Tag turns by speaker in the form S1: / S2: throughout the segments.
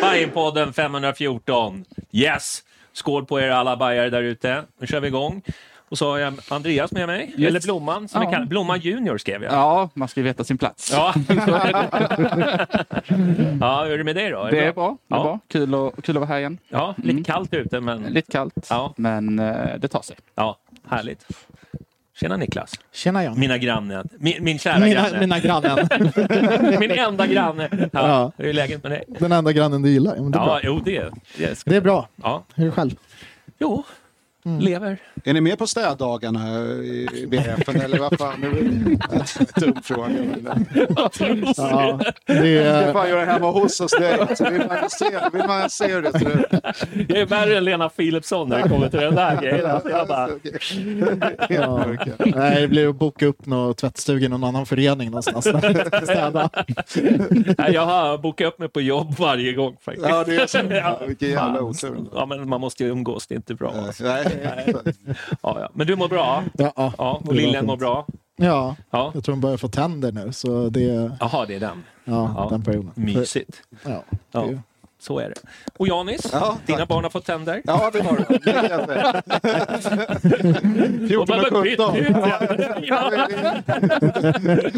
S1: Bajenpodden 514. Yes! Skål på er alla bajare där ute. Nu kör vi igång. Och så har jag Andreas med mig, eller Blomman som vi kallar Blomman Junior skrev jag.
S2: Ja, man ska ju veta sin plats.
S1: Ja. ja, hur är det med dig då?
S2: Det är bra. Det är
S1: Ja.
S2: bra. Kul, och, kul att vara här igen.
S1: Ja,
S3: Mm.
S1: lite kallt ute men
S2: Lite kallt,
S1: Ja.
S2: men eh, det tar sig.
S1: ja, härligt. Tjena Niklas,
S3: Tjena Jan.
S1: mina grannar. Min, min kära
S3: mina,
S1: granne.
S3: mina grannen.
S1: Min enda granne. Ja,
S3: Ja.
S1: Hur är läget med dig?
S3: Den enda grannen du gillar. Ja, men det, är
S1: Ja,
S3: bra.
S1: jo det. det ska-
S3: det Mm. är bra.
S1: Ja.
S3: Hur är det själv?
S1: Jo, lever.
S4: Är ni med på städdagarna i BF eller vad fan? Nu är det dum fråga. men-
S3: Ja, det
S4: Det
S3: är,
S4: fan gör det hemma hos oss direkt. Så Vill man se, vill man se hur det ser ut?
S1: Jag är värre än Lena Philipsson när det kommer till den där grejen. Alltså, jag bara,
S3: ja, nej, det blir att boka upp någon tvättstuga i någon annan förening någonstans. Städa.
S1: Nej, jag har bokat upp mig på jobb varje gång faktiskt.
S4: Ja, det är så. Ja, vilken jävla otur.
S1: Ja, men man måste ju umgås, det är inte bra. alltså.
S4: Nej.
S1: Ja, ja. Men du mår bra?
S3: Ja, ja. Det
S1: Ja, och
S3: var
S1: Lillen
S3: fint.
S1: mår bra?
S3: Ja,
S1: Ja.
S3: jag tror hon börjar få tänder nu. Så det är
S1: Jaha, det är den.
S3: ja,
S1: Ja.
S3: den perioden.
S1: Mysigt.
S3: Ja, det
S1: Ja,
S3: är-
S1: så är det. Och Janis,
S4: Ja, tack.
S1: dina barn har fått tänder?
S4: Ja, det har du. Det är helt rätt. 14 och 17.
S1: Ja,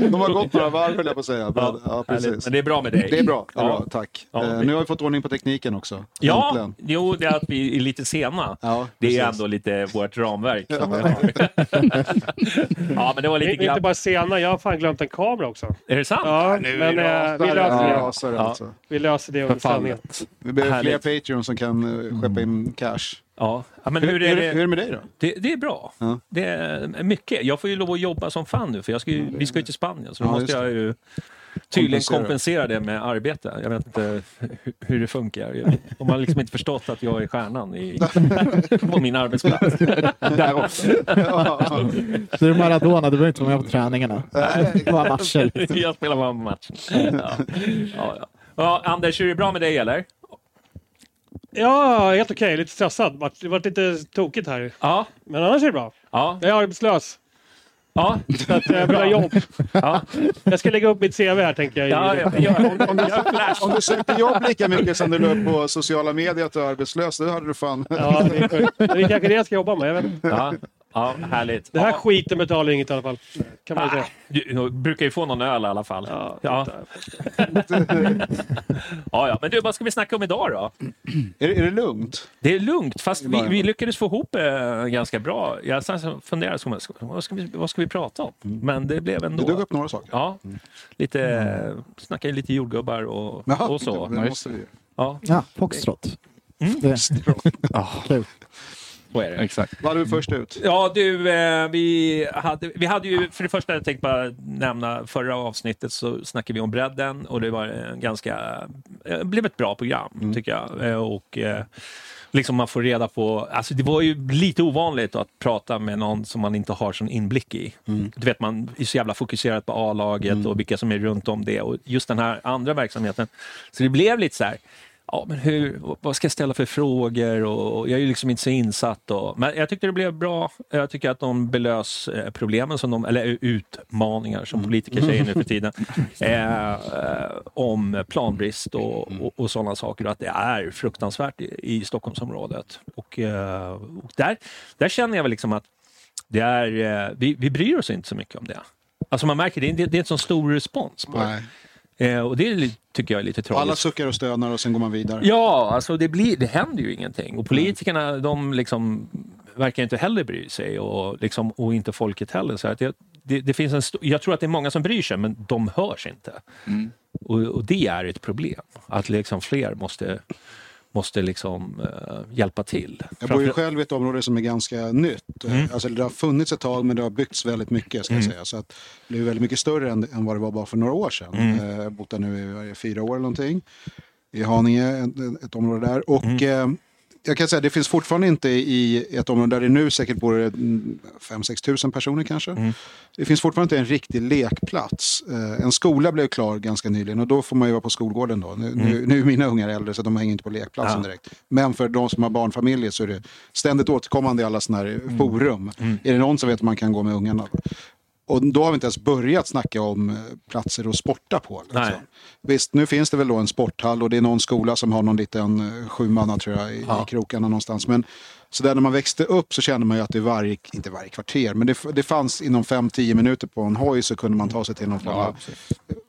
S4: De har gått några varv höll jag på att säga. Men, ja,
S1: härligt.
S4: precis.
S1: Men det är bra med dig?
S4: Det är bra, det är
S1: Ja.
S4: bra. tack.
S1: Ja,
S4: Eh,
S1: vi-
S4: Nu har vi fått ordning på tekniken också.
S1: Ja,
S4: Äntligen.
S1: jo, det är att vi är lite sena.
S4: Ja,
S1: det är
S4: precis.
S1: ändå lite vårt ramverk. Som vi har. ja, men det var
S5: Vi
S1: lite
S5: är inte
S1: glapp.
S5: bara sena, jag har fan glömt en kamera också.
S1: Är det sant?
S5: Ja,
S4: Nu
S5: men eh, vi,
S4: rasar det.
S5: löser
S4: Ja,
S5: det.
S4: rasar det
S1: Ja.
S4: alltså.
S5: vi löser det under sändningen.
S2: Förfallet.
S4: Vi behöver
S1: Härligt.
S4: fler Patreon som kan eh, skeppa in cash.
S1: Ja. ja men
S4: Hur,
S1: hur är det?
S4: hur är det med dig då?
S1: Det, det är bra.
S4: Ja.
S1: Det är mycket. Jag får ju lov att jobba som fan nu, för jag ska ju, vi ska ju till Spanien. Så då
S4: Ja,
S1: måste
S4: just
S1: jag ju tydligen
S4: Kompensera.
S1: kompensera det med arbete. Jag vet inte hur, hur det funkar. De har liksom inte förstått att jag är stjärnan i, på min arbetsplats.
S2: Där också.
S3: Så det är Maradona, du behöver inte vara med på träningarna. Bara matcher.
S1: jag spelar bara match. Ja. Ja, ja. Ja, Anders, är det bra med dig eller?
S5: Ja, helt okej. Lite stressad. Vart- Det vart lite tokigt här.
S1: Ja.
S5: Men annars är det bra.
S1: Ja.
S5: Jag är arbetslös.
S1: ja. eh,
S5: Så att jag vill ha jobb.
S1: ja.
S5: Jag ska lägga upp mitt CV här tänker jag.
S1: ja, ja, ja. Om, om du gör flash.
S4: Om du sökte jobb lika mycket som du la upp på sociala medier att du är arbetslös, då hade du fan...
S5: Ja, det, är sjukt. det är kanske det jag ska jobba med. Jag vet. inte.
S1: Ja. Ja, härligt.
S5: Den här
S1: Ja.
S5: skiten betalar inget i alla fall. Kan man ju säga.
S1: Ah, Du, du brukar ju få någon öl i alla fall. Ja, ja. ja, men du, vad ska vi snacka om idag då?
S4: Är, det- är det lugnt?
S1: Det är lugnt, fast vi, vi lyckades få ihop eh, ganska bra. Jag satt och funderade, så, vad ska, vi, vad ska vi prata om? Men det blev
S4: Mm. Det dök
S1: ändå...
S4: upp några saker.
S1: Ja, lite, eh, snackade lite jordgubbar och,
S4: Jaha,
S1: och så.
S4: Det måste vi. ju.
S1: Ja.
S3: Ja, foxtrot. Det,
S4: Foxtrot.
S3: kul.
S1: Så är det.
S2: Exakt.
S4: Vad hade vi först ut?
S1: Ja, du, eh, vi, hade, vi hade ju för det första jag tänkte bara nämna förra avsnittet så snackade vi om bredden och det var en ganska, eh, blev ett bra program tycker jag. Eh, Och eh, liksom man får reda på, alltså det var ju lite ovanligt att prata med någon som man inte har sån inblick i. Du vet man är så jävla fokuserad på A-laget och vilka som är runt om det och just den här andra verksamheten. Så det blev lite så här ja, men hur, vad ska jag ställa för frågor? Och, och jag är ju liksom inte så insatt. Och, men jag tyckte det blev bra. Jag tycker att de belös eh, problemen, som de, eller utmaningar som politiker säger nu för tiden, eh, eh, om planbrist och, och, och sådana saker. Och att det är fruktansvärt i, i Stockholmsområdet. Och, eh, och där, där känner jag väl liksom att det är, eh, vi, vi bryr oss inte så mycket om det. Alltså man märker, det är, det är en sån stor respons på det.
S4: Nej.
S1: Eh, och det är li- tycker jag är lite tragiskt.
S4: Alla suckar och stönar och sen går man vidare.
S1: Ja, alltså det, blir, det händer ju ingenting. Och
S4: Mm.
S1: politikerna, de liksom verkar inte heller bry sig och, liksom, och inte folket heller. Så att det, det, det finns en sto- jag tror att det är många som bryr sig, men de hörs inte.
S4: Mm.
S1: Och, och det är ett problem, att liksom fler måste, måste liksom, eh, hjälpa till.
S4: Jag bor ju
S1: Framför-
S4: själv i ett område som är ganska nytt. Alltså, det har funnits ett tag, men det har byggts väldigt mycket. Ska jag säga. Så att det blev väldigt mycket större än, än vad det var bara för några år sedan. Mm. Jag har bott där nu i vad är det, fyra år eller någonting. I Haninge, ett, ett område där. Och, eh, jag kan säga det finns fortfarande inte i ett område där det nu säkert bor mm, 5-6 tusen personer kanske. Det finns fortfarande inte en riktig lekplats. Eh, En skola blev klar ganska nyligen och då får man ju vara på skolgården då. Nu, nu, nu är mina ungar äldre så de hänger inte på lekplatsen direkt. Men för de som har barnfamiljer så är det ständigt återkommande i alla sådana här forum. Är det någon som vet att man kan gå med ungarna? Och då har vi inte ens börjat snacka om eh, platser att sporta på. Liksom.
S1: Nej.
S4: Visst, nu finns det väl då en sporthall och det är någon skola som har någon liten eh, sjumanna tror jag i, i krokarna någonstans. Men så där när man växte upp så kände man ju att det varje, inte varje kvarter, men det, f- det fanns inom 5-10 minuter på en hoj så kunde man ta sig till någon form av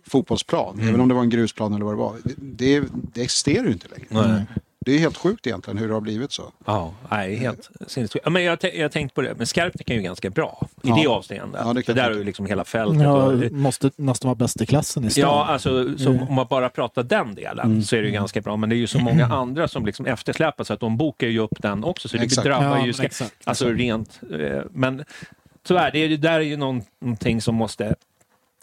S4: fotbollsplan.
S1: Mm.
S4: Även om det var en grusplan eller vad det var. Det, det, det existerar ju inte längre.
S1: Nej.
S4: Det är helt sjukt egentligen hur det har blivit så.
S1: Ja, nej, helt sinnessjukt. Ja, Men jag har jag tänkt på det, men Skarpnäck är ju ganska bra i det avseendet.
S4: Ja, det kan
S1: det
S4: jag
S1: där
S4: tänka.
S1: är ju liksom hela fältet.
S3: Ja,
S1: och-
S3: måste nästan vara bäst i klassen i
S1: Ja,
S3: stan.
S1: alltså så
S3: Mm.
S1: om man bara pratar den delen så är det ju ganska bra. Men det är ju så många
S3: Mm.
S1: andra som liksom eftersläpar så att de bokar ju upp den också. Så det
S4: Exakt.
S1: drabbar
S3: Ja,
S1: ju...
S3: men
S1: Ska,
S3: exakt.
S1: alltså rent... Eh, men tyvärr, det, är, det där är ju någon- någonting som måste...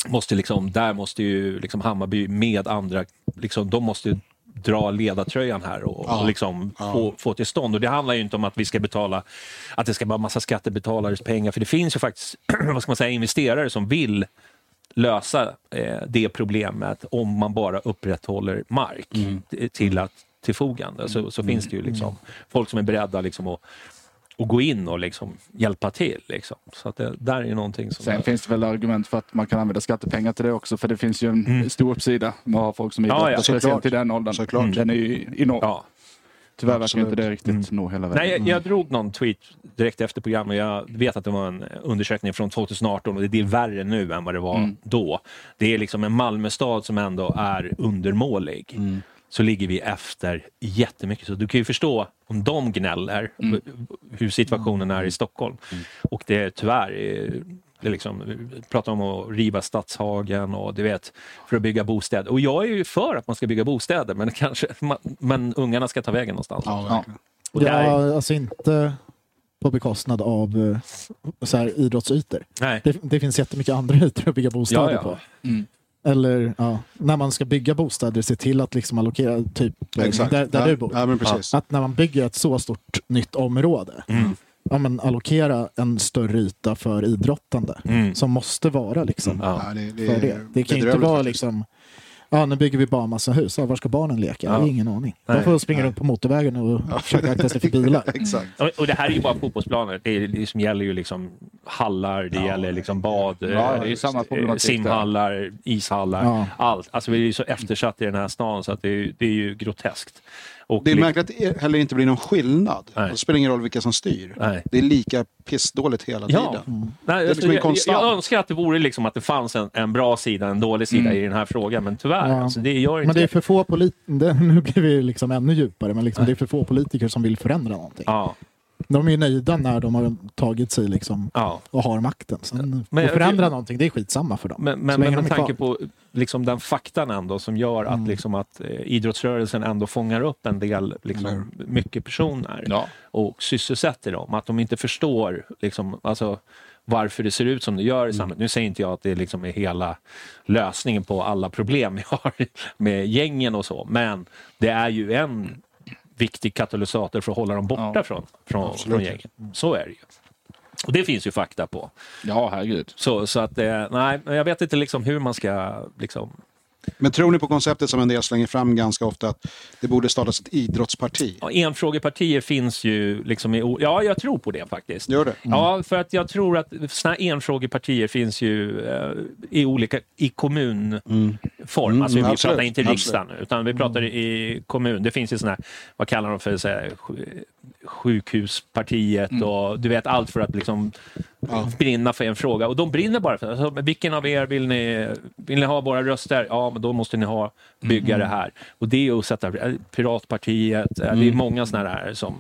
S1: måste liksom, där måste ju liksom Hammarby med andra... Liksom, de måste ju dra ledartröjan här och, och liksom Få, få till stånd. Och det handlar ju inte om att vi ska betala, att det ska vara massa skattebetalares pengar. För det finns ju faktiskt, vad ska man säga, investerare som vill lösa eh, det problemet om man bara upprätthåller mark
S2: Mm.
S1: t- till att tillfogande. Så, så finns det ju liksom folk som är beredda liksom att, att gå in och liksom hjälpa till. Liksom. Så att det där är ju någonting som...
S2: Sen finns det väl argument för att man kan använda skattepengar till det också. För det finns ju en stor uppsida med att ha folk som
S1: Mm. Ja,
S2: idrottar.
S1: ja.
S2: speciellt i den åldern. Mm.
S4: Såklart.
S2: Den är ju enorm.
S1: ja. Mm.
S2: Tyvärr verkar inte det riktigt nå hela vägen.
S1: Nej, jag, jag drog någon tweet direkt efter programmet. Jag vet att det var en undersökning från 2018 och det är värre nu än vad det var då. Det är liksom en Malmöstad som ändå är undermålig. Så ligger vi efter jättemycket. Så du kan ju förstå om de gnäller hur situationen är i Stockholm. Och det är tyvärr eh, det är liksom, vi pratar om att riva Stadshagen och du vet, för att bygga bostäder. Och jag är ju för att man ska bygga bostäder, men, kanske, man, men ungarna ska ta vägen någonstans.
S2: Ja.
S1: Och där-
S3: Ja, alltså inte på bekostnad av eh, så här, idrottsytor.
S1: Nej.
S3: Det, det finns jättemycket andra ytor att bygga bostäder
S1: Ja, ja.
S3: på.
S4: Mm.
S3: Eller ja, när man ska bygga bostäder, se till att liksom allokera typ eh,
S4: Exakt.
S3: där, där
S4: ja.
S3: du bor.
S4: Ja, men precis. Mm.
S3: Att när man bygger ett så stort nytt område, ja, men allokera en större yta för idrottande
S4: Mm.
S3: som måste vara liksom,
S1: Ja.
S4: Ja, det, det,
S3: för
S4: är
S3: det. Det kan ju inte
S4: bedrövligt
S3: vara
S4: faktiskt.
S3: liksom, ja, nu bygger vi bara massa hus, ja, var ska barnen leka?
S1: Ja.
S3: Det är ingen aning.
S1: Nej.
S3: De får springa runt på motorvägen och försöka akta sig för bilar.
S4: Exakt.
S1: Och, och det här är ju bara fotbollsplaner. Det är, liksom, gäller ju liksom hallar, det gäller liksom bad, eh,
S2: det är ju samma
S1: eh,
S2: problematik där.
S1: simhallar, ishallar,
S3: Ja.
S1: allt. Alltså vi är ju så eftersatt i den här stan så att det är, ju- det är ju groteskt. Och
S4: Det är
S1: li-
S4: märkligt att det heller inte blir någon skillnad.
S1: Nej.
S4: Det spelar ingen roll vilka som styr.
S1: Nej.
S4: Det är lika pissdåligt hela
S1: Ja.
S4: tiden.
S1: Nej,
S4: Det är
S1: alltså,
S4: liksom en
S1: jag, jag,
S4: konstant.
S1: jag önskar att det vore liksom att det fanns en, en bra sida, en dålig sida i den här frågan, men tyvärr,
S3: Ja.
S1: alltså, det gör inte
S3: Men det är för få politiker, nu blir vi liksom ännu djupare, men liksom, det är för få politiker som vill förändra någonting.
S1: ja.
S3: Det De är ju nöjda när de har tagit sig liksom
S1: Ja.
S3: och har makten. Sen
S1: Men-
S3: att förändra någonting, det är skitsamma för dem.
S1: Men,
S3: Så
S1: men,
S3: länge
S1: men
S3: de
S1: med
S3: är
S1: tanke
S3: kvar.
S1: på liksom, den faktan ändå som gör att, liksom, att eh, idrottsrörelsen ändå fångar upp en del, liksom, mycket personer
S2: Ja.
S1: och sysselsätter dem. Att de inte förstår liksom, alltså, varför det ser ut som det gör i samhället. Nu säger inte jag att det liksom är hela lösningen på alla problem vi har med gängen och så, men det är ju en viktig katalysator för att hålla dem borta
S2: Ja.
S1: från, från, från gängen. Så är det ju. Och det finns ju fakta på.
S2: ja, herregud.
S1: Så, så att, eh, nej, men jag vet inte liksom hur man ska... Liksom,
S4: Men tror ni på konceptet som en del slänger fram ganska ofta, att det borde startas ett idrottsparti?
S1: Ja, enfrågepartier finns ju liksom i... o- Ja, jag tror på det faktiskt.
S4: Gör det?
S1: Ja, för att jag tror att såna här enfrågepartier finns ju eh, i olika i kommunform. alltså, vi
S4: Mm. absolut,
S1: pratar inte
S4: absolut. Mm.
S1: riksdagen nu, utan vi pratar i kommun. Det finns ju såna här, vad kallar de för, så här, sj- sjukhuspartiet
S4: Mm.
S1: och du vet allt för att liksom brinna för en fråga. Och de brinner bara för alltså, men vilken av er vill ni, vill ni ha våra röster? Ja, men då måste ni ha, bygga
S4: Mm.
S1: det här. Och det är att sätta eh, Piratpartiet, eh,
S4: Mm.
S1: det är många såna här som,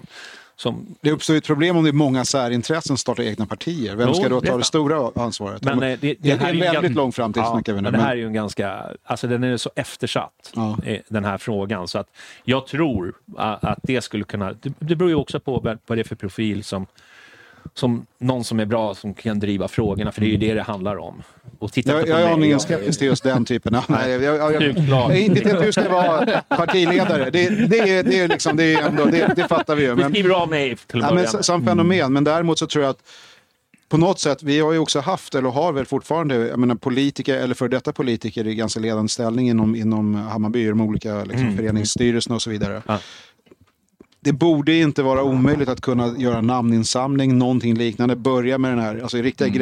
S1: som
S4: Det uppstår ju ett problem om det är många särintressen som startar egna partier. Vem
S1: Jo,
S4: ska då
S1: det är
S4: ta det
S1: sant.
S4: stora ansvaret?
S1: Men,
S4: det,
S1: eh, det, det,
S4: är
S1: här
S4: en
S1: ju
S4: väldigt
S1: gans-
S4: lång framtid snackar vi nu.
S1: men det här är
S4: men-
S1: ju en ganska, alltså den är så eftersatt,
S4: Ja.
S1: eh, den här frågan. Så att jag tror a- att det skulle kunna, det, det beror ju också på vad- vad det är för profil som, som någon som är bra som kan driva frågorna, för det är ju det det handlar om. Och titta
S4: Mm. Jag,
S1: inte
S4: jag
S1: på
S4: är
S1: mig,
S4: aningen
S1: jag-
S4: skeptisk till just den typen av... Nej, jag, jag, jag,
S1: Sjukt lag.
S4: jag är inte till att du ska vara partiledare. Det, det, är, det, är liksom, det, är ändå, det, det fattar vi ju.
S1: Vi
S4: Men,
S1: skriver av mig till att
S4: ja, men,
S1: börja
S4: s-
S1: med.
S4: som fenomen. Men däremot så tror jag att på något sätt, vi har ju också haft, eller har väl fortfarande, jag menar politiker eller för detta politiker i ganska ledande ställning inom, inom Hammarby, de olika liksom,
S1: Mm.
S4: föreningsstyrelserna och så vidare.
S1: Ja.
S4: Det borde inte vara omöjligt att kunna göra namninsamling, någonting liknande. Börja med den här alltså, riktiga
S1: Mm.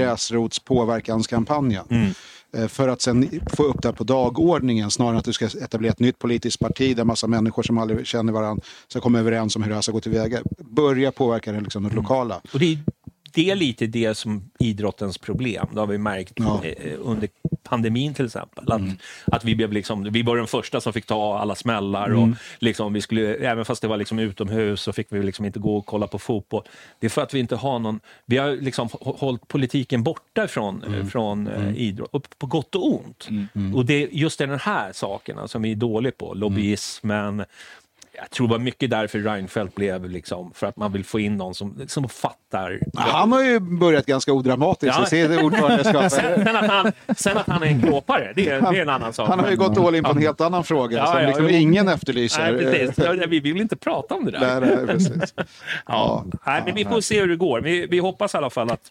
S4: gräsrotspåverkanskampanjen. Eh, För att sen få upp det här på dagordningen snarare än att du ska etablera ett nytt politiskt parti där massa människor som aldrig känner varandra ska komma överens om hur det här ska gå tillväga. Börja påverka det, liksom, det
S1: Mm.
S4: lokala.
S1: Och det, är- det är lite det som idrottens problem. Det har vi märkt
S4: Ja.
S1: eh, under pandemin till exempel. Att, att vi, blev liksom, vi var de första som fick ta alla smällar. Och liksom vi skulle, även fast det var liksom utomhus så fick vi liksom inte gå och kolla på fotboll. Det är för att vi inte har någon... Vi har liksom hå- hållit politiken borta från, eh, från eh, idrott, och på gott och ont. Och det är just den här sakerna som vi är dåliga på. Lobbyismen, jag tror det var mycket därför Reinfeldt blev liksom, för att man vill få in någon som, som fattar.
S4: Han har ju börjat ganska odramatiskt
S1: Ja.
S4: i sitt ordförandeskap.
S1: Sen, sen, att han, sen att han är en klåpare, det, är- det är en annan sak.
S4: Han har ju
S1: Men-
S4: gått all in på en helt annan fråga
S1: Ja,
S4: som
S1: ja,
S4: liksom
S1: jo.
S4: ingen efterlyser.
S1: Nej, precis. Ja, Vi vill inte prata om det där.
S4: Nej, nej, precis.
S1: Ja. Nej, men vi får se hur det går. Vi, vi hoppas i alla fall att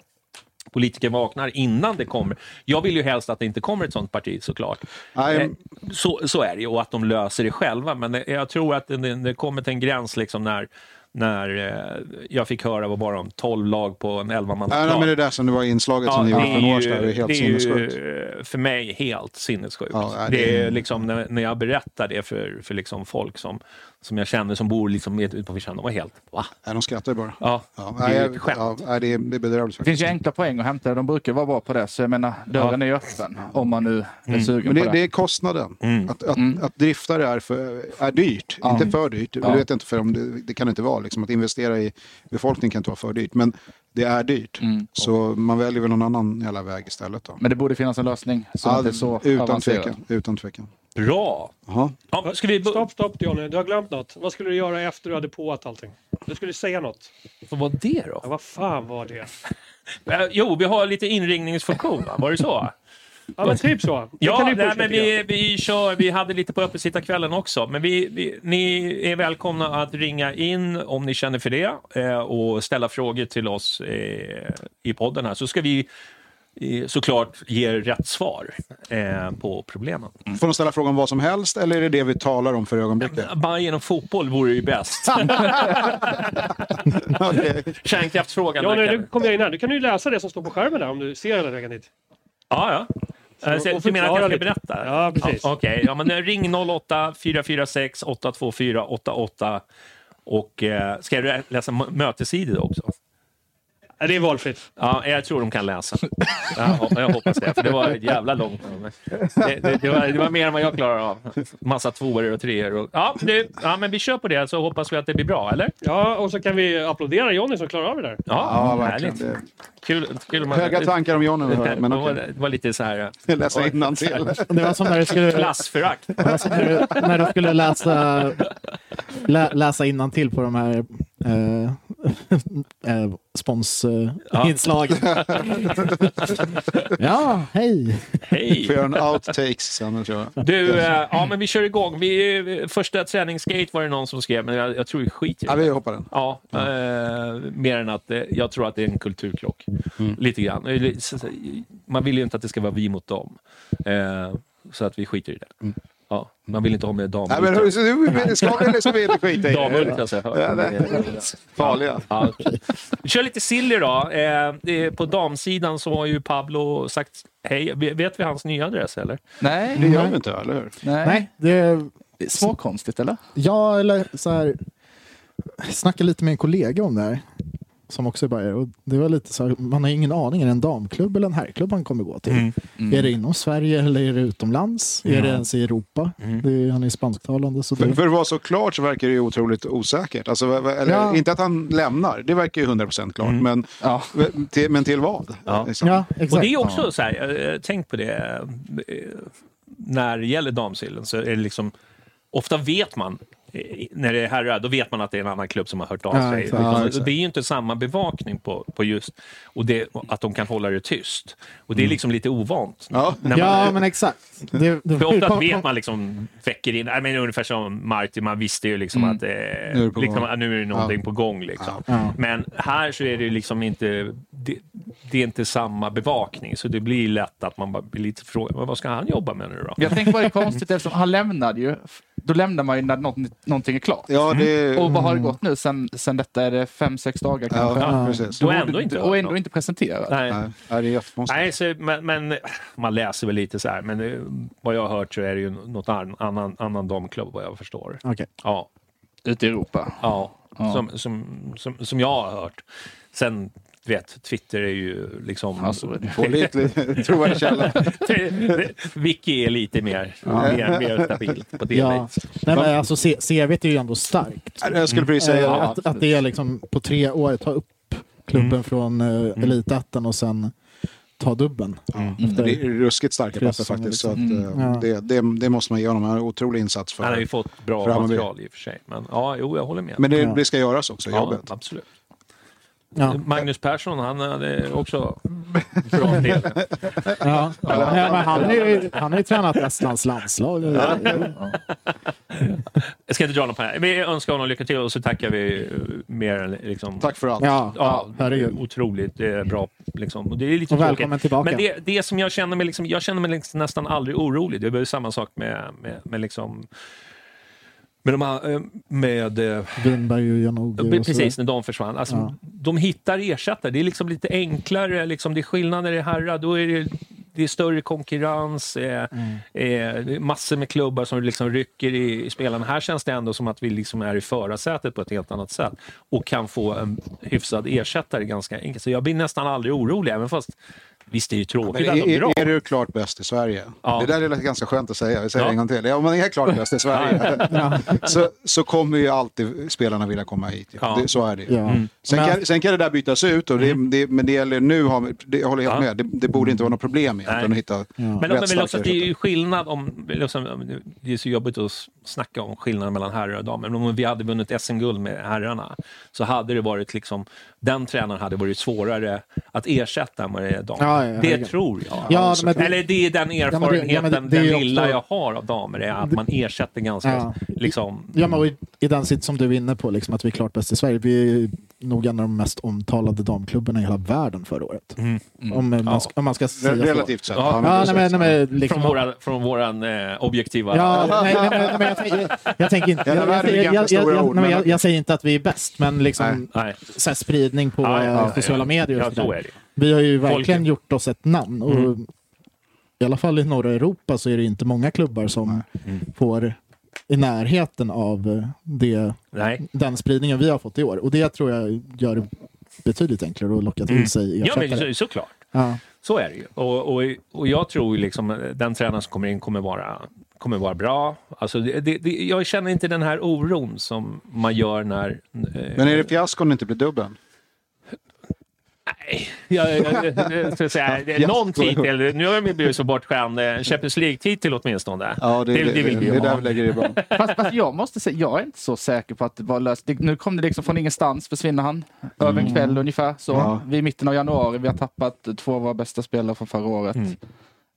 S1: politiker vaknar innan det kommer. Jag vill ju helst att det inte kommer ett sånt parti såklart.
S4: Nej.
S1: Eh, Så, så är det ju, och att de löser det själva. Men eh, jag tror att det, det kommer till en gräns liksom när när eh, jag fick höra vad var de, 12 lag på en 11 man
S4: Nej, nej, men det där som det var i inslaget som ni gjorde för några år sedan, det är helt
S1: det är ju,
S4: sinnessjukt.
S1: eh, för mig helt sinnessjukt.
S4: Ja, nej,
S1: det
S4: det
S1: är
S4: är-
S1: liksom när, när jag berättar det för, för liksom folk som, som jag känner som bor liksom med- ute på vischan, de var helt va?
S4: Nej, de skrattar ju bara.
S1: Ja, det är ju ett skämt.
S4: ja, nej, det är det är bedrövligt
S2: Det
S4: faktiskt.
S2: finns ju enkla poäng att hämta. De brukar vara bra på det. Så jag menar, dörren är ju öppen om man nu är
S1: Mm.
S2: sugen
S4: Men det,
S2: på det.
S4: det är kostnaden. Att, att, att drifta det är, för, är dyrt, inte för dyrt. Det vet jag inte för om det, det kan inte vara. Liksom. Att investera i befolkningen kan inte vara för dyrt. Men det är dyrt.
S1: Mm.
S4: Så man väljer väl någon annan jävla väg istället. Då.
S2: Men det borde finnas en lösning som inte är så
S4: utan,
S2: avancerad.
S4: tvekan, utan tvekan.
S1: Bra!
S4: Jaha.
S1: Ja, ska vi bo-
S5: Stopp, stopp Johnny. Du har glömt något. Vad skulle du göra efter du hade påat allting? Du skulle säga något.
S1: Vad var det då?
S5: Ja, vad fan var det?
S1: Eh, jo, vi har lite inringningsfunktion, va? var det så?
S5: Ja, men typ så. Det kan ni
S1: Ja, nej,
S5: pusha
S1: men
S5: lite grann.
S1: vi, vi kör. Vi hade lite på öppensittarkvällen också. Men vi, vi, ni är välkomna att ringa in om ni känner för det eh, och ställa frågor till oss eh, i podden här så ska vi eh, såklart ge rätt svar eh, på problemen.
S4: Får de ställa frågan vad som helst eller är det det vi talar om för ögonblicket?
S1: Bajen och fotboll vore ju bäst.
S4: Okej.
S1: Kärnkraftsfrågan.
S5: Johnny,
S1: verkar-
S5: nu kommer jag in här. Du kan ju läsa det som står på skärmen där om du ser hela vägen dit.
S1: Ja, ja.
S5: Så-
S1: Så,
S5: och
S1: du menar att jag ska
S5: förklara lite.
S1: berätta?
S5: Ja, precis.
S1: Ja, Okej, ja, men eh, ring 08 446 824 88 och eh, ska jag lä- läsa mö- mötessidor också?
S5: Nej, det är valfritt.
S1: Ja, jag tror de kan läsa. Ja, jag hoppas det, för det var ett jävla långt nummer. Det, det, det, var, det var mer än vad jag klarar av. Massa tvåor och treor. Och, ja, det, ja, men vi kör på det så hoppas vi att det blir bra, eller?
S5: Ja, och så kan vi applådera Jonny som klarar av det där.
S1: Ja,
S4: Ja, verkligen.
S1: härligt.
S4: Det,
S1: Kul, kul man,
S4: höga tankar om Johnny,
S1: Det,
S4: men
S1: var,
S4: okej.
S1: det var lite så här...
S4: Läsa innantill.
S3: Det var som när du skulle,
S1: Klassförakt.
S3: alltså, när du, när du skulle läsa, lä, läsa innantill på de här eh, eh,
S1: Ja.
S3: sponsinslagen. Ja. hej!
S1: Hej!
S4: Får göra en outtakes sen, tror jag.
S1: Du, eh, ja men vi kör igång. Vi, eh, första träningsgate var det någon som skrev, men jag, jag tror vi skiter i
S4: Ja,
S1: det.
S4: vi hoppar den.
S1: Ja, eh, mer än att eh, jag tror att det är en kulturkrock.
S4: Mm.
S1: Lite grann. Eh, li- så- så- Man vill ju inte att det ska vara vi mot dem. Eh, så att vi skiter i det. Ja, man vill inte ha med
S4: Mm. Nej, men
S1: damultra.
S4: hur, så du- ska vi eller ska vi inte skita i det?
S1: Damultra, så jag
S4: Ja,
S1: hör.
S4: nej. Farliga.
S1: Ja. Vi kör lite silly då. Eh, det- på damsidan så har ju Pablo sagt hej. Ve- Vet vi hans nya adress eller?
S2: Nej,
S4: Det gör vi inte, eller hur?
S2: nej.
S3: Nej, det,
S2: Det är småkonstigt eller?
S3: Ja, eller så här. Jag snackade lite med en kollega om det här. Som också är bärgare. Och det var lite så här, man har ju ingen aning. Är det en damklubb eller en herrklubb man kommer gå till? Är det inom Sverige eller är det utomlands? Är det ens i Europa? Det är, han är spansktalande. Så
S4: För,
S3: det,
S4: för att vara så klart så verkar det ju otroligt osäkert. Alltså, va- va- eller,
S3: Ja.
S4: Inte att han lämnar, det verkar ju 100% klart. Men,
S2: Ja.
S4: v- till, men till vad?
S1: Mm. Ja.
S4: Liksom.
S3: ja, exakt.
S1: Och det är också så här, eh, tänk på det, eh, när det gäller damsillen så är det liksom, ofta vet man, eh, när det är herrar, då vet man att det är en annan klubb som har hört av
S3: Ja,
S1: sig.
S3: exakt.
S1: Utan
S4: Ja,
S1: det-
S4: exakt.
S1: det är ju inte samma bevakning på, på just, och det, att de kan hålla det tyst. Och det är liksom lite ovant.
S4: Ja.
S1: När man,
S3: Mm. Ja, men exakt. Det, det,
S1: för ofta vet man liksom, väcker in, nej, men ungefär som Marty, man visste ju liksom att eh,
S4: det
S1: nu,
S4: på
S1: liksom,
S4: gång.
S1: att nu är det någonting på gång. Liksom. Men här så är det ju liksom inte, det, det är inte samma bevakning så det blir lätt att man bara blir lite frågad, "Men vad ska han jobba med nu då?
S2: Jag tänker bara det är konstigt eftersom han lämnade ju. Då lämnar man ju när något, någonting är klart.
S4: Ja, det...
S2: Och vad har
S1: Mm.
S2: det gått nu sen, sen detta? Är det fem, sex dagar kanske?
S4: Ja, precis.
S1: Då ändå inte
S2: och
S1: hört
S2: ändå
S1: något.
S2: inte presenterat.
S1: Nej.
S4: Nej, det är jättekonstigt.
S1: Nej, så, men, men man läser väl lite så här, men det, vad jag har hört så är det ju något annan, annan, annan damklubb vad jag förstår.
S3: Okej.
S1: Ja,
S2: Ute i Europa.
S1: Ja, Som, som, som, som jag har hört. Sen, du vet, Twitter är ju liksom...
S2: Ja, så är Alltså, det.
S4: Pålitlig, trovärdig källa.
S1: Wiki är lite mer, mer, mer stabilt på det liksom.
S3: Ja.
S1: viset.
S3: Nej, men alltså, C- CVt är ju ändå starkt.
S4: Jag skulle precis säga
S3: Eh,
S4: det.
S3: att, att det är liksom på tre år ta upp klubben
S1: Mm.
S3: från eh, elitettan och sen ta dubben. Efter-
S4: Det är ruskigt starka
S3: Tre
S4: platser
S3: säsonger
S4: faktiskt. Så att,
S2: liksom.
S4: eh, det, det, det måste man ge honom. Han har en otrolig insats
S1: Han har ju
S4: för.
S1: fått bra
S4: för Hammarby.
S1: material i och för sig. Men ja, jo, jag håller med.
S4: Men det, det ska göras också,
S1: ja,
S4: jobbet.
S1: absolut.
S3: Ja.
S1: Magnus Persson, han hade också bra del.
S3: Ja. Nej, men han, är, ju- han har ju tränat Estlands landslag.
S1: Jag ska inte dra någon på det här. Vi önskar honom lycka till och så tackar vi eh, mer än liksom...
S4: Tack för allt.
S3: Ja,
S1: Ja,
S3: herregud.
S1: otroligt eh, bra. Liksom. Och det är lite
S3: Och välkommen
S1: tråkigt.
S3: tillbaka.
S1: Men det, det som jag känner mig, liksom, jag känner mig liksom nästan aldrig orolig. Det är väl samma sak med, med, med liksom med, de här, eh, med eh,
S3: Winberg och Janogy. och så
S1: precis när de försvann. Alltså, De hittar ersättare. Det är liksom lite enklare. Liksom, det är skillnad när det är herrar. Då är det, det är större konkurrens. Eh, eh, det är massor med klubbar som liksom rycker i, i spelarna. Här känns det ändå som att vi liksom är i förarsätet på ett helt annat sätt och kan få en hyfsad ersättare ganska enkelt. Så jag blir nästan aldrig orolig, även fast visst, det är ju
S4: Men
S1: tråkigt att
S4: är,
S1: de drar.
S4: är, är du klart bäst i Sverige?
S1: Ja.
S4: Det där är lite ganska skönt att säga. Vi säger
S1: Ja.
S4: det en gång till. Ja, om man är klart bäst i Sverige så, så kommer ju alltid spelarna vilja komma hit. Ja.
S1: Ja.
S4: Det, så är det ju.
S3: Ja. Mm.
S4: Sen,
S3: Men-
S4: kan, sen kan det där bytas ut, och det, det, men det gäller nu, har, det, jag håller helt
S1: Ja.
S4: med, det, det borde inte vara något problem egentligen
S1: Nej.
S4: att hitta
S1: Men,
S4: rätt
S1: men vill
S4: starka
S1: också att det är ju
S4: ersättare.
S1: skillnad om... Liksom, det är så jobbigt att s- snacka om skillnaden mellan herrar och damer. Men om vi hade vunnit SM-guld med herrarna så hade det varit liksom... Den tränaren hade varit svårare att ersätta än vad det är damer.
S3: Ja, ja,
S1: det
S3: herregud.
S1: tror jag.
S3: Ja, men det-
S1: Eller det är den
S3: men det-
S1: erfarenheten,
S3: ja, men det- det är ju
S1: den lilla
S3: också-
S1: jag har av damer, är att man ersätter ganska...
S3: Ja.
S1: Liksom,
S3: Ja, men och i, I den sitt som du är inne på, liksom, att vi är klart bäst i Sverige. Vi är ju nog en av de mest omtalade damklubbarna i hela världen förra året.
S1: Mm.
S3: Om, eh, man, sk- om man ska säga så.
S4: Re- Relativt sett.
S1: Ja.
S4: Ja, men
S3: Ja,
S4: precis.
S3: nej, men, nej, men, liksom,
S1: från våran, från våran eh, objektiva...
S3: Ja, nej, nej, men- nej, men jag tänker- jag tänker inte...
S4: Ja,
S3: Jag,
S4: det
S3: jag,
S4: där är
S3: jag, jag,
S4: ganska
S3: jag,
S4: stora
S3: jag,
S4: ord,
S3: nej, men
S4: men-
S3: jag, jag säger inte att vi är bäst, men liksom
S1: Nej.
S3: så här, spridning på
S1: Ja, ja,
S3: eh,
S1: ja, ja.
S3: sociala medier.
S1: Ja,
S3: Och
S1: så
S3: så
S1: är
S3: där.
S1: det.
S3: Vi har ju verkligen
S1: Folket. Mm.
S3: gjort oss ett namn. Och I alla fall i norra Europa så är det inte många klubbar som får i närheten av eh, det,
S1: Nej.
S3: den spridningen vi har fått i år. Och det tror jag gör det betydligt enklare att locka till sig
S1: Mm. Ja, men
S3: ersättare.
S1: så, såklart.
S3: Ja.
S1: Så är det ju. Och, och, och jag tror ju liksom eh, den tränaren som kommer in kommer vara, kommer vara bra. Alltså det, det, det, jag känner inte den här oron som man gör när... eh,
S4: Men är det fiasko om det inte blir dubbeln?
S1: jag, jag, jag, jag ska säga, det är någon titel, nu har de ju blivit så bortskämd, eh, Champions League-titel åtminstone. vill vi
S4: det är
S1: ha.
S4: där vi lägger ribban.
S2: Fast, fast jag måste säga, jag är inte så säker på att det var löst. Det, nu kom det liksom från ingenstans, försvinner han. Över en kväll ungefär. Så.
S4: Ja.
S2: Vi är i mitten av januari, vi har tappat två av våra bästa spelare från förra året.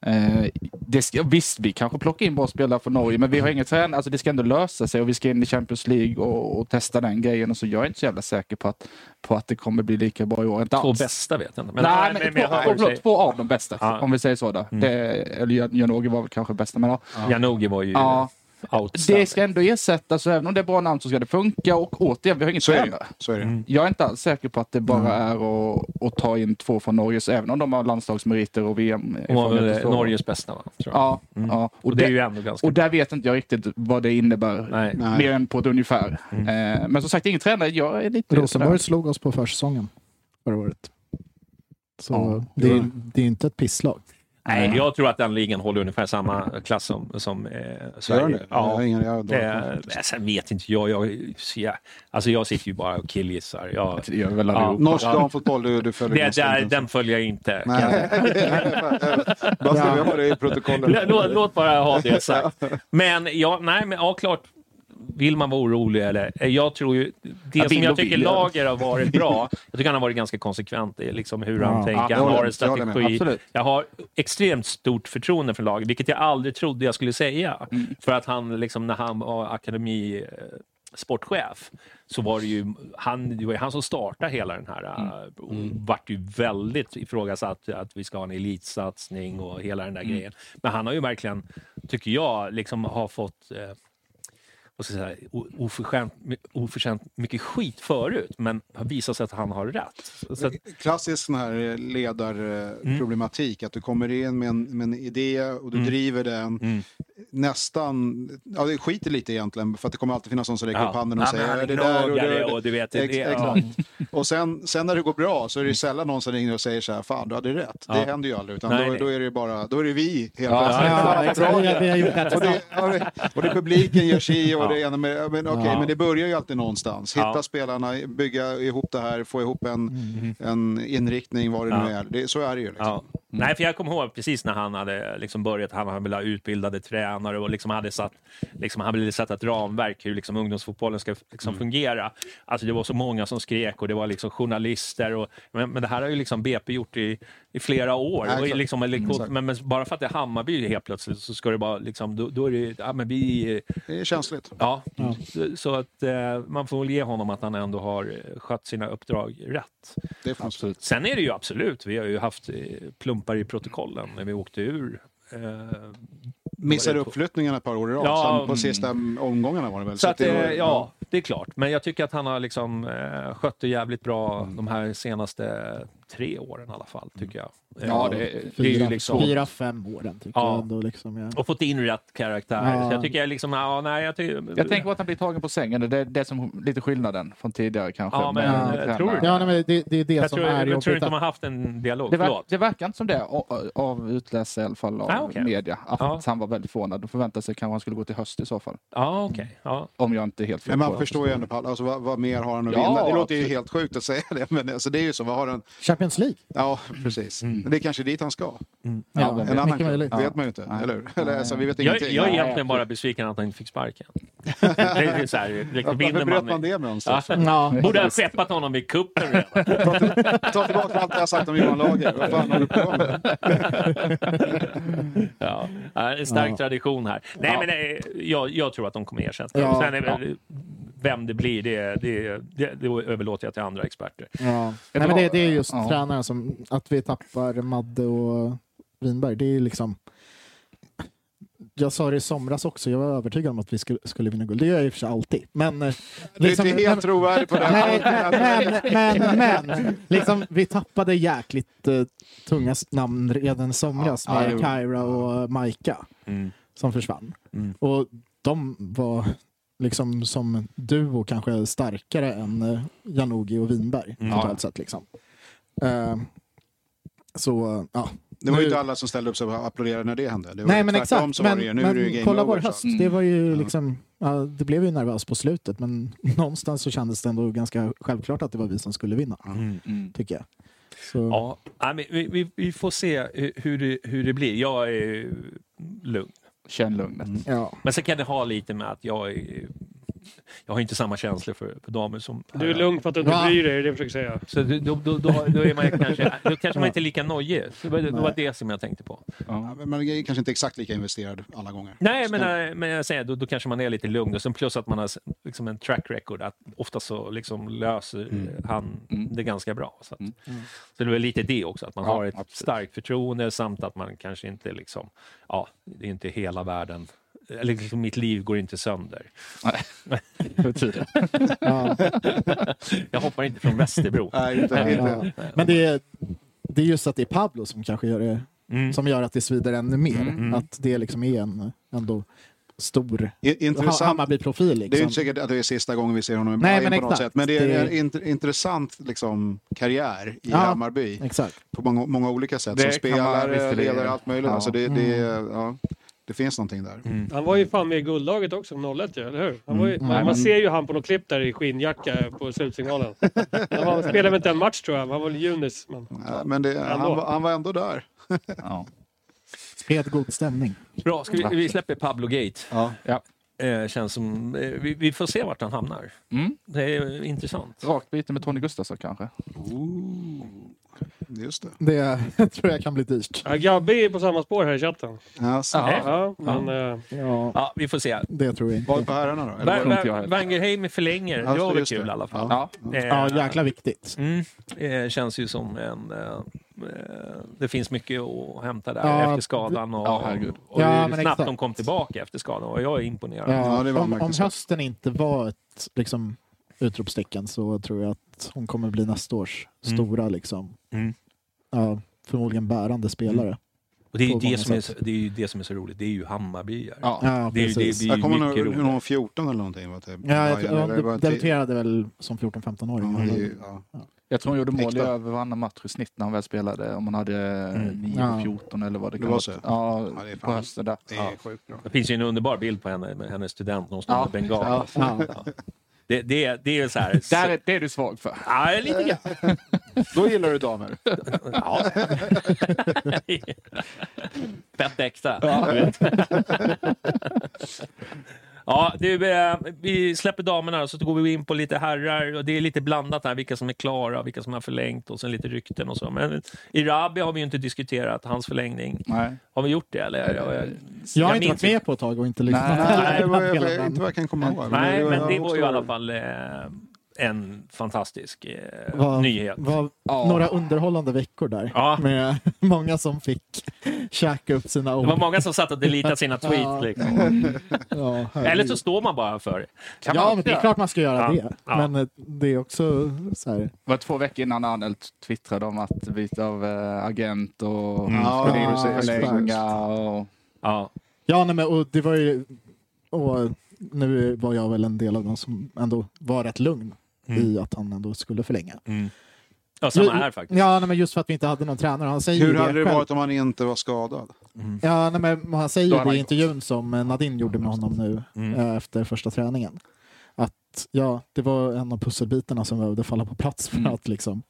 S2: Eh, det ska, visst, vi kanske plockar in bra spelare från Norge, men vi har inget tränare. Alltså, det ska ändå lösa sig och vi ska in i Champions League och, och testa den grejen. Och så jag är inte så jävla säker på att, på att det kommer bli lika bra i år. Inte
S1: Två
S2: alls.
S1: bästa vet jag inte.
S2: Nej, men, två,
S1: jag hör vad du
S2: förlåt,
S1: säger.
S2: två av de bästa,
S1: Ja.
S2: om vi säger så. Då. Det, eller Jan- Janogy var väl kanske bästa, men ja.
S1: Janogy var ju
S2: Ja.
S1: outstanding.
S2: Det ska ändå ersättas, så även om det är bra namn så ska det funka. Och återigen, vi har ingen
S4: Så är det.
S2: tränare.
S4: Så är det.
S1: Mm.
S2: Jag är inte alls säker på att det bara är att, att ta in två från Norge, så även om de har landslagsmeriter och VM.
S1: Hon var
S2: erfarenhet och
S1: väl
S2: så.
S1: eh, Norges bästa, va? Tror jag.
S2: Ja, ja. Och,
S1: Och det är
S2: där-
S1: ju ändå ganska...
S2: och där vet inte jag riktigt vad det innebär.
S1: Nej.
S4: Nej.
S2: Mer än på ett ungefär. Eh, men som sagt, ingen tränare. Jag är lite...
S3: Rosenborg slog oss på försäsongen förra året. Så
S2: Ja,
S3: det,
S4: det var-
S3: är, det är inte ett pisslag.
S1: Nej, jag tror att den ligan håller ungefär samma klass som, som eh,
S4: Gör den
S1: Sverige.
S4: det? Jag
S1: Ja.
S4: har ingen jag har dålig koll.
S1: Eh, sen vet inte jag. jag, så jag alltså jag sitter ju bara och killgissar. Jag,
S2: Det gör vi väl
S1: Ja.
S2: allihop.
S4: Norsk damfotboll, du, du följer
S1: det,
S4: ganska
S1: där,
S4: intensivt.
S1: den följer jag inte. kan jag
S4: Nej. Bara så vi har det i protokollet.
S1: Lå- Låt, låt bara ha det sagt. Men ja, nej, men ja, klart. Vill man vara orolig eller? Eh, Jag tror ju... Det
S2: Ja,
S1: som
S2: vill
S1: jag
S2: och
S1: tycker
S2: vill, ja.
S1: Lager har varit bra, jag tycker han har varit ganska konsekvent i liksom hur han
S3: Ja,
S1: tänker.
S4: jag
S1: Han
S4: håller
S1: har en
S4: med, jag håller med,
S1: strategi. Jag,
S2: absolut.
S1: har extremt stort förtroende för Lager, vilket jag aldrig trodde jag skulle säga. För att han, liksom, när han var akademi... eh, sportchef, så var det ju han, det var ju han som startade hela den här. eh, Och vart ju väldigt ifrågasatt att vi ska ha en elitsatsning och hela den där grejen. Men han har ju verkligen, tycker jag, liksom har fått eh, vad ska jag säga, o- oförskämt, oförtjänt mycket skit förut, men har visat sig att han har rätt. Så att,
S4: Klassisk sån här eh, ledarproblematik,
S1: Mm.
S4: att du kommer in med en, med en idé och du driver den
S1: Mm.
S4: nästan, ja det skiter lite egentligen för att det kommer alltid finnas någon som räcker
S1: Ja.
S4: upp handen och
S1: Ja,
S4: säger
S1: men han
S4: "Ja,
S1: gnaggar det och du vet, det-
S4: Ex-
S1: ja.
S4: Exakt. Och sen, sen när det går bra så är det ju sällan någon som ringer och säger så här, fan du hade rätt. Det
S1: Ja.
S4: händer ju aldrig, utan
S1: Nej,
S4: då,
S1: nej.
S4: då är det ju bara, då är det vi helt
S1: Ja,
S4: plötsligt.
S1: ja,
S4: Fan, vad bra
S3: vi, har- vi har gjort det.
S4: Och det, ja, det- och det publiken gör si och det ena med... ja, Men, okej, men det börjar ju alltid någonstans. Hitta
S1: Ja.
S4: spelarna, bygga ihop det här, få ihop en,
S1: Mm-hmm.
S4: en inriktning, vad det nu är. Det, så är det ju. Liksom.
S1: Ja. Nej, för jag kommer ihåg precis när han hade liksom börjat, han hade velat utbildade tränare och liksom hade satt, liksom, han ville sätta ett ramverk hur liksom ungdomsfotbollen ska liksom
S4: Mm.
S1: fungera. Alltså det var så många som skrek och det var liksom journalister och, men, men det här har ju liksom BP gjort i, i flera år.
S4: Ja,
S1: och
S4: exakt.
S1: liksom,
S4: Exakt.
S1: men, men bara för att det är Hammarby helt plötsligt så ska det bara liksom, då, då är det, ja men vi,
S4: Det är känsligt.
S1: ja. Så, så att eh, man får väl ge honom att han ändå har eh, skött sina uppdrag rätt.
S4: Det får Absolut.
S1: Sen är det ju absolut, vi har ju haft eh, plumpar i protokollen när vi åkte ur. Eh,
S4: Missade uppflyttningen ett par år i rad,
S1: Ja, mm.
S4: sen på sista omgångarna var det väl.
S1: så att,
S4: det
S1: eh,
S4: var-
S1: ja, det är klart. Men jag tycker att han har liksom eh, skött det jävligt bra de här senaste tre åren i alla fall, tycker jag. Eh,
S2: Ja, det,
S1: det är ju
S3: Fyra,
S1: liksom-
S3: fyra, fem åren tycker
S1: Ja.
S3: jag ändå. Liksom, ja.
S1: Och fått in rätt karaktär.
S3: Ja.
S1: Så jag tycker jag liksom, ja, nej, jag tycker...
S2: jag tänker på att han blir tagen på sängen. Det är det som lite skillnaden från tidigare kanske.
S1: Ja, men,
S2: med
S1: eh,
S2: tränare.
S1: tror du
S3: Ja, nej, men det, det är det
S1: jag
S3: som
S1: tror,
S3: är
S1: jag tror
S3: jobbigt.
S1: inte
S3: att-
S1: de har haft en dialog.
S2: Det, verk,
S1: Förlåt.
S2: det verkar inte som det o- o- av utläsa i alla fall av
S1: Ah, okej.
S2: media. Att
S1: Ja.
S2: han var väldigt förvånad. De förväntade sig kanske han skulle gå till höst i så fall.
S1: Ja, okej. Ja.
S2: Om jag inte är helt fel
S4: Men
S2: på
S4: man
S2: det.
S4: förstår ju ändå, Palle, alltså, vad, vad mer har han att
S2: Ja,
S4: vinna? Det låter ju
S2: absolut.
S4: helt sjukt att säga det, men alltså, det är ju så. Vad har han?
S3: Champions League?
S4: Ja,
S1: Mm.
S4: precis. Men det är kanske dit han ska.
S3: Ja,
S4: En
S2: vem
S4: annan
S3: mycket
S4: klubb
S3: möjligt.
S4: vet man ju inte, eller hur? Eller, alltså, vi vet
S1: Jag,
S4: ingenting.
S1: jag är
S4: Nej.
S1: egentligen bara besviken att han inte fick sparken. det är så här, liksom,
S4: Varför
S1: vinner
S4: bröt
S1: man...
S4: man det med honom?
S1: Ja.
S3: Ja.
S1: Borde ha skeppat honom vid kuppen redan.
S4: Ta tillbaka allt jag har sagt om Johan Lager. Vad fan har du på med?
S1: Ja, en stark tradition här. Nej, men eh, jag, jag tror att de kommer ersätta.
S3: Ja.
S1: Sen är väl, vem det blir, det, det, det, det överlåter jag till andra experter.
S3: Ja. Nej, men det, det är just
S2: Ja.
S3: tränaren som, att vi tappar Madde och Winberg, det är liksom jag sa det i somras också, jag var övertygad om att vi skulle, skulle vinna guld. Det gör jag i och för sig alltid. Men, eh,
S4: Du är
S3: liksom-
S4: inte helt trovärdig på den
S3: Nej,
S4: punkten.
S3: men, men, men. Liksom, vi tappade jäkligt eh, tunga s- namn redan i somras
S4: Ja, Mm. ja,
S3: med
S4: jo.
S1: Mm.
S3: Kyra och Maika som försvann. Och de var liksom som duo kanske starkare än eh, Janogy och Winberg
S1: Mm.
S3: totalt sett. Liksom. Eh, så, eh, ja.
S4: Det var ju
S3: Nu-
S4: inte alla som ställde upp sig och applåderade när det hände. Det var
S3: Nej
S4: ju
S3: men
S4: tvärtom
S3: exakt,
S4: så
S3: men,
S4: var det ju, nu är det ju
S3: men
S4: game
S3: kolla
S4: over,
S3: vår
S4: så.
S3: höst. Det, var ju
S4: Ja.
S3: liksom, ja, det blev ju nervöst på slutet men någonstans så kändes det ändå ganska självklart att det var vi som skulle vinna.
S4: Mm.
S2: Mm.
S3: Tycker jag. Så,
S1: Mm. Ja, nej, men vi, vi, vi får se hur- hur det, hur det blir. Jag är eh, lugn.
S2: Känn lugnet.
S4: Mm.
S3: ja.
S1: Men sen kan det ha lite med att jag är, jag har inte samma känslor för, för damer som
S5: Du är lugn för att du inte
S3: Va?
S5: bryr dig, det är det jag försöker säga.
S1: Så då, då, då, då, då är man kanske, då kanske man inte är lika nojig. Det var, det var det som jag tänkte på.
S4: Ja, men Man är kanske inte exakt lika investerad alla gånger.
S1: Nej, men,
S4: Så-
S1: eh, men jag säger, då, då kanske man är lite lugn. Och sen plus att man har s- liksom en track record. Att ofta så liksom löser eh, han det ganska bra. Så, att, så det var lite det också, att man
S2: Ja,
S1: har ett
S2: absolut.
S1: starkt förtroende samt att man kanske inte liksom... Ja, det är inte hela världen. Eller liksom, mitt liv går inte sönder.
S2: För tiden.
S3: Ja.
S1: Jag hoppar inte från Västerbro. Eh,
S4: Nej, inte, inte.
S3: Ja. Men det är, det är just att det är Pablo som kanske gör det,
S1: mm.
S3: som gör att det svider ännu mer. Att det liksom är en ändå stor
S4: I- Intressant.
S3: Ha- Hammarby-profil.
S4: Det är ju
S3: Liksom.
S4: inte säkert att det är sista gången vi ser honom i
S3: Nej,
S4: Bayern
S3: men
S4: på något
S3: exakt.
S4: sätt. Men det är en
S3: Det-
S4: int- intressant liksom, karriär i
S3: Ja.
S4: Hammarby
S3: Exakt.
S4: på många, många olika sätt.
S2: Det
S4: Som
S2: kan man- visst är
S4: spelare,
S2: det-
S4: ledare, allt möjligt.
S2: Ja.
S4: Alltså det, det,
S3: Mm.
S4: ja, det finns någonting där.
S2: Mm.
S5: Han var ju fan med i guldlaget också, 01 ju, eller hur? Han var ju, man, man ser ju han på något klipp där i skinnjacka på slutsignalen. han var- spelade väl inte en match tror jag, han var väl junis. Men...
S4: Ja, Äh, Men det, han, var- han var ändå där.
S2: Ja.
S3: Spred god stämning.
S1: Bra, ska vi, vi släpper Pablo Gate.
S2: Ja.
S1: Eh, känns som, eh, vi, vi får se vart han hamnar.
S2: Mm.
S1: Det är eh, intressant.
S2: Rakt byte med Tony Gustafsson kanske.
S4: Just det.
S3: Det tror jag kan bli dyrt.
S5: Ja, Gabby är på samma spår här i chatten.
S4: Alltså,
S2: Ja.
S5: Ja, men, eh,
S3: Ja,
S1: Ja, vi får se.
S3: det tror jag
S4: Var det på
S3: inte.
S4: herrarna då? Eller
S1: Wa-
S4: var det-
S2: inte jag
S1: Wa-
S2: heller.
S1: Wangerheim förlänger. Det
S4: Alltså,
S1: var väl
S4: just
S1: kul
S4: det.
S1: i alla fall.
S2: Ja.
S1: Eh,
S3: Ja, jäkla viktigt.
S1: Mm, eh, känns ju som en... Eh, eh, det finns mycket att hämta där
S3: Ja,
S1: efter skadan. Och,
S2: ja, herregud.
S1: och
S3: Ja,
S1: hur
S3: men
S1: snabbt
S3: exakt.
S1: de kom tillbaka efter skadan. Och jag är imponerad.
S3: Ja,
S4: Ja, det var
S3: om, om
S4: anmärkningsvärt.
S3: hösten inte var ett liksom, utropstecken så tror jag att hon kommer bli nästa års
S1: Mm.
S3: stora, liksom,
S1: Mm.
S3: ja, förmodligen bärande spelare.
S1: Och det, är ju
S3: på
S1: det,
S3: många
S1: som är, så-
S3: sätt.
S1: det är ju det som är så roligt. Det är ju Hammarbyare.
S2: Ja.
S3: Ja,
S1: det, är ju- det,
S3: precis.
S1: det är
S4: Jag
S1: ju
S4: kommer ihåg
S1: mycket
S4: hur hon var
S1: roligt.
S4: 14 eller någonting. Va, till
S3: Ja, jag,
S4: Bayern,
S3: ja,
S4: eller det var
S3: de
S4: till-
S3: debuterade väl som
S4: Ja,
S3: 14-15-åring.
S4: det är ju- ja.
S2: Jag tror han gjorde mål i
S4: Äkta.
S2: över varannan match i snitt när han väl spelade. Om han hade
S1: Mm.
S2: 9
S3: Ja.
S2: 14 eller vad det
S4: Det
S2: kan
S4: var
S2: vara.
S4: så?
S2: Ja,
S4: Ja, det är
S2: på
S4: fan-
S2: hösten där.
S4: Det
S2: Ja.
S4: är sjukt bra.
S1: Det finns ju en underbar bild på henne med hennes student när hon står
S2: Ja.
S1: med bengal.
S2: Ja.
S3: Ja.
S1: Ja. Det, det, det är ju så här...
S2: Där är, det är du svag för.
S1: Ja, lite grann.
S4: Då gillar du damer.
S1: Ja. Fett äkta. Ja. Du vet. ja, du, eh, vi släpper damerna så går vi in på lite herrar. Och det är lite blandat här, vilka som är klara, vilka som har förlängt och sen lite rykten och så. Men Irabi har vi ju inte diskuterat, hans förlängning.
S2: Nej.
S1: Har vi gjort det eller? Jag, jag,
S3: Jag har inte
S1: minns
S3: varit med på ett tag och inte lyssnat.
S2: Nej,
S4: Nej, det var,
S3: Hela den.
S4: inte vad jag kan komma ihåg.
S1: Nej, men
S4: var-
S1: det var ju i
S4: också-
S1: alla fall eh, en fantastisk eh,
S3: Vad-
S1: nyhet.
S3: Vad,
S2: Ja.
S3: Några underhållande veckor där.
S1: Ja.
S3: Med många som fick käka upp sina
S1: Det
S3: ord.
S1: var många som satt och deletade sina
S3: Ja.
S1: tweets. Liksom.
S3: Ja,
S1: Eller så står man bara för det.
S2: Kan
S3: ja
S2: man-
S3: men det är klart man ska göra
S1: Ja.
S3: det.
S1: Ja.
S3: Men eh, det är också så här.
S2: Det var två veckor innan Arnelt twittrade om att byta av eh, agent och mm.
S4: Ja,
S3: precis,
S2: förlänga och...
S1: Ja.
S3: Ja, nej, men och det var ju... Och nu var jag väl en del av dem som ändå var rätt lugn i
S4: Mm.
S3: att han ändå skulle förlänga.
S1: Ja, samma här faktiskt.
S3: Ja, nej, men just för att vi inte hade någon tränare. Han säger ju
S4: Hur hade det
S3: själv.
S4: varit om han inte var skadad?
S3: Ja, nej, men han säger
S2: Då
S3: ju
S2: hade
S3: det
S2: han
S3: i intervjun som eh, Nadine gjorde
S4: Mm.
S3: med honom nu eh, efter första träningen. Att ja, det var en av pusselbitarna som behövde falla på plats för
S4: Mm.
S3: att liksom,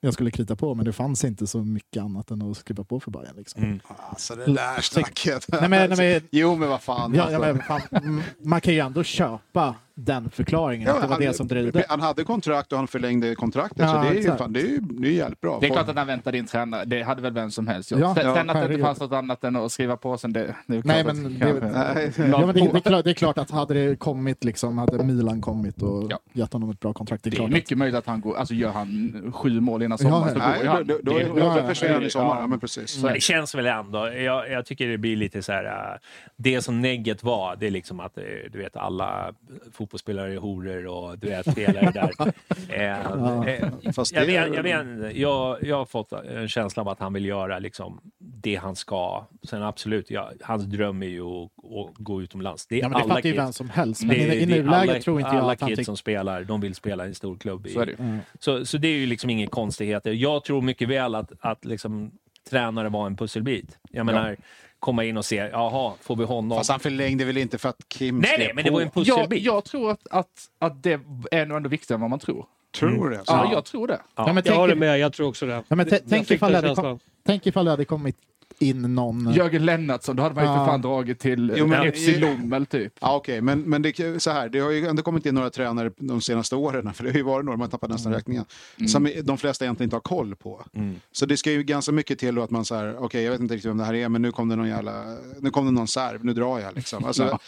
S3: jag skulle krita på, men det fanns inte så mycket annat än att skriva på för Bayern. Liksom.
S4: Alltså det där snacket.
S3: Mm. Nej, men, nej, men,
S4: Jo, men vad fan.
S3: ja,
S4: alltså.
S3: ja, men, fan, mm, man kan ju ändå köpa den förklaringen,
S4: Ja,
S3: att det var
S4: han-
S3: det som dröjde.
S4: Han hade kontrakt och han förlängde kontraktet. så
S3: Ja,
S4: det är ju
S3: exakt.
S4: fan, det är ju, det är ju jävligt bra.
S2: Det är klart att han väntar in tränare. Det hade väl vem som helst gjort.
S3: Ja,
S2: sen
S3: ja,
S2: sen att det inte
S3: herregud.
S2: fanns något annat än att skriva på sen, det, det är ju klart
S3: Nej,
S2: att
S3: men
S2: kanske-
S3: det-
S4: Nej.
S3: Ja,
S2: la
S3: men det,
S2: på.
S3: det, är klart, det är klart att hade det kommit, liksom, hade Milan kommit och
S2: Ja.
S3: gett honom ett bra kontrakt, det är
S2: Det är
S3: klart
S2: mycket möjligt att han går, alltså gör han sju mål innan sommaren så
S4: Nej,
S2: går ju
S4: då,
S2: han.
S4: då, då,
S2: Det-
S4: då,
S3: ja,
S4: då försvinner han i sommar.
S2: ja.
S4: Ja, men precis.
S3: Mm.
S1: Men det känns väl ändå, jag, jag tycker det blir lite så här, äh, det som negget var, det är liksom att eh, du vet alla fotbollsspelare är horor och du vet, hela det där. Eh, eh,
S4: Fast
S1: jag,
S4: det-
S1: vet, jag, vet, inte. jag, jag har fått en känsla av att han vill göra liksom det han ska. Sen absolut, jag, hans dröm är ju att, att gå utomlands. Det är
S3: Ja, men det
S1: alla
S3: fattar ju
S1: kids.
S3: vem som helst. Men
S1: Det,
S3: i, i
S1: det är
S3: nuläget
S1: alla,
S3: tror inte jag
S1: alla
S3: att han
S1: kids
S3: tycker...
S1: som spelar, de vill spela i en stor klubb.
S2: Så är det
S1: I,
S2: ju.
S1: så, så det är ju liksom inga konstigheter. Jag tror mycket väl att, att liksom, tränare var en pusselbit. Jag menar, komma in och se, jaha, får vi honom?
S4: Fast han förlängde väl inte för att Kim
S1: Nej,
S4: skrev
S1: nej, men det var ju en
S4: på?
S2: Jag,
S1: pusselbit.
S2: jag tror att, att, att det är nog ändå viktigare än vad man tror.
S3: Mm.
S4: Tror det?
S2: Ja, jag tror det.
S1: Ja.
S3: Ja, men
S5: Jag håller
S3: tänk,
S5: med, jag tror också det.
S3: ja, men
S5: Jag
S3: t- tänk,
S5: fick
S3: ifall det
S5: den
S3: hade kom,
S5: känslan.
S3: tänk ifall det hade kommit in någon...
S2: Jörgen Lennartsson, då hade man ju för
S3: Ja.
S2: fan dragit till
S4: Jo, men-
S2: FC Lommel typ.
S4: Ja, okej, men, men det, är så här, det har ju ändå kommit in några tränare de senaste åren, för det har ju varit några, man tappar nästan
S3: Mm.
S4: räkningen, som de flesta egentligen inte har koll på. Så det ska ju ganska mycket till då att man så här, okej, jag vet inte riktigt vem det här är, men nu kom det någon jävla, nu kom det någon serb, nu drar jag liksom. Alltså,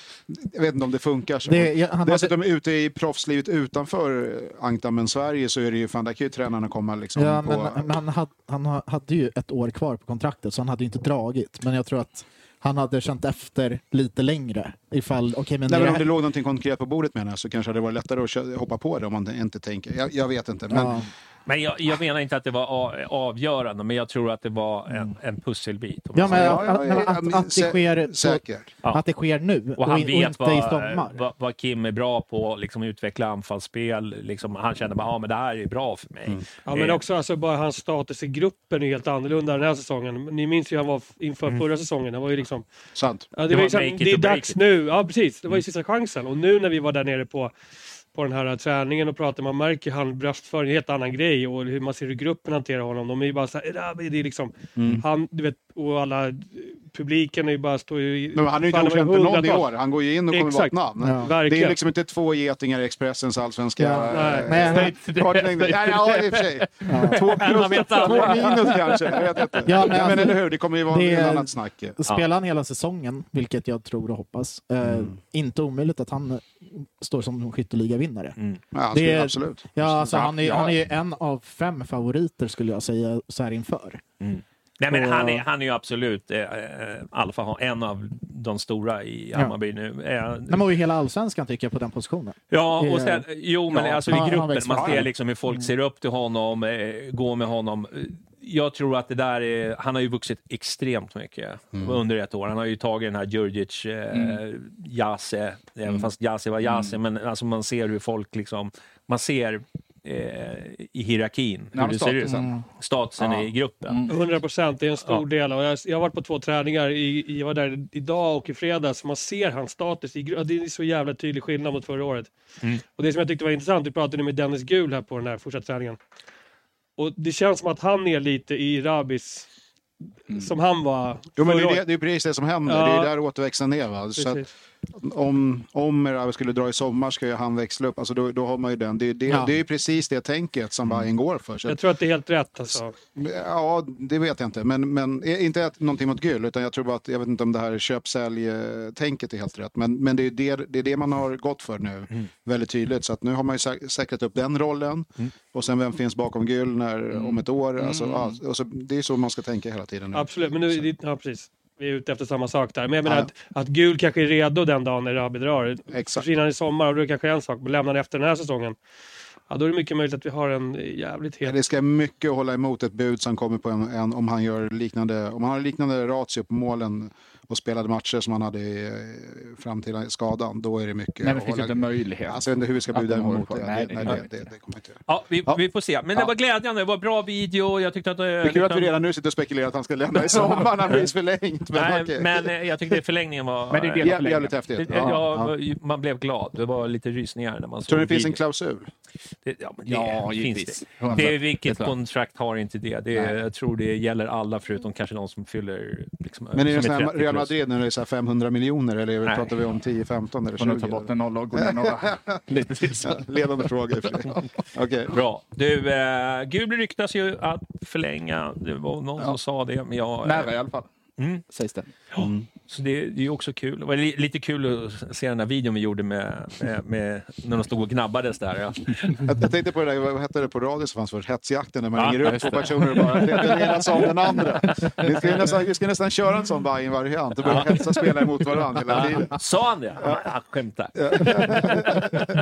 S4: Jag vet inte om det funkar så.
S3: Det- jag- han hade-
S4: Dessutom ute i proffslivet utanför eh, ankdammen Sverige så är det ju, fan där kan ju tränarna komma liksom
S3: Ja,
S4: på...
S3: men, men han, hade, han ha- hade ju ett år kvar på kontraktet så han hade ju inte dragit. Men jag tror att han hade känt efter lite längre. Ifall,
S4: Nej,
S3: okay, men är
S4: men
S3: det
S4: om det
S3: här-
S4: låg någonting konkret på bordet menar jag så kanske det var lättare att kö- hoppa på det om man inte tänker. Jag, jag vet inte. Men,
S3: Ja.
S1: Men jag, jag menar inte att det var a- avgörande, men jag tror att det var en, en pusselbit. om
S3: Mm. Ja,
S1: man
S3: men
S1: säger.
S4: Ja,
S3: att,
S4: ja,
S3: att,
S4: ja, ja,
S3: att,
S4: men
S3: att,
S4: sä-
S3: det sker på,
S4: Säkert.
S1: Ja.
S3: att det sker nu och,
S1: Och han
S3: in- och
S1: vet
S3: inte
S1: vad,
S3: i sommar.
S1: vad, vad Kim är bra på, liksom utveckla anfallsspel. Liksom, han känner bara, ja ah, men det här är bra för mig.
S3: Mm.
S5: Ja, men
S1: Eh,
S5: också alltså, bara hans status i gruppen är helt annorlunda den här säsongen. Ni minns ju hur han var f- inför förra säsongen. Han var ju liksom...
S4: Sant.
S5: Ja, det,
S1: Mm. Det
S5: var
S1: var
S5: liksom,
S1: make it
S5: det är
S1: or break
S5: dags
S1: it. Mm.
S5: nu. Ja, precis. Det var ju sista chansen. Och nu när vi var där nere på, på den här träningen och pratade, man märker han bröstföring, en helt annan grej. Och hur man ser hur gruppen hanterar honom. De är ju bara så här, "Erabi", det är liksom,
S1: Mm.
S5: han, du vet, och alla, eh, publiken är ju bara, står ju... i-
S4: Men han har ju inte
S5: fan,
S4: gjort
S5: det var
S4: för någon i
S5: hundratals.
S4: år. Han går ju in och kommer vara ett
S5: Exakt.
S4: namn.
S3: Ja.
S4: Det är
S5: Verkligen.
S4: liksom inte två getingar i Expressens allsvenska...
S3: Ja,
S5: nej.
S4: eh,
S3: Men-
S4: state today. kartläggning. Nej, ja, i och för sig. Två plus, två minus kanske. Jag vet inte.
S3: Ja,
S4: Ja,
S3: men
S4: men,
S3: alltså,
S4: eller hur, det kommer ju vara
S3: det
S4: en
S3: är-
S4: annat snack. ju.
S3: Spelar han hela säsongen, vilket jag tror och hoppas, eh, inte omöjligt att han eh, står som skytteligavinnare.
S4: Ja, han
S3: Det
S4: spelar
S3: är-
S4: absolut.
S3: Mm. Ja, alltså, han, är,
S2: Ja.
S3: han är ju en av fem favoriter skulle jag säga så här inför.
S1: Nej, men
S3: Och-
S1: han, är, han är ju absolut eh, eh, alfa, en av de stora i Hammarby nu. Eh,
S3: Nej, men och i hela allsvenskan tycker jag på den positionen.
S5: Mm.
S1: Ja,
S3: Det-
S1: och sen, jo, men
S3: Ja,
S1: alltså
S3: han-
S1: i
S3: han
S1: gruppen,
S3: växer Mm.
S1: man
S3: fram.
S1: ser liksom hur folk ser upp till honom, eh, går med honom. Eh, Jag tror att det där är, han har ju vuxit extremt mycket
S3: Mm.
S1: under ett år. Han har ju tagit den här Djurdjic, eh, Jase,
S3: Mm.
S1: även fast Jase var Jase, men alltså man ser hur folk liksom, man ser eh, i hierarkin hur
S2: men
S1: det ser ut.
S2: statusen.
S1: Statusen i gruppen.
S3: Mm.
S5: 100 procent, det är en stor del. Och jag, jag har varit på två träningar, i, i- jag var där idag och i fredags. Man ser hans status, i, gr- det är så jävla tydlig skillnad mot förra året. Och det som jag tyckte var intressant, vi pratade med Dennis Gul här på den här första träningen. Och det känns som att han är lite i Rabis, som han var
S4: Jo, men det,
S5: förra
S4: är det,
S5: året.
S4: det är precis det som händer.
S5: Ja.
S4: Det är där återväxten är. Va? Så att
S5: Precis.
S4: om om Erabi skulle dra i sommar ska ju han växla upp. Alltså, då, då har man ju den. Det, det,
S3: Ja.
S4: det är ju precis det tänket som Bayern går för. Så att-
S5: Jag tror att det är helt rätt alltså.
S4: Ja, det vet jag inte. Men, men eh, inte att, någonting mot gul, utan jag tror bara att, jag vet inte om det här köp-sälj-tänket är helt rätt. Men, men det, är ju det, det är det man har gått för nu,
S5: Mm.
S4: väldigt tydligt. Så att nu har man ju sä- säkrat upp den rollen.
S5: Mm.
S4: Och sen vem finns bakom gul när, om ett år? Alltså, ja, och så, det är så man ska tänka hela tiden. nu.
S5: Absolut, men nu, det, ja, precis. Vi är ute efter samma sak där. Men jag menar
S4: Ja.
S5: att, att gul kanske är redo den dagen när Rabi drar.
S4: Exakt.
S5: Försvinner han i sommar, och då är det kanske en sak. Men lämnar han efter den här säsongen, ja, då är det mycket möjligt att vi har en jävligt
S4: Ja,
S5: het...
S4: Det ska mycket att hålla emot ett bud som kommer på en, en om han gör liknande, om han har liknande ratio på målen och spelade matcher som han hade eh, fram till skadan, då är det mycket
S2: Nej, men
S4: att
S2: det finns ju
S4: hålla-
S2: inte en möjlighet.
S4: Alltså jag vet inte hur vi ska
S2: Att
S4: bjuda
S2: de håller
S4: emot
S2: på.
S4: det. Det-
S2: Nej,
S4: Nej,
S2: det-
S4: det, det, det kommer inte.
S1: Ja, vi,
S4: Ja.
S1: vi får se. Men det var glädjande, det var bra video. Jag tyckte att... eh,
S4: Det är kul att
S1: liksom-
S4: vi redan nu sitter och spekulerar att han ska lämna i sommar när han blir förlängt. Men,
S1: Nej,
S4: okej.
S1: men eh, jag tyckte förlängningen var...
S2: Men det är det-
S1: eh,
S4: Jä- Jävligt häftigt.
S1: Det-
S4: Ja, ja.
S1: jag- Man blev glad. Det var lite rysningar när man såg
S4: Tror du det finns en
S1: videon.
S4: klausul?
S1: Det, ja, men det
S2: Ja,
S1: finns
S2: givetvis.
S1: det. det är, vilket
S2: Det är klart.
S1: kontrakt har inte det? det är, jag tror det gäller alla förutom kanske någon som fyller... Liksom,
S4: Men är det
S1: som
S4: sån här
S1: 30
S4: Real
S1: plus.
S4: Madrid när det är så här 500 miljoner eller
S1: Nej.
S4: pratar vi om 10, 15 eller
S2: Får
S4: 20?
S2: nog ta bort en nolla och gå ner några. Lite till.
S4: Ledande fråga. i och för sig. Okej.
S1: Bra. Du, eh, Gul ryktas ju att förlänga. Det var någon som sa det, men jag... eh,
S2: Nära i alla fall,
S1: Mm.
S2: sägs det.
S1: Så det, det är ju också kul. Det var li- lite kul att se den där videon vi gjorde med, med, med när de stod och gnabbades där. Ja.
S4: Jag, jag tänkte på det där, vad hette det på radio som fanns för hetsjakten när man
S1: Ja,
S4: ringer upp
S2: just
S4: två
S2: det.
S4: personer och bara det är den ena som den andra. Vi ska ju nästan, vi ska nästan köra en sån Bajen-variant och börja hetsa spelare mot varandra hela tiden.
S1: Sa han det? Han skämtar.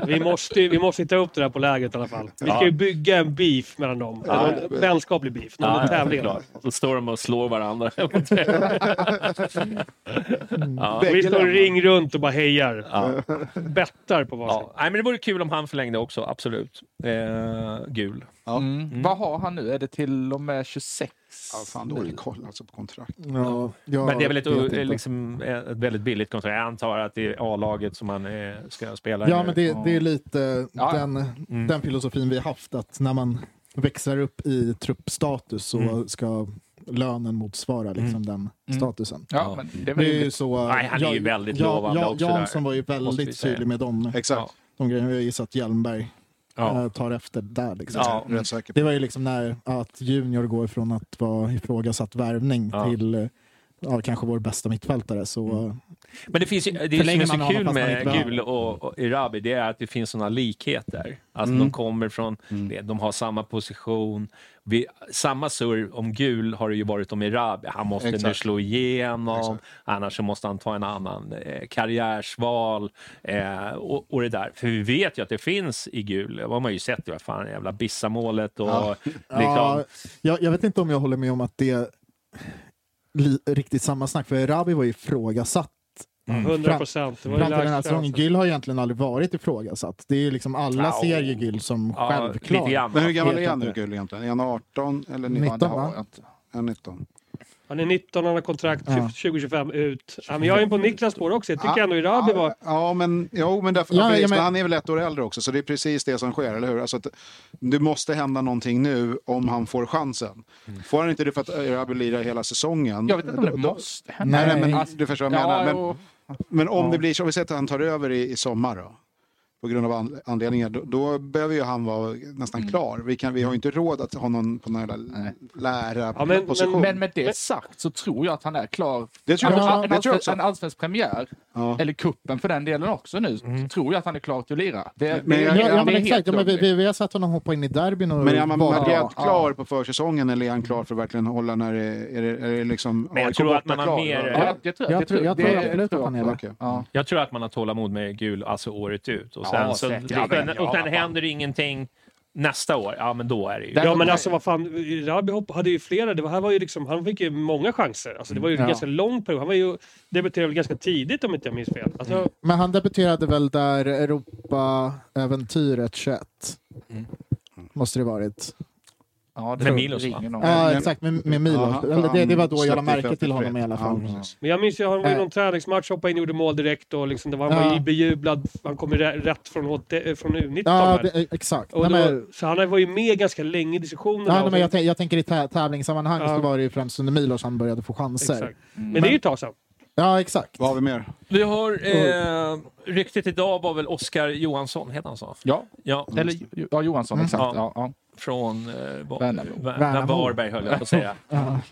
S5: Vi måste, ju- vi måste ju ta upp det där på lägret i alla fall. Vi ska ju bygga en beef mellan dem. En Vänskaplig beef. Någon tävling.
S6: Då står de och slår varandra.
S5: Vi
S4: Bägge
S5: står
S4: lämnar.
S5: ring runt och bara hejar. Bettar på vad
S1: Ja. Nej, men det vore kul om han förlängde också, absolut. Eh, gul. Mm.
S2: Mm. Vad har han nu? Är det till och med 26?
S4: Ja, fan, dålig koll alltså på kontrakt.
S3: Ja, jag
S1: Men det är väl ett,
S3: vet
S1: o-
S3: inte.
S1: liksom, eh, ett väldigt billigt kontrakt. Jag antar att det är A-laget som han eh, ska spela
S3: Ja,
S1: nu. Mm.
S3: men det, det är lite
S2: Ja.
S3: den, den filosofin vi haft, att när man växlar upp i truppstatus så ska lönen motsvara liksom, den statusen.
S2: Ja, men det är väl
S3: Det är ju
S2: rimligt.
S3: så, äh,
S1: Nej, han är ju väldigt lovande också där.
S3: Jansson var ju
S1: Måste vi
S3: väldigt
S1: säga.
S3: tydlig med de,
S4: Exakt,
S3: de grejerna. Jag gissar att Hjelmberg
S1: Ja.
S3: eh, tar efter där. Liksom.
S1: Ja.
S4: rätt säker.
S3: Det var ju liksom när att Junior går från att vara ifrågasatt värvning
S1: Ja. Mm.
S3: till eh, ja, kanske vår bästa mittfältare. Så, eh,
S1: Men det finns ju, det som
S3: Förlänger
S1: är så
S3: man honom
S1: kul
S3: fast man inte
S1: med
S3: behöver.
S1: Gul och, och Irabi, det är att det finns sådana likheter. Alltså
S3: Mm.
S1: de kommer från, det- de har samma position. Vi, samma surr om Gul har det ju varit om Irabi. Han måste nu
S4: Exakt.
S1: slå igenom, annars så måste han ta en annan eh, karriärsval. Eh, och, och det där. För vi vet ju att det finns i Gul, det har man ju sett, vad fan, jävla Bissamålet och liksom...
S3: Ja, jag, jag vet inte om jag håller med om att det är li, riktigt samma snack, för Rabi var ju ifrågasatt.
S1: Mm.
S5: som... 100 procent. Det var ju
S3: Fram till den här
S5: lägsta.
S3: säsongen.
S5: alltså.
S3: Gül har egentligen aldrig varit ifrågasatt. Det är ju liksom alla
S1: Ja.
S3: ser ju Gül som
S1: ja,
S3: självklar.
S1: lite grann.
S4: Men hur gammal
S3: Helt
S4: är han nu
S3: inte.
S4: Gull egentligen? Är han 18 eller 19?
S3: 19,
S4: Ja, det har
S3: va?
S4: jag inte. Han är 19.
S5: Han är 19, han har kontrakt Eh,
S3: Ja.
S5: 2025 ut. Ja, men jag är på Niklas spår också. Jag tycker
S4: Ja,
S5: ändå Irabi var...
S4: Ja, ja, men, jo, men, därför,
S3: Ja,
S4: ja, precis,
S3: ja, men-
S4: men han är väl ett år äldre också, så det är precis det som sker, eller hur? Alltså, att det måste hända någonting nu om han får chansen. Får han inte det för att Erabi lirar hela säsongen?
S2: Jag vet inte om det
S4: då-
S2: måste hända.
S4: Nej, nej, men
S2: Alltså,
S4: du förstår vad jag
S2: Ja,
S4: menar. Men,
S2: jo.
S4: men om det blir så, om vi säger att han tar över i, i sommar då? På grund av an- anledningar, då, då behöver ju han vara nästan klar. Vi, kan, vi har ju inte råd att ha någon på någon jävla lära
S5: Ja, men-
S4: position.
S2: Men med det sagt så tror jag att han är klar. Alltså,
S4: Det tror jag
S2: En-
S4: också.
S2: en,
S4: Det tror jag
S2: allsven-
S4: också.
S2: en allsvensk premiär,
S4: Ja.
S2: eller kuppen för den delen också nu,
S1: Mm.
S2: så tror jag att han är klar till att lira. Det, det-
S4: men jag-
S2: det-
S3: Ja,
S2: det
S3: ja,
S2: är
S3: men
S2: helt
S3: exakt. Ja, men vi,
S2: lugnt.
S3: vi, vi har sett honom hoppa in i derbyn och
S4: Men är man
S3: vara-
S4: Madrid
S2: Ja, ja.
S4: klar på försäsongen eller är han klar för att verkligen hålla när det är, det, är det liksom
S1: Men jag
S4: AIK
S1: tror att
S4: borta
S1: man har mer-
S2: Ja, jag- jag tror-
S3: Jag
S2: det-
S3: tror- jag
S2: det-
S3: tror
S2: det-
S3: absolut
S2: tror
S3: att han är
S2: jag.
S3: det.
S4: Okej.
S2: Ja.
S1: Jag tror att man har tålamod med gul alltså året ut. Och sen,
S2: Ja,
S1: så,
S2: säkert.
S1: och sen, och sen
S2: Ja.
S1: händer ingenting nästa år, ja men då är det ju...
S2: Där-
S5: Ja men alltså vad fan, Rabi hopp- hade ju flera, det var, här var ju liksom, han fick ju många chanser. Alltså det var ju en
S3: Ja.
S5: ganska lång period. Han var ju, debuterade väl ganska tidigt om inte jag minns fel. Alltså,
S3: Mm. Men han debuterade väl där Europa-äventyret 21. Måste det varit.
S2: Ja, det
S1: Med Milos, va?
S2: ringer någon.
S3: Ja,
S4: men-
S3: exakt. Med, med Milos.
S4: Jaha,
S3: Eller det, det var då jag lade
S4: släppte
S3: märke till honom i alla
S4: Ja,
S3: fall.
S4: precis.
S5: Men jag minns ju, han var i
S3: Eh.
S5: någon träningsmatch, hoppade in och gjorde mål direkt och liksom, det var, han var
S3: Ja.
S5: ju bejublad. Han kom ju rä- rätt från, HT, eh, från U19.
S3: Ja,
S5: här.
S3: det, eh, exakt.
S5: och
S3: Nej,
S5: då,
S3: men,
S5: Så han var ju med ganska länge i diskussionerna.
S3: Ja, nej,
S5: och
S3: men
S5: så-
S3: jag, tän- jag tänker i tä- tävlingssammanhang
S5: Ja.
S3: så var det ju främst under Milos han började få chanser.
S5: Exakt.
S2: Mm.
S5: Men det är ju ett tag sedan.
S3: Ja, exakt.
S4: Vad har vi mer?
S1: Vi har... Eh, ryktet idag var väl Oskar Johansson, heter han så?
S2: Ja,
S1: Ja,
S2: eller ja, Johansson, exakt.
S1: Ja.
S2: Ja. Ja,
S1: från... Eh, Va-
S2: Värnamo.
S1: Va-
S3: Värnamo.
S1: Varberg höll jag på att säga.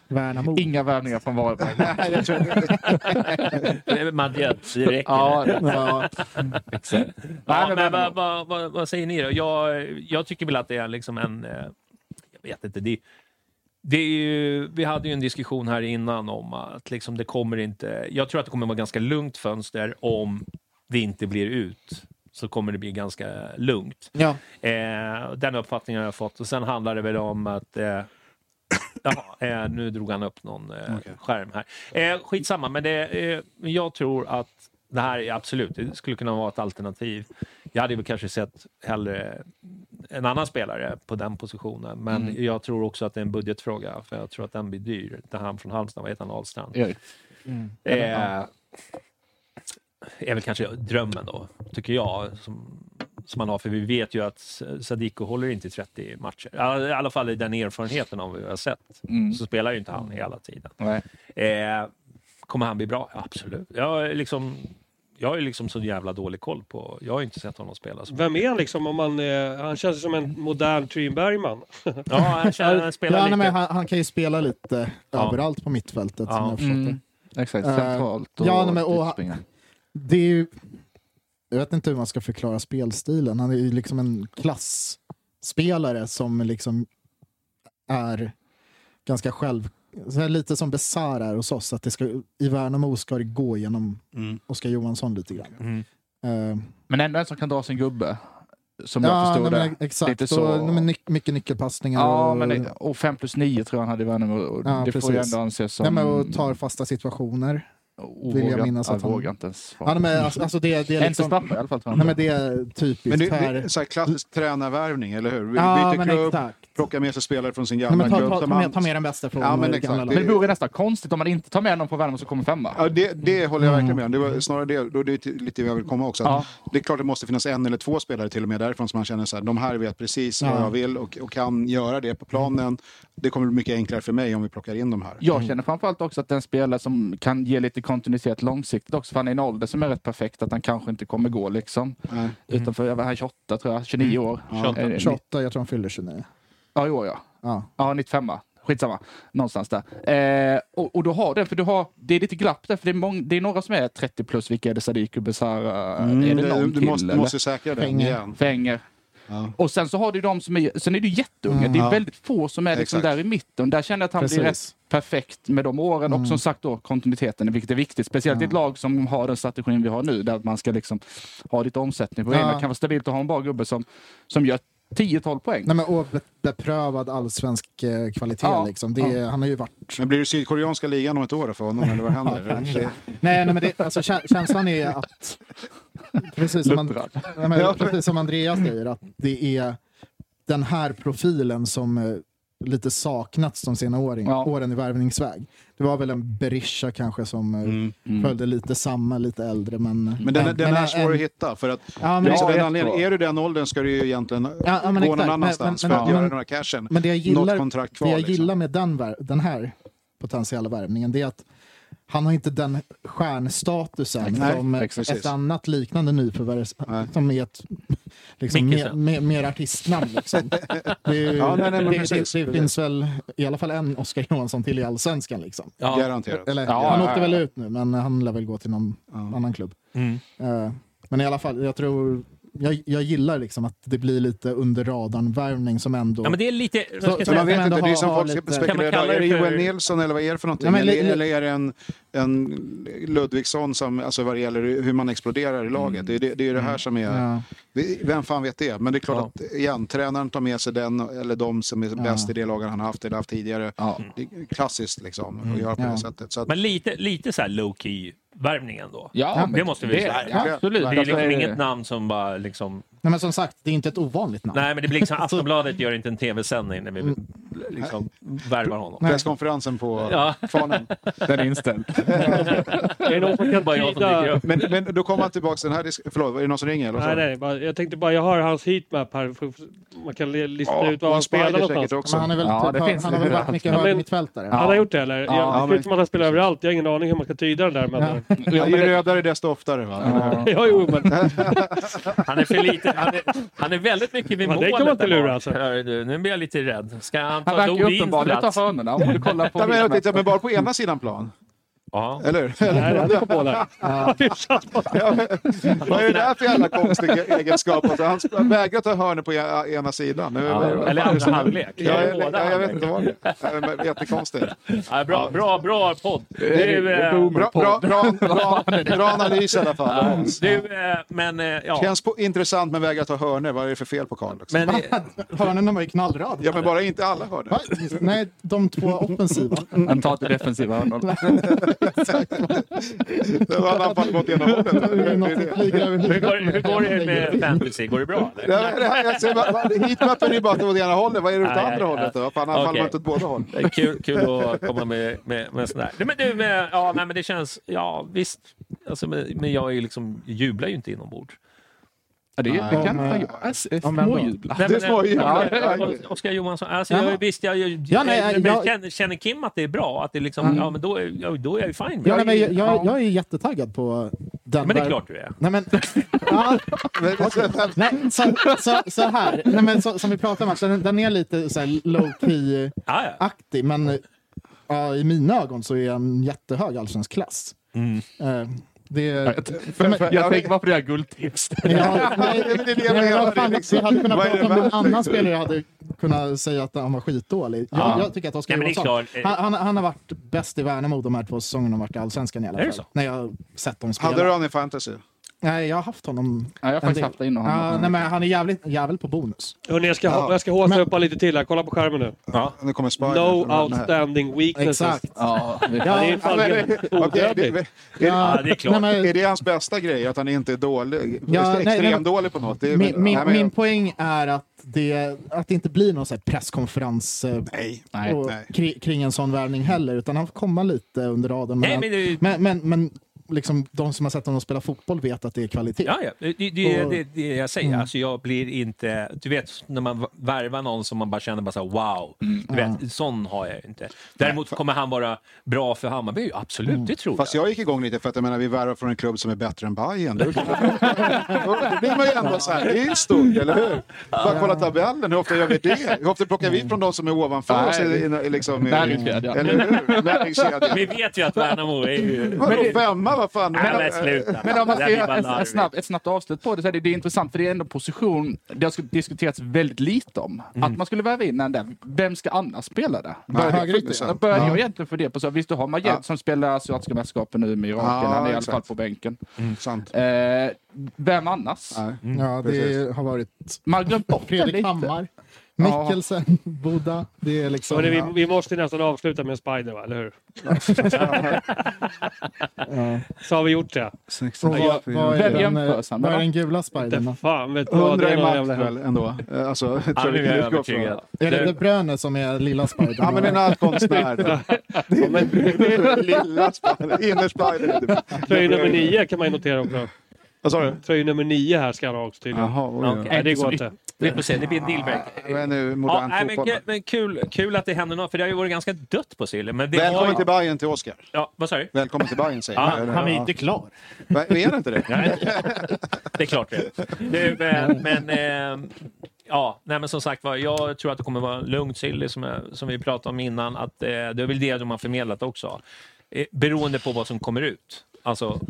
S3: Värnamo.
S2: Inga värvningar från Varberg.
S1: Eh, Madjed, det räcker.
S2: ja, det-
S1: Ja,
S3: Ja,
S1: ja,
S2: Nej, men
S1: men
S2: Värnamo.
S1: vad, vad, vad, vad säger ni då? Jag, jag tycker väl att det är liksom en... eh, Jag vet inte. Det, det är ju, vi hade ju en diskussion här innan om att liksom det kommer inte... Jag tror att det kommer vara ganska lugnt fönster om det inte blir ut så kommer det bli ganska lugnt.
S3: ja.
S1: Eh, den uppfattningen har jag fått. Och sen handlar det väl om att... Eh, jaha, eh, nu drog han upp någon eh, skärm här. Eh, skitsamma, men det, eh, jag tror att det här är absolut, det skulle kunna vara ett alternativ. Jag hade väl kanske sett hellre en annan spelare på den positionen, men jag tror också att det är en budgetfråga, för jag tror att den blir dyr. Det här från Halmstad, vad heter han, Ahlstrand?
S2: Erik.
S1: Eh, är väl kanske drömmen då, tycker jag, som, som man har. För vi vet ju att S- Sadiko håller inte i 30 matcher. Ja, I alla fall i den erfarenheten av vad vi har sett,
S3: Mm.
S1: så spelar ju inte han hela tiden.
S2: Mm. Nej.
S1: Eh, kommer han bli bra? Ja, absolut. Jag är liksom... Jag har ju liksom så jävla dålig koll på... Jag har ju inte sett honom spela. Så.
S5: Vem är han liksom? Om man, eh, han känns som en modern Trym Bergman.
S1: Ja, han, känner, han spelar
S3: ja nej,
S1: lite...
S3: men han, han kan ju spela lite
S1: Ja.
S3: överallt på mittfältet.
S1: Ja.
S2: Mm.
S3: Som jag har förstått det.
S2: Exakt,
S3: Eh,
S2: centralt och
S3: ja, nej, men och-
S2: utspringa.
S3: Det är ju, jag vet inte hur man ska förklara spelstilen. Han är ju liksom en klassspelare som liksom är ganska själv... Så här lite som Besara är hos oss, att det ska, i Värnamo ska det gå genom
S4: Mm.
S3: Oskar Johansson lite grann.
S1: Mm.
S3: Eh,
S2: Men ändå en som kan dra sin gubbe. Som jag förstod
S3: nej,
S2: det.
S3: men Exakt,
S2: Lite
S3: och,
S2: så.
S3: nej, men, nyc- mycket nyckelpassningar.
S2: Ja,
S3: och,
S2: men, och 5 plus 9 tror jag han hade i Värnamo. Och
S3: Ja,
S2: det får ju
S3: precis.
S2: ändå anses som...
S3: nej, men, och tar fasta situationer.
S2: Ovågat-
S3: vill jag minnas att
S2: ja,
S3: han-
S2: vågar inte ens svara.
S3: Ja, nej, men, alltså, alltså, det, det är
S2: Inte
S3: liksom,
S2: straffar i alla fall. tror jag.
S3: nej, men det är typiskt
S4: Men det,
S3: här.
S4: det är så här klassisk tränarvärvning, eller hur? Vi
S3: ja,
S4: byter
S3: men
S4: klubb,
S3: exakt.
S4: plockar med sig spelare från sin
S3: Nej,
S4: gamla
S3: men ta,
S4: klubb.
S3: ta,
S4: där
S3: ta,
S4: man-
S3: med, ta med den bästa från
S4: Ja, men
S3: eh,
S4: exakt.
S3: gamla
S4: Det-
S3: laget.
S2: Men det vore nästan konstigt om man inte tar med någon från Värnamo som kommer femma.
S4: Ja, det, det håller jag
S3: Mm.
S4: verkligen med om. Det var snarare det, och det är till- lite det jag vill komma också.
S2: Ja.
S4: Det är klart det måste finnas en eller två spelare till och med därifrån som man känner så här, de här vet precis
S3: Ja.
S4: vad jag vill och, och kan göra det på planen. Det kommer bli mycket enklare för mig om vi plockar in de här.
S2: Jag känner framförallt också att den spelare som kan ge lite kontinuitet långsiktigt också, för han är i en ålder som är rätt perfekt, att han kanske inte kommer gå liksom.
S4: Nej. Mm.
S2: Utanför, jag var här 28 tror jag, 29 år.
S4: Ja.
S2: Eh,
S3: 28, jag tror han fyller 29.
S2: Ja, i år ja.
S3: Ja.
S2: Ja, 95 Skitsamma. Någonstans där. Eh, och, och du har det, för du har, det är lite glapp där, för det är, mång, det är några som är 30 plus. Vilka är det? Sadiku, Besara? är
S4: Mm,
S2: det någon
S4: det, du
S2: till?
S4: måste,
S2: eller?
S4: måste säkra den
S3: Pengar.
S4: igen.
S2: Fänger.
S4: Ja. Mm.
S2: Och sen så har du de som är, sen är det ju jätteunga. det är
S4: Ja.
S2: väldigt få som är liksom
S4: Exakt.
S2: där i mitten. Där känner jag att han
S3: Precis.
S2: blir rätt perfekt med de åren. Och som sagt då kontinuiteten, vilket är viktigt. Speciellt i ett lag som har den strategin vi har nu, där man ska liksom ha lite omsättning på det.
S3: Ja.
S2: Det kan vara stabilt att ha en bra gubbe som, som gör 10-12 poäng.
S3: Nej, men, och be- beprövad allsvensk eh, kvalitet.
S2: Ja.
S3: Liksom. Det, är- Han har ju varit...
S4: Men blir det sydkoreanska ligan om ett år då för honom, eller vad händer? Det-
S3: Nej, nej, men det, alltså, kä- känslan är att... Precis som, man, nej, men, precis som Andreas säger, att det är den här profilen som eh, lite saknats de senare åren,
S2: Ja.
S3: åren i värvningsväg. Det var väl en Berisha kanske som eh,
S2: Mm.
S3: följde lite samma, lite äldre. Men,
S4: Men den, den är
S3: en-
S4: svår att hitta. För att,
S3: Ja,
S4: det är
S3: men
S4: så
S3: exakt.
S4: den anledningen, är du den åldern ska du ju egentligen
S3: ja, men
S4: gå
S3: exakt. Men-
S4: någon annanstans
S3: men-
S4: för att
S3: men-
S4: göra
S3: men-
S4: den här cashen.
S3: Men det jag gillar,
S4: Något kontrakt kvar,
S3: det jag
S4: liksom.
S3: gillar med den, vär- den här potentiella värvningen det är att han har inte den stjärnstatusen
S4: Nej,
S3: som
S4: exakt.
S3: ett annat liknande nyförvärv som är ett liksom, mer,
S1: Mickelsen.
S3: mer, mer artistnamn. Liksom. Det, är ju-
S4: Ja, nej, nej, men
S3: det,
S4: precis,
S3: det, det
S4: precis.
S3: finns väl i alla fall en Oskar Johansson till i allsvenskan. Liksom.
S1: Ja.
S4: Garanterat.
S3: Eller,
S2: Ja,
S3: han
S2: ja,
S3: åkte
S2: ja.
S3: väl ut nu, men han lär väl gå till någon annan klubb.
S1: Mm.
S3: Eh, Men i alla fall, jag tror... Jag, jag gillar liksom att det blir lite under radarn-värvning som ändå...
S1: ja, men det är lite... vad ska
S3: Så-
S1: jag
S4: Så
S3: Men
S1: säga?
S4: man vet
S3: kan
S4: inte,
S3: ändå
S4: det är
S3: ha-
S4: som
S3: ha
S4: folk
S3: lite-
S1: Kan man
S4: spekulerar.
S1: kalla
S4: Är det
S1: det för-
S4: Joel Nilsson eller vad är det för någonting?
S3: Ja, men
S4: eller,
S3: li- li-
S4: eller är det en, en Ludvigsson som, alltså vad det gäller hur man exploderar i laget? Det är det, det, är det här som är,
S3: Mm. Ja.
S4: det- vem fan vet det? Men det är klart
S1: Ja.
S4: att igen, tränaren tar med sig den eller de som är bäst i det laget han har haft eller haft tidigare.
S2: Ja.
S4: Det är klassiskt liksom, att göra på
S3: Mm. Ja.
S4: det sättet. Så att,
S1: Men lite, lite så här low-key värvning ändå.
S2: Ja,
S1: det måste vi
S2: det,
S1: säga.
S2: ja, Absolut.
S1: Det är
S2: Alltså,
S1: liksom inget namn som bara liksom...
S3: Nej, men som sagt, det är inte ett ovanligt namn.
S1: Nej, men det blir liksom Aftonbladet gör inte en tv-sändning när vi liksom värvar honom.
S4: Presskonferensen på
S1: Ja.
S4: Kvarnen.
S2: Den är inställd.
S5: Är det någon som kan
S1: Bara jag som dyker
S5: tyda...
S1: upp.
S4: Men, men då kommer han tillbaka till den här diskussionen. Förlåt, är det någon som ringer? Eller? vad sa
S5: Nej,
S4: du?
S5: nej, bara, jag tänkte bara, jag har hans heatmap här. för- för- Man kan le- lista
S4: Ja,
S5: ut var han
S4: och Spider
S5: spelar
S4: säkert
S5: någonstans.
S4: också.
S3: Men han, är väl
S2: Ja, det
S3: typ,
S2: finns
S3: han har väl
S2: lite
S3: varit mycket
S5: överallt.
S3: högermittfältare.
S5: Han har gjort det eller?
S2: Ja,
S5: jag, det ser ut som att han spelar överallt. Jag har ingen aning hur man ska tyda den där. Men, ja.
S4: ju rödare desto oftare. Va?
S5: ja, jo, men
S1: Han är för lite... Han är, han är väldigt mycket vid
S5: Ja, det
S1: målet.
S5: kan man inte
S1: där bak.
S5: lura, alltså.
S1: Hör du, Nu blir jag lite rädd. Ska han
S2: Han
S1: ta
S2: verkar ju
S1: Dodins
S2: uppenbarligen ta
S1: plats?
S2: hörnorna om du kollar på
S4: Nej, men, jag
S2: filmen.
S4: tittar, men bara på ena sidan plan,
S1: Ja.
S4: eller hur?
S5: nej, han är på båda.
S4: Vad är det där för jävla konstig egenskap? Alltså, han sp- vägrar ta hörnor på e- ena sidan. Nu, vad- vad fan
S1: Eller
S4: är det
S1: andra
S4: som-
S1: halvlek.
S4: Ja,
S1: Eller
S4: jag, jag,
S1: båda
S4: jag vet
S1: halvlek.
S4: inte vad det är. Men Jättekonstigt.
S1: Ja, bra, bra, bra podd. Du, eh,
S4: Bra, bra, bra, bra, bra analys i alla fall.
S1: du, eh, men eh, ja.
S4: Känns på, intressant men vägrar ta hörnor. Vad är det för fel på Karl? Liksom?
S1: Men, eh,
S3: Hörnorna var ju knallrad.
S4: Ja, men bara inte alla hörnor.
S3: Va? Nej, de två offensiva.
S2: Han tar till defensiva hörnor.
S4: Då hade han fan gått igenom hålet. Det
S3: Det
S4: är
S3: är något
S4: det.
S3: som flyger över
S1: hur, går, hur går det med
S3: huvudet.
S1: fantasy? Går det bra? Eller?
S4: Ja, men det här- alltså, vad- vad- Heatmappen är ju bara att det var åt ena hållet. Vad är det åt
S1: Nej,
S4: andra
S1: nej,
S4: hållet? då? Vad fan,
S1: okej.
S4: Han faller inte åt båda håll.
S1: Det är Kul, kul att komma med, med, med sån där. Nej, Men du, eh, ja, nej, men det känns... Ja, visst. Alltså, men, men jag är ju liksom, jublar ju inte inombords.
S2: Ja, det är- det kan
S5: eh,
S2: han ju.
S3: om ändå.
S2: Småjubla.
S1: Nej,
S4: Det
S1: men,
S4: är småjublar.
S1: ja,
S4: Ja,
S1: ja,
S4: ja.
S1: Oskar Johansson. Alltså, jag,
S3: Jaha.
S1: visst, jag, jag,
S3: Ja, nej,
S1: men
S3: jag- Mm.
S1: känner, känner Kim att det är bra? Att det liksom, ja, men då, är- ja, då är jag ju fine med
S3: Ja, nej,
S1: det.
S3: men jag, jag, jag är jättetaggad på den.
S1: Men det är
S3: där-
S1: klart du är.
S3: Nej, men, ja, nej, så, så, så här. Nej, men, så, som vi pratade om, alltså, den, den är lite så här low key
S1: Ja, ja.
S3: aktig men ja, i mina ögon så är han jättehög allsvensk klass. Eh, det,
S2: För,
S3: men-
S2: för, jag tänker bara på det här guldtipset.
S3: Ja, nej,
S4: men det är det jag
S3: men
S4: menar,
S3: vad fan,
S4: liksom.
S3: Vi hade kunnat
S4: Vad är
S3: prata om
S4: det
S3: någon
S4: värt,
S3: annan
S4: liksom?
S3: spelare hade kunnat säga att han var skitdålig. Jag,
S2: Ja.
S3: jag tycker att Oskar
S1: Ja, men det är
S3: Johansson,
S1: klart. eh.
S3: han, han, han har varit bäst i Värnamo de här två säsongerna han har varit i Allsvenskan i alla
S1: Är
S3: fall.
S1: det så?
S3: När jag har sett dem spela.
S4: Hade du han i fantasy?
S3: Nej, jag har haft honom.
S2: Ja, jag har
S3: en
S2: faktiskt
S3: del.
S2: haft in honom.
S3: Ja, nej, men han är jävligt jävel på bonus.
S5: Hörrni, jag ska,
S4: Ja.
S5: jag ska håsa
S3: Men-
S5: upp honom lite till här. Kolla på skärmen nu.
S4: Nu kommer Spider.
S5: No outstanding weaknesses.
S3: Exakt.
S2: Ja,
S5: Ja, det är fan helt
S4: Okej, det-
S5: odödligt.
S4: det- är-
S1: Ja, det är
S3: Nej,
S1: klart.
S3: men-
S4: Är det hans bästa grej? Att han inte är dålig?
S3: Ja, nej, nej,
S4: Extrem
S3: men-
S4: dålig på något? Det är,
S3: Min, min,
S4: nej, men-
S3: min poäng är att det, att det inte blir någon så här presskonferens eh,
S4: Nej.
S2: Nej,
S3: och,
S4: nej.
S3: Kring, kring en sån värvning heller, utan han får komma lite under radarn.
S1: Nej,
S3: han-
S1: men det-
S3: men, men, men liksom, de som har sett honom spela fotboll vet att det är kvalitet.
S1: Ja, ja. Det, det, det,
S3: Och-
S1: det, det jag säger. Alltså, jag blir inte... Du vet, när man värvar någon som man bara känner bara så här, wow. Du vet, Sån har jag inte. Däremot kommer han vara bra för Hammarby. Absolut, det tror
S4: Fast
S1: jag.
S4: jag gick igång lite för att jag menar, vi värvar från en klubb som är bättre än Bayern. Då då blir man ju ändå så här, det är ju stort, eller hur? Bara kolla tabellen, hur ofta gör vi det? Hur ofta plockar vi från de som är ovanför oss? i- i- i- Liksom, i-
S2: Näringskedjan.
S4: Eller hur? Näringskedjan.
S1: Vi vet ju att Värnamo är ju...
S4: Vadå femma? Vad fan?
S1: Nej, men sluta.
S2: Men om man
S1: Det
S2: ska
S1: där blir
S2: göra
S1: bara
S2: ett, ett,
S1: larvigt.
S2: snabbt, ett snabbt avslut på det så är det, det är intressant för det är ändå en position det har diskuterats väldigt lite om.
S1: Mm.
S2: Att man skulle väva in en där. Vem ska annars spela där?
S4: Högerytter.
S2: Jag började jag egentligen för det på så visst du har Majed
S4: Ja.
S2: som spelar asiatiska mästerskapen nu med Irak,
S4: Ja,
S2: han är i alla
S4: exakt.
S2: fall på bänken.
S4: Sant.
S2: Eh, vem annars?
S4: Nej.
S5: Mm,
S3: Ja, det
S4: precis.
S3: har varit
S2: Man har glömt bort det
S3: Fredrik
S2: lite.
S3: Hammar,
S2: Ja.
S3: Mikkelsen, Boda. Det är liksom...
S5: Hörrni, vi, vi måste nästan avsluta med en Spider, va? eller hur? Så har vi gjort det.
S3: Och vad, vad är
S2: Vem
S3: den,
S2: jämförs han
S3: eh, vad
S2: med
S3: är
S2: då?
S3: den gula spidern? då?
S5: Fan vet du vad, det
S4: 100
S5: är
S4: i
S5: någon
S4: match
S5: jävla
S4: väl ändå? Alltså, jag tror
S6: Ja,
S4: vi
S6: nu
S4: kan
S6: är jag
S4: utgå från det.
S6: övertygad.
S3: Är det De Bruyne som är lilla spidern?
S4: Ja, men en allkonstnär. Det är- det är Lilla Spider, innerspider.
S5: Tröja nummer nio kan man ju notera också.
S4: Vad sa du?
S5: Tröja nummer nio här ska han ha också tydligen.
S4: Jaha, oj, oj.
S5: Nej, det går inte.
S1: Vi får se, det blir en dealbreaker.
S4: Men nu,
S1: Ja,
S4: modern
S1: nej, men,
S4: fotboll.
S1: kul- men kul, kul att det händer något, för det har ju varit ganska dött på Sille. Men det har
S4: Välkommen
S1: ju,
S4: till Bayern till Oscar.
S1: ja, Vad sa du?
S4: Välkommen till Bayern säger jag.
S3: Han är inte klar.
S4: Va, Är det inte det?
S1: Det är klart det. det är,
S4: Mm.
S1: eh, men, eh, ja, nej, men som sagt var, jag tror att det kommer vara lugnt Silly som, jag- som vi pratade om innan. Att, eh, det är väl det de har förmedlat också. Eh, beroende på vad som kommer ut. Alltså,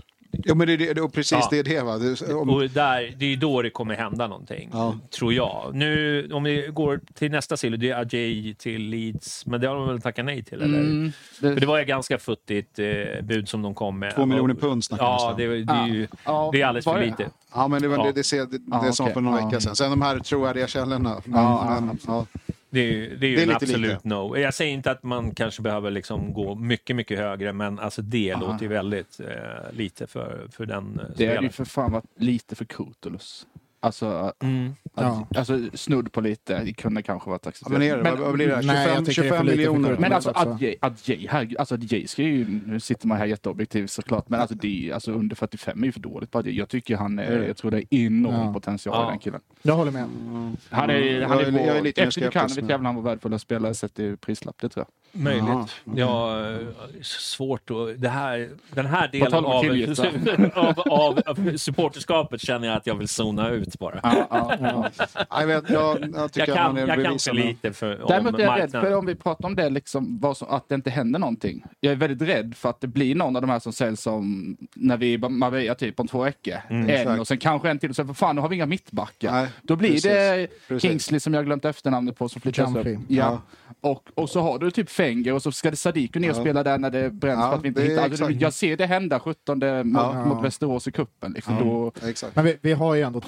S4: Jo, men det, är det, och precis
S1: Ja.
S4: det är det va. Du, om,
S1: och där, det är ju då det kommer hända någonting,
S4: Ja.
S1: tror jag. Nu, om vi går till nästa Silly, det är Ajay till Leeds. Men det har de väl tackat nej till, eller?
S2: Mm,
S1: För det
S2: det,
S1: var ju ganska futtigt eh, bud som de kom med.
S4: Två miljoner pund snackar vi
S1: Ja,
S4: om.
S1: det, var- det är ju
S2: Ja.
S1: det är alldeles
S2: Var
S1: för
S2: det?
S1: lite.
S4: ja, men det var
S1: Ja.
S4: det, det, ser- det, det
S2: Ja,
S4: som
S2: okej.
S4: för någon
S2: Ja.
S4: vecka sedan. Sen de här trovärdiga källorna. Men,
S2: Ja,
S4: men, ja.
S1: Det är ju, det är ju
S4: Det är
S1: en
S4: lite
S1: absolut
S4: lite.
S1: no. Jag säger inte att man kanske behöver liksom gå mycket, mycket högre, men alltså det låter ju väldigt eh, lite för, för den eh,
S2: det är ju
S1: spelaren.
S2: för fan varit lite för Kurtulus. Alltså, att,
S1: Mm.
S3: Ja.
S2: alltså snudd på lite det kunde kanske varit
S4: Ja,
S2: accepterat.
S4: men är det, vad,
S2: men,
S4: vad blir det? här? 25,
S3: Nej, jag tycker det är för
S4: 25
S3: lite för
S4: miljoner.
S3: kul.
S2: men alltså
S3: också.
S2: Adjei, Adjei, herregud, alltså Adjei ska ju, nu sitter man här jätteobjektiv såklart, men alltså, det, är- alltså under 45 är ju för dåligt på Adjei. Jag tycker han är, jag tror det är enorm
S3: Ja.
S2: potential i
S1: Ja.
S2: den killen.
S3: Jag håller med.
S2: Han är,
S4: Mm.
S2: han är,
S4: Jag är- jag är
S2: vår-
S4: lite mer
S2: efter Dukanovic
S4: skeptisk, men-
S2: jävlar han var värdefulla spelare sett i prislapp, det tror jag.
S1: Möjligt.
S4: Jaha,
S1: Ja, eh, svårt att... Det här, den här
S2: På tal
S1: delen
S2: om
S1: av,
S2: killgissar.
S1: av, av, av supporterskapet känner jag att jag vill zona ut bara.
S2: Ja, ja, ja.
S4: Ja, jag, vet, jag, jag
S1: Jag
S4: tycker att
S1: kan,
S4: man är
S1: jag kan för
S4: bevisande.
S1: lite för, om
S2: Däremot är jag rädd
S1: marknaden.
S2: för om vi pratar om det, liksom, vad som, att det inte händer någonting. Jag är väldigt rädd för att det blir någon av de här som säljs som när vi är i Marbella typ om två veckor. en
S4: Mm, exakt.
S2: och sen kanske en till och sen för fan nu har vi inga mittbackar.
S4: Nej,
S2: Då blir det
S4: precis, precis.
S2: Kingsley som jag glömt efternamnet på som flyttas upp.
S3: Jumpy.
S2: Ja. Och, och så har du typ Fenger och så ska det Sadiku ner och spela där när det bränns
S4: Ja,
S2: för att vi inte
S4: det är
S2: hittar. Alltså,
S4: exakt.
S2: jag ser det hända 17 mot,
S4: Ja.
S2: mot Västerås i cupen. Liksom. Då,
S4: Exakt.
S3: Men vi, vi har ju ändå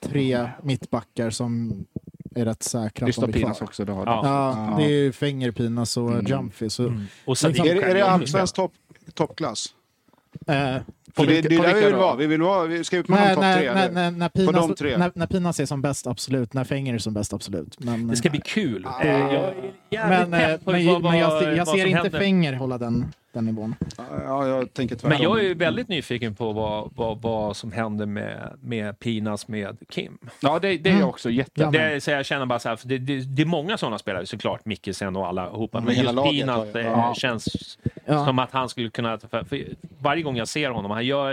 S3: tre mittbackar som är rätt säkra.
S2: det står
S3: som blir kvar.
S2: Pinas också. Det har
S1: Ja.
S3: Ja, det är ju Fängerpinas och
S5: Mm.
S3: Jumpy. Så,
S1: Och Sadiq
S4: Är, det- är det
S1: kan-
S4: allsvensk topp, toppklass?
S3: eh,
S4: För det, det är
S2: på
S4: där vi
S2: vilka
S4: vill
S2: då?
S4: vara. Vi vill vara, vi ska ut på
S3: Nej,
S4: någon topp
S3: när,
S4: tre.
S3: när,
S4: Det-
S3: när, när,
S4: På de
S3: Pinas,
S4: tre.
S3: när, när Pinas är som bäst, absolut. När Fänger är som bäst, absolut. Men,
S1: Det ska bli kul. Eh, jag är jävligt
S3: men, eh,
S1: pepp på
S3: men,
S1: vad-
S3: men jag,
S1: vad-
S3: ser- jag
S1: vad
S3: ser
S1: som
S3: inte
S1: händer.
S3: Fänger hålla den, den nivån.
S4: Ja, jag tänker tvärtom.
S1: Men jag är ju väldigt nyfiken på vad, vad, vad som händer med, med Pinas med Kim.
S2: Ja, det, det är jag också
S4: Mm.
S2: jätte...
S3: Ja,
S1: Det,
S3: men-
S1: är- så jag känner bara så här, för det, det, det är många sådana spelare såklart, Mickelsen och allihopa. Men,
S4: Mm. men hela
S1: just
S4: laget har
S1: Pinas
S4: ju-
S1: eh,
S4: ja.
S1: känns
S3: Ja.
S1: som att han skulle kunna... För, för varje gång jag ser honom, han gör...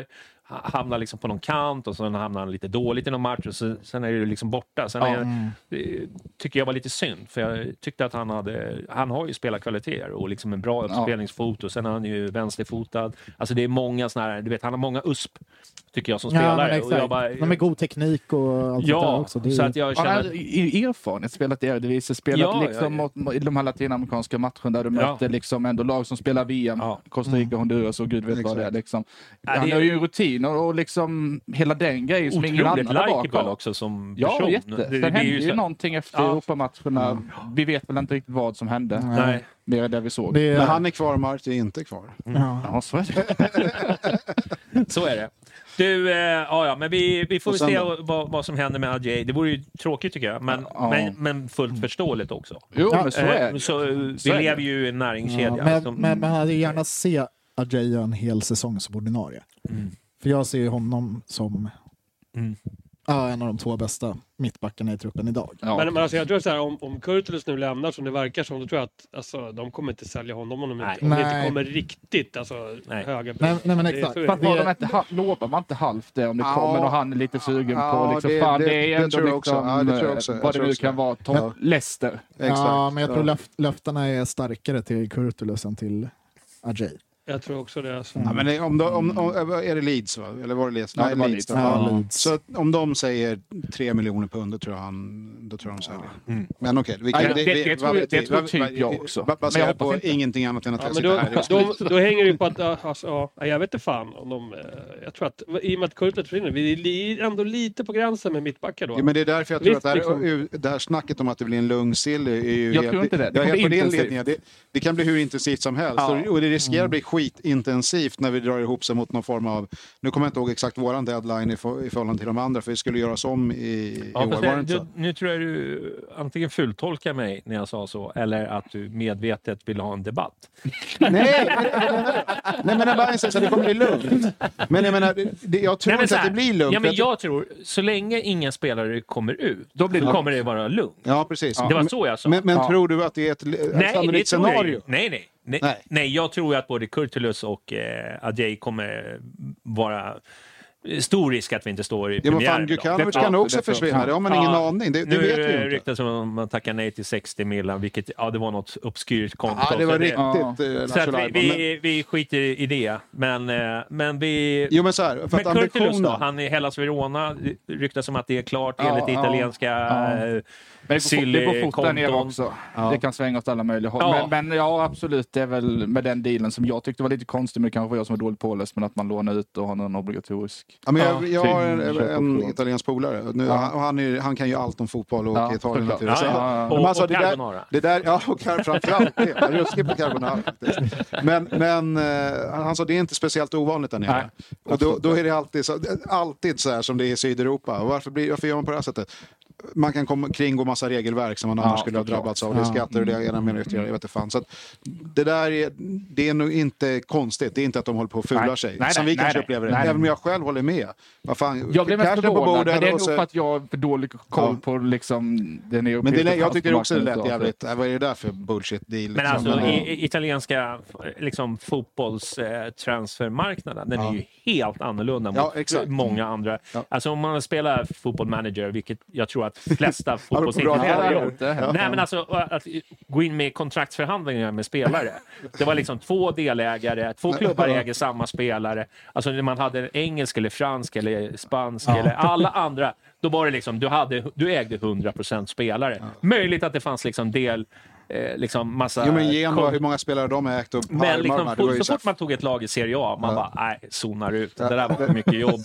S1: ha- hamnar liksom på någon kant och sen hamnar han lite dåligt i någon match och sen, sen är det liksom borta. Sen är,
S3: Mm.
S1: det tycker jag var lite synd, för jag tyckte att han hade... Han har ju spelarkvaliteter och liksom en bra uppspelningsfot och sen är han ju vänsterfotad. Alltså det är många såna här... Du vet, han har många USP, tycker jag, som spelare.
S3: men
S1: och jag bara,
S3: De är god teknik och allt sånt där
S1: ja,
S3: också. Det är,
S1: så att jag
S2: Han
S1: känner...
S2: har i- erfarenhet, spelat i Eredivisie, spelat
S1: Ja, ja,
S2: liksom
S1: ja.
S2: mot- mot- i de här latinamerikanska matcherna där du
S1: Ja.
S2: möter liksom ändå lag som spelar VM,
S1: Ja.
S2: Costa Rica, Honduras och gud vet vad det är. Liksom.
S1: det
S2: Han
S1: är-
S2: har ju rutin och, och liksom hela den grejen som ingen annan
S1: Otroligt
S2: har
S1: likeable
S2: bakom.
S1: också som person.
S2: Ja, jätte.
S1: Det-
S2: Sen
S1: det är
S2: hände ju
S1: så-
S2: någonting efter
S1: Ja. Mm.
S2: Europamatcherna. Vi vet väl inte riktigt vad som hände.
S1: Nej.
S2: Mer än det vi såg.
S3: det är,
S4: Men han är kvar, Marti är inte kvar.
S2: Ja, så är det.
S1: Så är det. Du, eh, ja, ja, men vi, vi får
S4: Och
S1: väl
S4: sen
S1: se
S4: då?
S1: vad, vad som händer med Adjei. Det vore ju tråkigt tycker jag, men,
S2: Ja.
S1: men, men fullt förståeligt också.
S2: Jo,
S3: Ja,
S2: men så är
S1: Eh,
S2: det.
S1: så, eh, vi
S2: Så är det.
S1: lever ju i en näringskedja.
S3: ja, men,
S1: som,
S3: men man hade ju gärna se Adjei en hel säsong som ordinarie. För jag ser ju honom som
S1: Mm.
S3: ja, en av de två bästa mittbackarna i truppen idag.
S2: Ja.
S5: Men, men alltså jag tror så här, om, om Kurtulus nu lämnar som det verkar som, då tror jag att alltså, de kommer inte sälja honom om de
S1: Nej.
S5: inte, om det inte
S3: Nej.
S5: kommer riktigt alltså,
S1: Nej.
S6: Mm.
S5: höga priser.
S3: Nej, nej, men
S5: Det är
S3: exakt.
S5: så är det.
S3: Fast
S2: Var de inte, ha- lovar man inte halvt det om det
S4: Ja.
S2: kommer och han är lite sugen
S4: Ja,
S2: på liksom,
S4: det-
S2: fan
S4: det-
S2: det,
S4: det
S2: är ändå
S4: tror jag också.
S2: liksom,
S4: Ja, det tror jag också.
S2: eh,
S4: Jag
S2: vad
S4: tror
S2: det nu
S4: också
S2: kan
S4: det.
S2: vara, Tom Leicester.
S4: Exakt.
S3: Ja, men jag tror
S4: Ja.
S3: löf- löftena är starkare till Kurtulus än till Adjei.
S5: Jag tror också det. Alltså.
S4: Ja, men det- om, de- om, om, är det Leeds va? Eller var det Leeds?
S2: Ja, det var Leeds.
S4: va?
S3: Ja, Leeds.
S4: Så att om de säger 3 miljoner pund, då tror jag, han, då tror jag de säljer.
S1: Mm.
S4: Men okej, vi kan-
S2: Nej,
S4: vi-
S2: det-
S4: vi-
S2: det tror-
S4: vad vet
S2: det
S4: vi?
S2: tror
S4: Vad-
S2: typ
S4: vad-
S2: jag också.
S4: vad-
S2: Men jag
S4: Baserat
S2: hoppas
S4: på
S2: inte.
S4: ingenting annat än att
S5: Ja,
S4: jag
S5: men
S4: sitter
S5: då,
S4: här just nu.
S5: då, då hänger det ju på att, äh, alltså, ja, nej, jag vet inte fan om de, eh, jag tror att, i och med att Kurtulus försvinner, vi är li- ändå lite på gränsen med mittbackar då.
S4: Ja, men det är därför jag tror
S5: Visst,
S4: att det här,
S5: liksom.
S4: det här snacket om att det blir en lugn sill är ju...
S2: Jag tror inte det. Det
S4: jag är
S2: kommer
S4: helt på
S2: bli
S4: den
S2: intensivt.
S4: ledningen. Det, det kan bli hur intensivt som helst.
S2: Ja.
S4: Och det riskerar
S1: Mm.
S4: att bli skitintensivt när vi drar ihop sig mot någon form av... Nu kommer jag inte ihåg exakt våran deadline i, för, i förhållande till de andra, för vi skulle göras om i, i
S1: ja,
S4: år.
S1: fast
S4: Var det
S1: det,
S4: inte så?
S1: du, nu tror jag du antingen fultolkar mig när jag sa så, eller att du medvetet vill ha en debatt.
S4: Nej, nej, men jag bara säger så att det kommer bli lugnt. Men jag menar, det, jag tror
S1: Nej, men
S4: inte
S1: så
S4: att
S1: här,
S4: det blir lugnt.
S1: Ja, men
S4: Jag-
S1: jag tror, så länge inga spelare kommer ut, då
S2: blir det
S1: kommer det vara lugnt.
S4: ja precis.
S1: Det var
S4: Men-
S1: så jag sa.
S4: Men, men
S2: Ja.
S4: tror du att det är ett li- sannolikt
S1: tror jag
S4: scenario?
S1: inte. Nej, nej. Nej,
S4: Nej.
S1: nej. jag tror ju att både Kurtulus och eh, Adjei kommer vara stor risk att vi inte står i
S4: Ja, men
S1: premiären
S4: fan,
S1: idag.
S4: Gukanovic
S2: Det-
S4: kan
S2: ja,
S4: också
S2: det tror jag.
S4: försvinna. Det har man ingen aning. Det, det
S1: nu
S4: vet vi ju inte.
S1: ryktas det om att man tackar nej till 60 miljoner, vilket ja, det var något obskyrt konto.
S4: Ja, det var
S1: Så
S4: riktigt eh,
S1: Så att vi,
S4: nationellt. Men-
S1: vi, vi skiter i det, men, eh, men vi...
S4: Jo, men så här, för
S1: men
S4: att
S1: Kurtulus då,
S4: ambitionen...
S1: han i Hellas Verona det ryktas som att det är klart
S2: Ja,
S1: enligt
S2: ja,
S1: italienska
S2: ja.
S1: eh,
S2: Men det går, det går fort där nere
S1: Silly-konton.
S2: också. Det kan svänga åt alla möjliga håll.
S1: Ja.
S2: Men, men ja, absolut. Det är väl med den dealen som jag tyckte var lite konstig, men det kanske var jag som var dåligt påläst, men att man lånar ut och har någon obligatorisk.
S4: Ja, men jag, jag har en,
S2: Typ,
S4: en italiensk polare. Nu,
S2: Ja.
S4: han, och han, är, han kan ju allt om fotboll och
S2: Ja,
S4: åker i Italien.
S2: såklart.
S4: till det.
S1: Ja,
S4: Så-
S1: ja.
S4: Men
S1: Och,
S4: alltså,
S1: och
S4: det där-
S1: carbonara.
S4: Det där, ja, och kar- framförallt det. Jag är Ruskig på carbonara faktiskt. Men, men eh, han han sa det är inte speciellt ovanligt där nere. Och då, då är det alltid så, alltid så här som det är i Sydeuropa. Och Varför, blir, varför gör man på det här sättet? Man kan komma, kringgå massa regelverk som man annars skulle ha
S2: såklart. Mm.
S4: drabbats av. Det är skatter och det ena med det ytterligare. Jag vet inte fan. Så att det där är, det är nog inte konstigt. Det är inte att de håller på och fular
S2: Nej.
S4: sig.
S2: Nej,
S4: som
S2: nej,
S4: vi kanske
S2: nej,
S4: upplever det.
S2: nej.
S4: Även om jag själv håller med. Vad fan,
S2: Jag blev mest
S4: cashen på
S2: förvånad,
S4: bordet
S2: men det är
S4: och
S2: nog
S4: så-
S2: för att jag har för dålig koll
S4: Ja.
S2: på liksom, den
S4: men
S2: europeiska
S4: det, jag tycker också det lät
S2: transfermarknaden.
S4: jävligt. Äh, Vad är det där för bullshit deal?
S1: Men
S4: liksom?
S1: alltså i, i- italienska liksom, fotbollstransfermarknaden, den är ju helt annorlunda
S4: Ja,
S1: mot
S4: exakt. Mm.
S1: många andra.
S4: Ja.
S1: Alltså om man spelar fotboll manager, vilket jag tror att flesta
S4: bra
S1: fotbollsintresserade
S4: lärare.
S1: gör. Nej men alltså att gå in med kontraktsförhandlingar med spelare. Det var liksom två delägare, två klubbar äger samma spelare. Alltså när man hade engelsk eller fransk eller spansk eller alla andra. Då var det liksom, du, hade, du ägde 100% spelare. Möjligt att det fanns liksom del, eh, liksom massa...
S4: Jo, men Genoa,
S1: kon-
S4: hur många spelare de har ägt och
S1: men
S4: Parma,
S1: liksom,
S4: det var ju
S1: så
S4: här-
S1: fort man tog ett lag i Serie A, man bara, nej, zonar ut. Det där var för mycket jobb.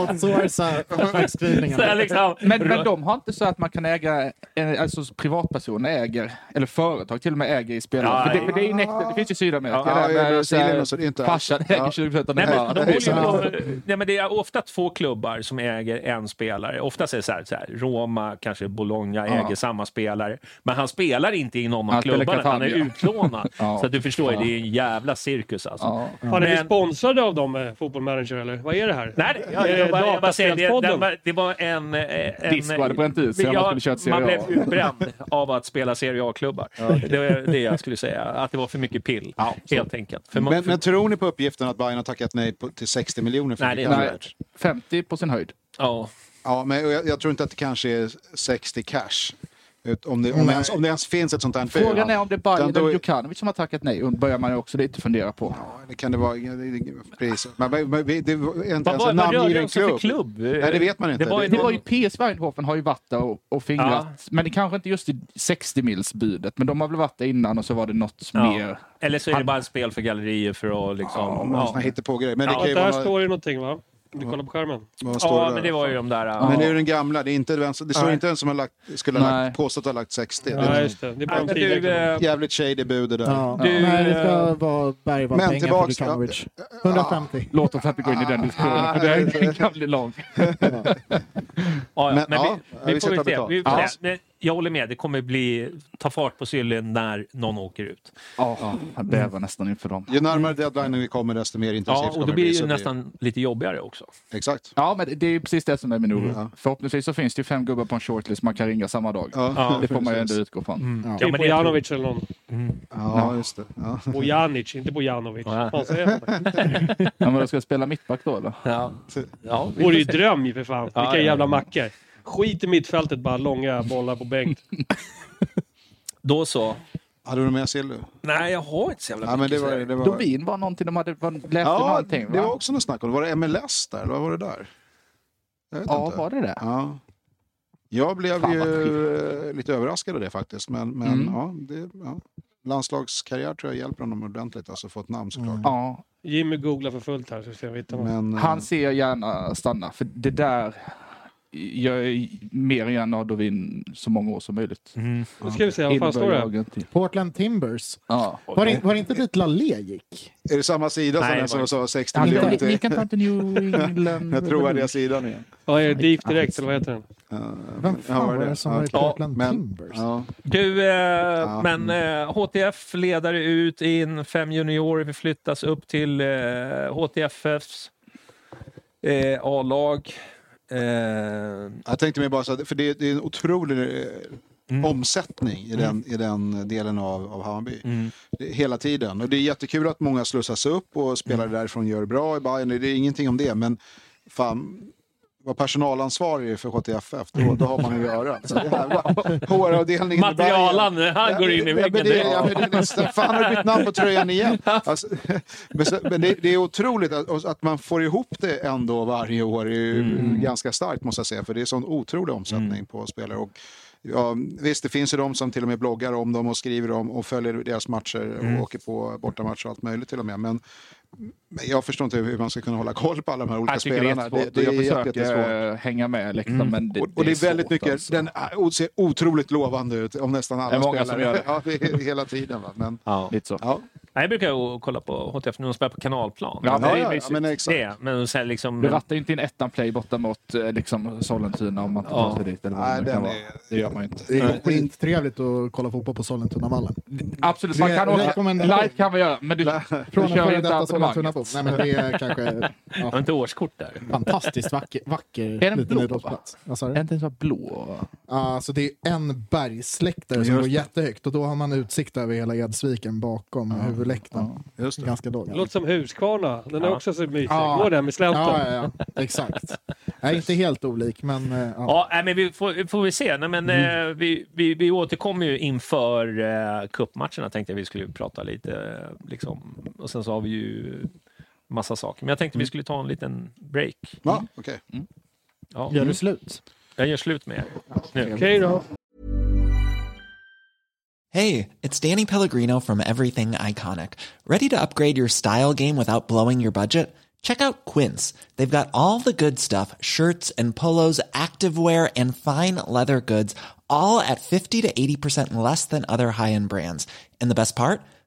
S3: Outsourca
S1: Så jag
S3: kontraktskrivningarna.
S1: liksom,
S2: Men, men de har inte så att man kan äga, eh, alltså privatpersoner äger, eller företag till och med äger i spelare. för
S1: Ja,
S2: det,
S1: ja.
S2: men det, är ju nektar, det finns ju i Sydamerika.
S4: Ja,
S2: där
S4: i
S2: med
S4: Brasilien
S2: så här,
S4: och så, det är inte alls-
S2: Farsan äger
S4: Ja.
S2: 20 procent av
S1: Nej, men,
S2: det
S1: de håller ju på, nej, men det är ofta två klubbar som äger en spelare. Oftast är det så här, så här Roma, kanske Bologna äger samma spelare. Men han spelar inte i någon av
S2: Han spelar
S1: klubbarna, han är
S2: Catania.
S1: utlånad.
S2: Ja.
S1: Så att du förstår, det är en jävla cirkus alltså.
S2: Ja.
S5: Fan, är vi
S1: Men-
S5: sponsrade av dem, eh, Football Manager eller? Vad är det här?
S1: Nej, Ja, jag bara, jag bara säger, det, det,
S5: Dataspelspodden.
S1: var- det var en... eh, en
S2: Disco hade bränt ut sig om man skulle köra ett Serie
S1: man
S2: A.
S1: blev utbränd av att spela Serie A-klubbar. Det var det jag skulle säga, att det var för mycket pill. helt enkelt. För man,
S4: Men,
S1: för,
S4: men tror ni på uppgiften att Bayern har tackat nej på, till 60 miljoner? för
S1: Nej, det är
S4: Mikael?
S1: inte
S2: Nej, 50 på sin höjd.
S1: ja.
S4: Ja, men jag, jag tror inte att det kanske är 60 cash. Ut- Om det, om det, ens, om det ens finns ett sånt här bud.
S2: Frågan är om det är Bayern
S4: Utan då-
S2: eller Djukanovic som har tackat nej. Och börjar man ju också lite fundera på.
S4: Ja, det kan det vara. ja, det- det- Precis. Men, men, men det är inte
S1: Vad
S4: ens
S1: var
S4: Alltså, en
S1: vad rörde
S4: namngiven
S1: de sig för
S4: klubb.
S1: klubb?
S4: Nej, det vet man inte.
S1: Det var ju
S2: Det var ju PS Eindhoven har ju varit där och, och fingrat.
S1: Ja.
S2: Men det kanske inte just i 60 mils budet. Men de har väl varit där innan och så var det något
S1: Ja.
S2: mer.
S1: Eller så är det bara ett spel för gallerier för att liksom...
S4: Ja,
S1: ja.
S4: någon sån här hittepågrej. Men det
S1: Ja,
S4: kan ju
S5: Där
S4: vara...
S5: står det någonting va? Om du kollar på skärmen.
S4: vad står
S1: Ja,
S4: där?
S1: men det var ju de där...
S4: Men
S1: Ja.
S4: det är ju den gamla. Det, är inte vem, som- det står
S1: Nej.
S4: inte vem som har lagt, skulle ha
S2: Nej.
S4: lagt, påstått att ha lagt 60. Det
S5: Ja,
S4: är
S5: just det. Det är bara
S1: Men
S5: en
S1: du,
S5: tidigare.
S1: eh,
S4: jävligt shady bud det där.
S3: Ja.
S1: Du,
S3: Nej, det ska
S1: eh,
S3: vara bergvall
S4: men
S3: pengar för
S4: tillbaks-
S3: Djukanovic. 150.
S2: Låt oss inte gå in i den diskussionen. För det kan bli långt.
S1: Ja, ja.
S4: Men,
S1: men
S4: ja,
S1: vi,
S4: vi
S1: vi
S4: ska
S1: får
S4: ta
S1: väl se.
S4: betalt.
S1: Vi får
S4: Ja.
S1: se. Men jag håller med, det kommer bli ta fart på cylindern när någon åker ut.
S2: Ja, jag bävar nästan inför dem.
S4: Ju närmare deadline vi kommer desto mer intensivt
S1: Ja, och
S4: kommer
S1: då
S4: det
S1: blir det
S4: så
S1: ju
S4: det-
S1: nästan lite jobbigare också.
S4: Exakt.
S2: Ja, men det- det är ju precis det som är min oro.
S4: Mm. Ja.
S2: Förhoppningsvis så finns det ju fem gubbar på en shortlist man kan ringa samma dag.
S4: Ja,
S2: Det får man ju ändå
S4: precis.
S2: utgå från.
S1: Ja,
S5: Typ
S1: men det tror-
S5: Bojanovic eller någon.
S4: Ja, just det. Ja.
S5: Bojanic, inte Bojanovic.
S1: Ja.
S5: Fan, säger jag.
S2: Ja, men då ska jag spela mittback då eller?
S1: Ja. Ja, vi
S5: Vore ju
S1: får se.
S5: dröm ju för fan. Vilka
S1: ja, ja.
S5: jävla mackor. Skit i mittfältet bara, långa bollar på Bengt.
S1: Då så.
S4: Hade du något mer Silly?
S1: Nej, jag har inte så jävla
S4: Ja, men det var, det var...
S2: Dovin var någonting de hade var, läste
S4: Ja,
S2: någonting va?
S4: det var också något snack om. det. Var det MLS där? Eller vad var det där? Jag vet
S2: ja,
S4: inte.
S2: var det det?
S4: Ja. Jag blev
S2: Fan, vad Mm.
S4: ju eh, lite överraskad av det faktiskt. Men, men ja, det, ja. landslagskarriär tror jag hjälper honom ordentligt. Alltså få ett namn såklart.
S2: Ja,
S5: Jimmy googlar för fullt här så vi ser om vi hittar något.
S4: Men, eh,
S2: Mm. han ser jag gärna stanna. För det där, jag är mer än gärna har Dovin så många år som möjligt.
S3: Mm.
S5: Nu ska vi se, vad fan står det? här?
S2: Innebär jag till-
S3: Portland Timbers.
S2: Ja.
S3: Var
S1: Mm.
S3: det, var det inte dit Lalé gick?
S4: är det samma sida som
S1: Nej,
S4: den som
S1: det
S4: sa 60
S2: Ni
S4: miljoner
S2: kan- Ni
S4: till?
S2: kan ta till New England.
S4: Jag tror det är sidan igen.
S5: Ja, är det Deep direkt eller vad heter den?
S3: Vem
S4: var
S3: fan var
S4: det?
S3: det som
S4: Ja.
S3: var i Portland
S4: men-
S3: Timbers?
S4: Ja.
S1: Du, eh, men eh, HTF ledare ut in, fem juniorer förflyttas upp till eh, HTFFs eh, A-lag. Eh,
S4: Jag tänkte mig bara så att, för det, det är en otrolig eh,
S1: Mm.
S4: omsättning i den, i den delen av, av Hammarby.
S3: Mm.
S4: Det, hela tiden. Och det är jättekul att många slussas upp och spelare
S1: Mm.
S4: därifrån gör bra i Bayern. Det är ingenting om det, men fan, var personalansvarig för HTFF, då, då har man att göra. Så jävla HR-avdelningen i Bayern.
S1: Materialan, han går in i
S4: Ja, men
S1: väggen
S4: det-
S1: direkt.
S4: ja, men det är nästan- Fan, har du bytt namn på tröjan igen? Alltså, men så- men det, det är otroligt att, att man får ihop det ändå varje år. är ju ganska starkt måste jag säga, för det är sån otrolig omsättning på spelare. Och, ja, visst, det finns ju de som till och med bloggar om dem och skriver om och följer deras matcher och åker på bortamatcher och allt möjligt till och med. Men, men jag förstår inte hur man ska kunna hålla koll på alla de här olika
S2: Jag tycker det är
S4: spelarna.
S2: jättesvårt. och jag
S4: jätte- jättesvårt.
S2: försöker eh, hänga med liksom,
S5: Mm.
S2: men det,
S4: Och, och det är väldigt
S2: svårt,
S4: mycket,
S2: alltså.
S4: den är- ser otroligt lovande ut om nästan alla
S2: Det är många som
S4: spelare.
S2: gör det.
S4: Ja, det är hela tiden. Va? Men,
S2: Lite så.
S4: ja.
S1: Nej, jag brukar ju kolla på HTF när de spelar på kanalplan.
S2: Ja,
S4: Ja,
S2: det
S4: ja,
S2: är
S4: ja,
S2: mysigt.
S4: men
S1: Det,
S4: exakt.
S1: är, men sen liksom...
S2: Du rattar ju inte in ettan play borta mot eh, liksom, Sollentuna om man inte tar sig dit. Eller vad
S4: Nej,
S2: det, nu
S4: den
S2: kan vara.
S4: är-
S2: det gör man ju inte.
S3: Det är skittrevligt att kolla fotboll på Sollentunavallen.
S2: Absolut, man
S3: Det-
S2: kan åka.
S3: rekommendation.
S2: Live kan vi göra, men du,
S3: Från
S2: du
S3: en
S2: kör ju
S3: före
S2: inte
S3: detta
S2: abonnemang.
S3: Sollentunabo. Nej, men det är kanske
S1: Jag har
S3: ja,
S1: inte årskort där.
S3: fantastiskt vacker, vacker
S2: den
S3: liten
S2: blå, va?
S3: idrottsplats. Vad sa du?
S2: Är inte ens blå?
S3: Alltså det är en bergssläktare som
S4: Just
S3: går
S4: det.
S3: jättehögt och då har man utsikt över hela Edsviken bakom huvudläktaren. Ganska låg.
S5: Det låter som Huskvarna. Den är också så mysig.
S3: Ja.
S5: Går den med släten?
S3: Ja, ja, ja. Exakt. Nej, inte helt olik, men eh, ja.
S1: Ja, nej, men vi får, får vi se. Nej, men, eh, vi, vi, vi återkommer ju inför eh, cupmatcherna tänkte jag vi skulle prata lite. eh, Liksom. Och sen så har vi ju massa saker. Men jag tänkte vi skulle ta en liten break.
S4: Ja, okej.
S1: Ja. Mm.
S3: Gör du slut?
S1: Jag gör slut med er. Nu.
S5: Okej då.
S7: Hey, it's Danny Pellegrino from Everything Iconic. Ready to upgrade your style game without blowing your budget? Check out Quince. They've got all the good stuff shirts and polos, activewear, and fine leather goods, all at 50 to 80% less than other high end brands. And the best part?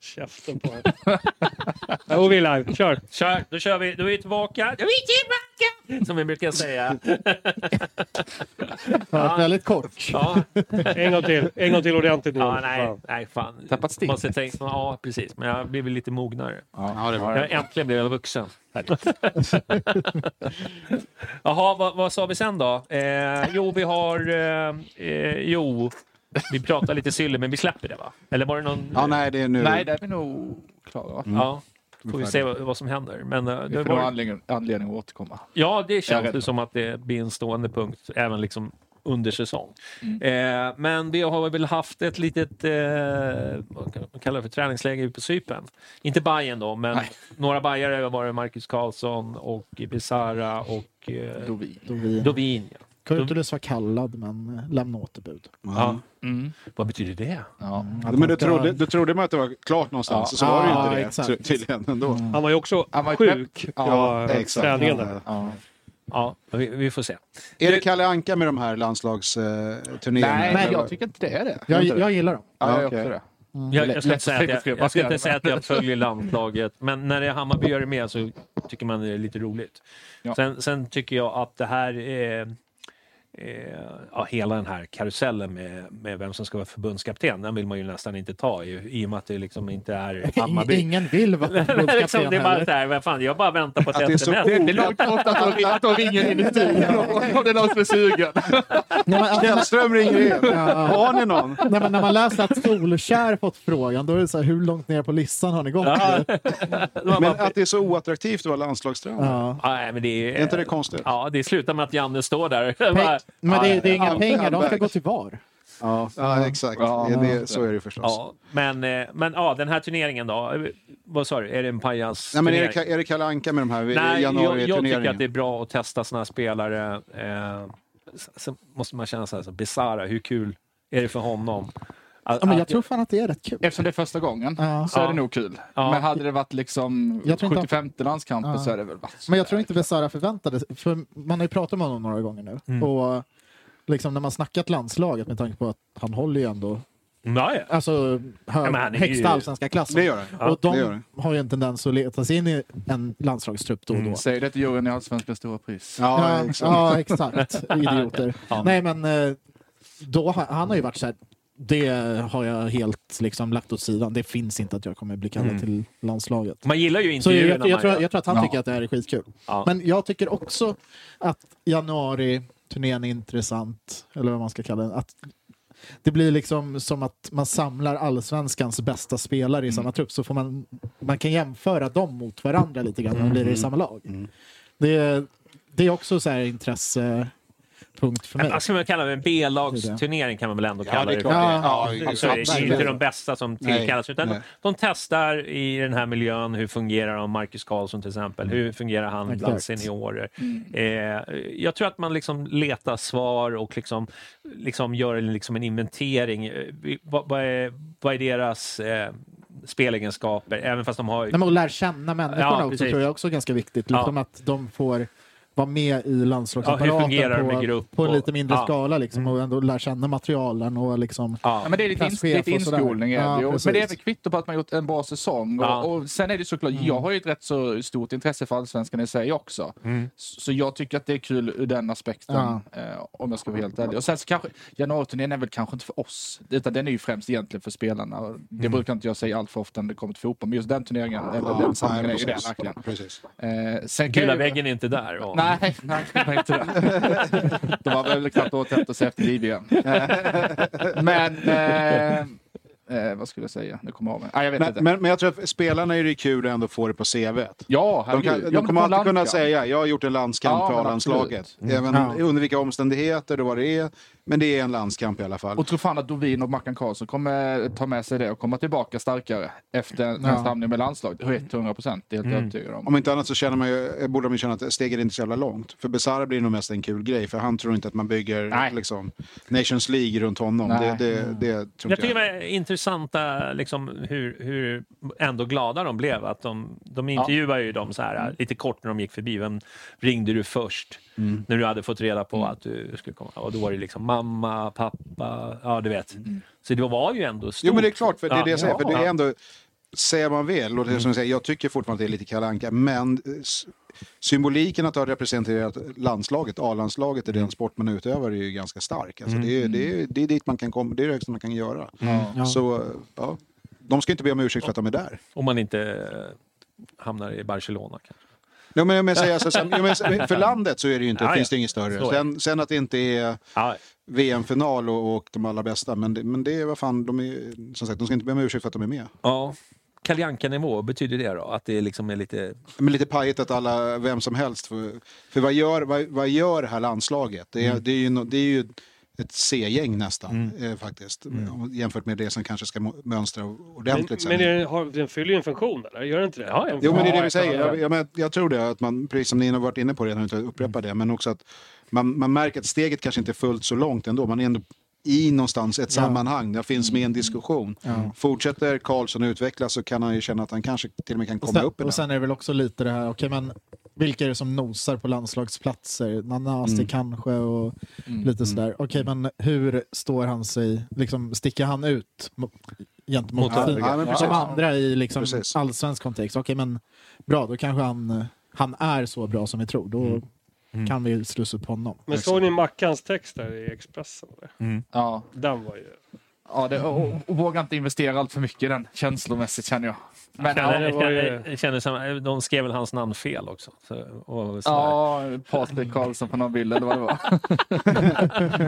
S5: Käften på Oh, vi är live. Kör!
S1: Kör! Då kör vi. Då är vi tillbaka. Då är vi tillbaka! Som vi brukar säga.
S3: Ja, väldigt kort.
S1: Ja.
S5: En gång till. En gång till ordentligt nu.
S1: Ja, nej,
S5: Fan.
S1: nej, fan.
S2: Tappat stinget.
S1: Måste tänka, ja, precis. Men jag har blivit lite mognare.
S2: Ja, det
S1: Jag äntligen blev jag vuxen. Jaha, vad, vad sa vi sen då? Eh, jo, vi har... Eh, eh, jo, vi pratar lite sylle, men vi släpper det va? Eller var det någon...
S4: Ja, nej, det är nu.
S2: Nej, där är vi nog klara. va?
S1: Ja, får vi se vad, vad som händer. Men, eh,
S2: Vi
S1: Mm.
S2: får
S1: det
S2: nog
S1: var,
S2: anledning, anledning att återkomma.
S1: ja, det
S2: Jag är
S1: känns
S2: rädd
S1: ju
S2: för.
S1: som att det blir en stående punkt även liksom under säsong. Eh, men vi har väl haft ett litet, eh, vad kan man kalla det för, träningsläger på Cypern. Inte Bayern då, men
S2: Nej.
S1: några Bajare var det Marcus Karlsson och Bizarra och eh,
S2: Dovin.
S3: Dovin.
S1: Dovin. ja.
S3: Kurtulus var kallad men lämnade återbud.
S1: Ja.
S2: Mm.
S1: Vad betyder det?
S2: Ja.
S4: Men du trodde, du trodde man att det var klart någonstans,
S2: Ja.
S4: så var det
S3: Ja,
S4: ju inte det
S3: exakt.
S4: ty- tydligen ändå.
S1: Mm.
S5: Han var ju också
S2: Mm. Han var ju
S5: sjuk.
S2: pepp.
S5: Ja,
S2: Ja,
S4: exakt.
S5: Träningen där.
S2: Ja.
S1: Ja, vi, vi får se.
S4: Är det Kalle Anka med de här eh, landslagsturnéerna?
S2: Nej, jag tycker inte det är det.
S3: Jag, jag gillar dem.
S2: Ja, jag
S4: Ja,
S2: gör
S4: okej.
S2: också det.
S1: Jag, jag ska
S2: lätt
S1: inte säga att jag,
S2: beskriva.
S1: jag, ska inte säga att jag följer landslaget, men när det är Hammarby gör det med så tycker man det är lite roligt.
S2: Ja.
S1: Sen, sen tycker jag att det här... Eh, eh, ja, hela den här karusellen med, med vem som ska vara förbundskapten, den vill man ju nästan inte ta i, i och med att det liksom inte är Hammarby.
S3: Ing- Ingen vill vara
S1: liksom,
S3: förbundskapten
S1: det är bara
S3: heller.
S1: så här, vad fan, jag bara väntar på ett
S4: Att det är så
S1: sms.
S4: o-
S2: Det är långt borta från att de ringer in i studion om det är någon som är sugen.
S3: Nej, men, alltså,
S4: Källström ringer in. Har ni någon?
S3: nej, men när man läser att Solskär fått frågan, då är det så här, hur långt ner på listan har ni gått?
S1: Ja. Man
S4: Men
S1: bara-
S4: att det är så oattraktivt att vara landslagstränare.
S3: Ja.
S1: Ja, nej, men det är,
S4: Är inte det konstigt?
S1: Ja, det slutar med att Janne står där.
S3: Peng,
S1: Bara,
S3: men det, det är
S4: Ja,
S3: inga pengar, de ska
S4: Alberg.
S3: gå till VAR.
S4: Ja, ja exakt.
S2: Ja.
S4: Det, det, så är det förstås.
S1: Ja, men, eh, men ja, den här turneringen då? Eh, Vad sa du, är det en pajas
S4: Nej, men är, det, Ka- är det Kalle Anka med de här
S1: Nej, jag, jag tycker
S4: januari-turneringarna?
S1: att det är bra att testa såna här spelare. Eh, s- sen måste man känna så här, så Bizarra, hur kul är det för honom? Att-
S3: Ja, men jag
S1: att-
S3: tror fan att det är rätt kul.
S2: Eftersom det är första gången
S3: Ja.
S2: så är
S1: Ja.
S2: det nog kul.
S1: Ja.
S2: Men hade det varit liksom
S3: Jag tror inte-
S2: 75 landskampen
S3: Ja.
S2: så är det väl varit så
S3: Men jag tror inte Besara förväntade sig, för man har ju pratat med honom några gånger nu.
S4: Mm.
S3: Och liksom när man snackat landslaget med tanke på att han håller ju ändå
S1: Nej.
S3: alltså,
S1: Ja,
S3: hög,
S1: men han är ju-
S3: högsta allsvenska klassen.
S4: Det gör han. Ja,
S3: och de
S4: det gör han.
S3: har ju en tendens att leta sig in i en landslagstrupp då och då.
S1: Mm.
S2: Säg det till juryn i Allsvenskan Stora Pris.
S4: Ja,
S3: Ja,
S4: exakt.
S3: ja, exakt. Idioter. Nej, men eh, då, har- han har ju varit så här. Det har jag helt liksom lagt åt sidan. Det finns inte att jag kommer bli
S4: Mm.
S3: kallad till landslaget.
S1: Man gillar ju
S3: Så jag,
S1: intervjuerna.
S3: jag, jag, tror,
S1: man gör.
S3: jag tror att han
S2: Ja.
S3: tycker att det här är skitkul.
S1: Ja.
S3: Men jag tycker också att januari turnén är intressant, eller vad man ska kalla den. Att det blir liksom som att man samlar allsvenskans bästa spelare i samma trupp så får man, man kan jämföra dem mot varandra lite grann när de lirar i samma lag. Det, det är också så här intressepunkt för mig.
S1: Vad Alltså, ska man kalla det? En B-lagsturnering kan man väl ändå kalla
S4: Ja, det är
S1: det
S4: klart.
S1: för.
S4: Ja, ja,
S1: Så Alltså, det är
S4: absolut.
S1: inte de bästa som
S4: Nej,
S1: tillkallas utan
S4: nej.
S1: de testar i den här miljön. Hur fungerar de? Marcus Karlsson till exempel. Hur fungerar han bland
S3: Exakt.
S1: seniorer? Eh, jag tror att man liksom letar svar och liksom, liksom gör en- liksom en inventering. Eh, vi- Vad, vad, är, vad är deras eh, spelegenskaper? Även fast de har...
S3: Nej, men att lära känna människorna
S1: Ja,
S3: också
S1: precis.
S3: tror jag också är ganska viktigt.
S1: Ja.
S3: Liksom Att de får vara med i
S1: Ja, hur
S3: landslagsapparaten
S1: fungerar de i
S3: på,
S1: grupp
S3: på en
S1: och-
S3: lite mindre
S1: Ja. Mm.
S3: skala liksom, och ändå lära känna materialen. Och liksom,
S1: Ja.
S2: Ja, men det är lite, ins-
S3: Klasschef
S2: lite
S3: och sådär.
S2: inskolning. är det
S3: Ja,
S2: ju.
S3: precis.
S2: men det är väl kvitto på att man gjort en bra säsong. Och,
S1: Ja.
S2: och sen är det såklart,
S3: Mm.
S2: jag har ju ett rätt så stort intresse för allsvenskan i sig också.
S1: Mm.
S2: Så så jag tycker att det är kul ur den aspekten,
S3: Ja.
S2: eh, om jag ska vara helt ärlig. Och sen så kanske, januariturnén är väl kanske inte för oss, utan den är ju främst egentligen för spelarna. Och Det
S1: Mm.
S2: brukar inte jag säga allt för ofta när det kommer till fotboll, men just den turneringen, eller den
S4: Nej,
S2: samlingen är ju det
S4: precis.
S2: verkligen.
S4: Precis.
S2: Eh, sen kan
S1: Gula
S2: jag ju-
S1: väggen är inte där. Och,
S2: Nej, nej, det var inte det. De har väl knappt återhämtat sig efter liv igen. Men eh, Eh, vad skulle jag säga? Nu kommer jag av mig. Ah, jag vet
S4: Men,
S2: inte.
S4: men, men jag tror att spelarna är det kul att ändå få det på CVt.
S2: Ja,
S4: de
S2: herregud.
S4: kan,
S2: Ja,
S4: de
S2: men
S4: kommer
S2: på
S4: alltid kunna
S2: landskamp.
S4: säga jag har gjort en landskamp
S2: Ja,
S4: för
S2: men
S4: A-landslaget.
S2: absolut. Mm.
S4: Även
S2: Ja.
S4: under vilka omständigheter och vad det är. Men det är en landskamp i alla fall.
S2: Och tror fan att Dovin och Mackan Karlsson kommer ta med sig det och komma tillbaka starkare efter
S4: Ja. Mm.
S2: nästa hamning med landslaget. 100 procent, det är jag helt övertygad om.
S4: Om inte annat så känner man ju, borde man ju känna att steget är inte är så jävla långt. För Besara blir nog mest en kul grej, för han tror inte att man bygger liksom, Nations League runt honom. Det,
S1: Nej.
S2: Mm.
S4: det, det tror
S1: Jag
S4: inte
S1: tycker
S4: jag.
S1: det var intressanta liksom, hur, hur ändå glada de blev. Att de, de intervjuade ju dem så
S4: Mm.
S1: här, lite kort när de gick förbi. Vem ringde du först?
S6: Mm.
S1: När du hade fått reda på
S4: Mm.
S1: att du skulle komma. Och då var det liksom mamma, pappa, ja du vet. Så det var ju ändå stort.
S4: Mm. Jo men det är klart, för det är
S1: Ja.
S4: det jag säger. För det
S1: Ja.
S4: är ändå, säger man väl, och det är som jag, säger, jag tycker fortfarande att det är lite kalanka men eh, s- symboliken att ha representerat landslaget, A-landslaget, i den sport man utövar är ju ganska stark. Alltså, det, är, det, är, det är dit man kan komma, det är det högsta man kan göra.
S1: Ja.
S4: Så, ja. De ska inte be om ursäkt för att de är där.
S1: Om man inte eh, hamnar i Barcelona kanske.
S4: Ja, men, men, säger jag så, sen, ja, men, för landet så är det ju inte,
S1: Ja, ja.
S4: finns det inget
S1: Så
S4: större.
S1: är det.
S4: Sen, sen att det inte är VM-final och, och de allra bästa, men det, men det är vad fan, de är, som sagt, de ska inte be om ursäkt för att de är med.
S1: Ja. Kalle Anka-nivå, betyder det då? Att det liksom är lite...
S4: Men lite pajigt att alla, vem som helst, för, för vad, gör, vad, vad gör det här landslaget? Det är, det är, ju, no- det är ju ett C-gäng nästan, eh, faktiskt, om- jämfört med det som kanske ska mo- mönstra ordentligt sen.
S5: men är, den- har, den fyller ju en funktion, eller? Gör den inte det? Ja,
S4: Jo, men det är det vi säger. Jag, jag, men- jag tror det, att man, precis som ni har varit inne på redan, utan att upprepa det, men också att man, man märker att steget kanske inte är fullt så långt ändå. Man är ändå i någonstans ett
S3: Ja.
S4: sammanhang, där finns med i en diskussion.
S3: Ja.
S4: Fortsätter Karlsson utvecklas så kan han ju känna att han kanske till och med kan
S3: Och
S4: komma
S3: sen,
S4: upp i
S3: och
S4: det.
S3: sen är det väl också lite det här, okej men vilka är det som nosar på landslagsplatser? Nanasi
S4: Mm.
S3: kanske och lite sådär. Okej men hur står han sig, liksom sticker han ut mo- gentemot
S4: Mot övriga. Ja, men
S3: de
S4: precis.
S3: andra i liksom
S4: Precis.
S3: allsvensk kontext? Okej men bra, då kanske han, han är så bra som vi tror. Då
S4: Mm.
S3: kan vi slussa upp honom.
S5: Men såg ni Mackans text där i Expressen? Eller?
S2: Ja.
S5: Den var ju...
S2: Ja, det, och, och våga inte investera allt för mycket i den, känslomässigt känner jag. Men,
S1: Känner-
S2: ja, det var ju...
S1: känner- känner som, de skrev väl hans namn fel också? Så, och så där.
S2: Ja, Patrik Karlsson på någon bild eller vad det var.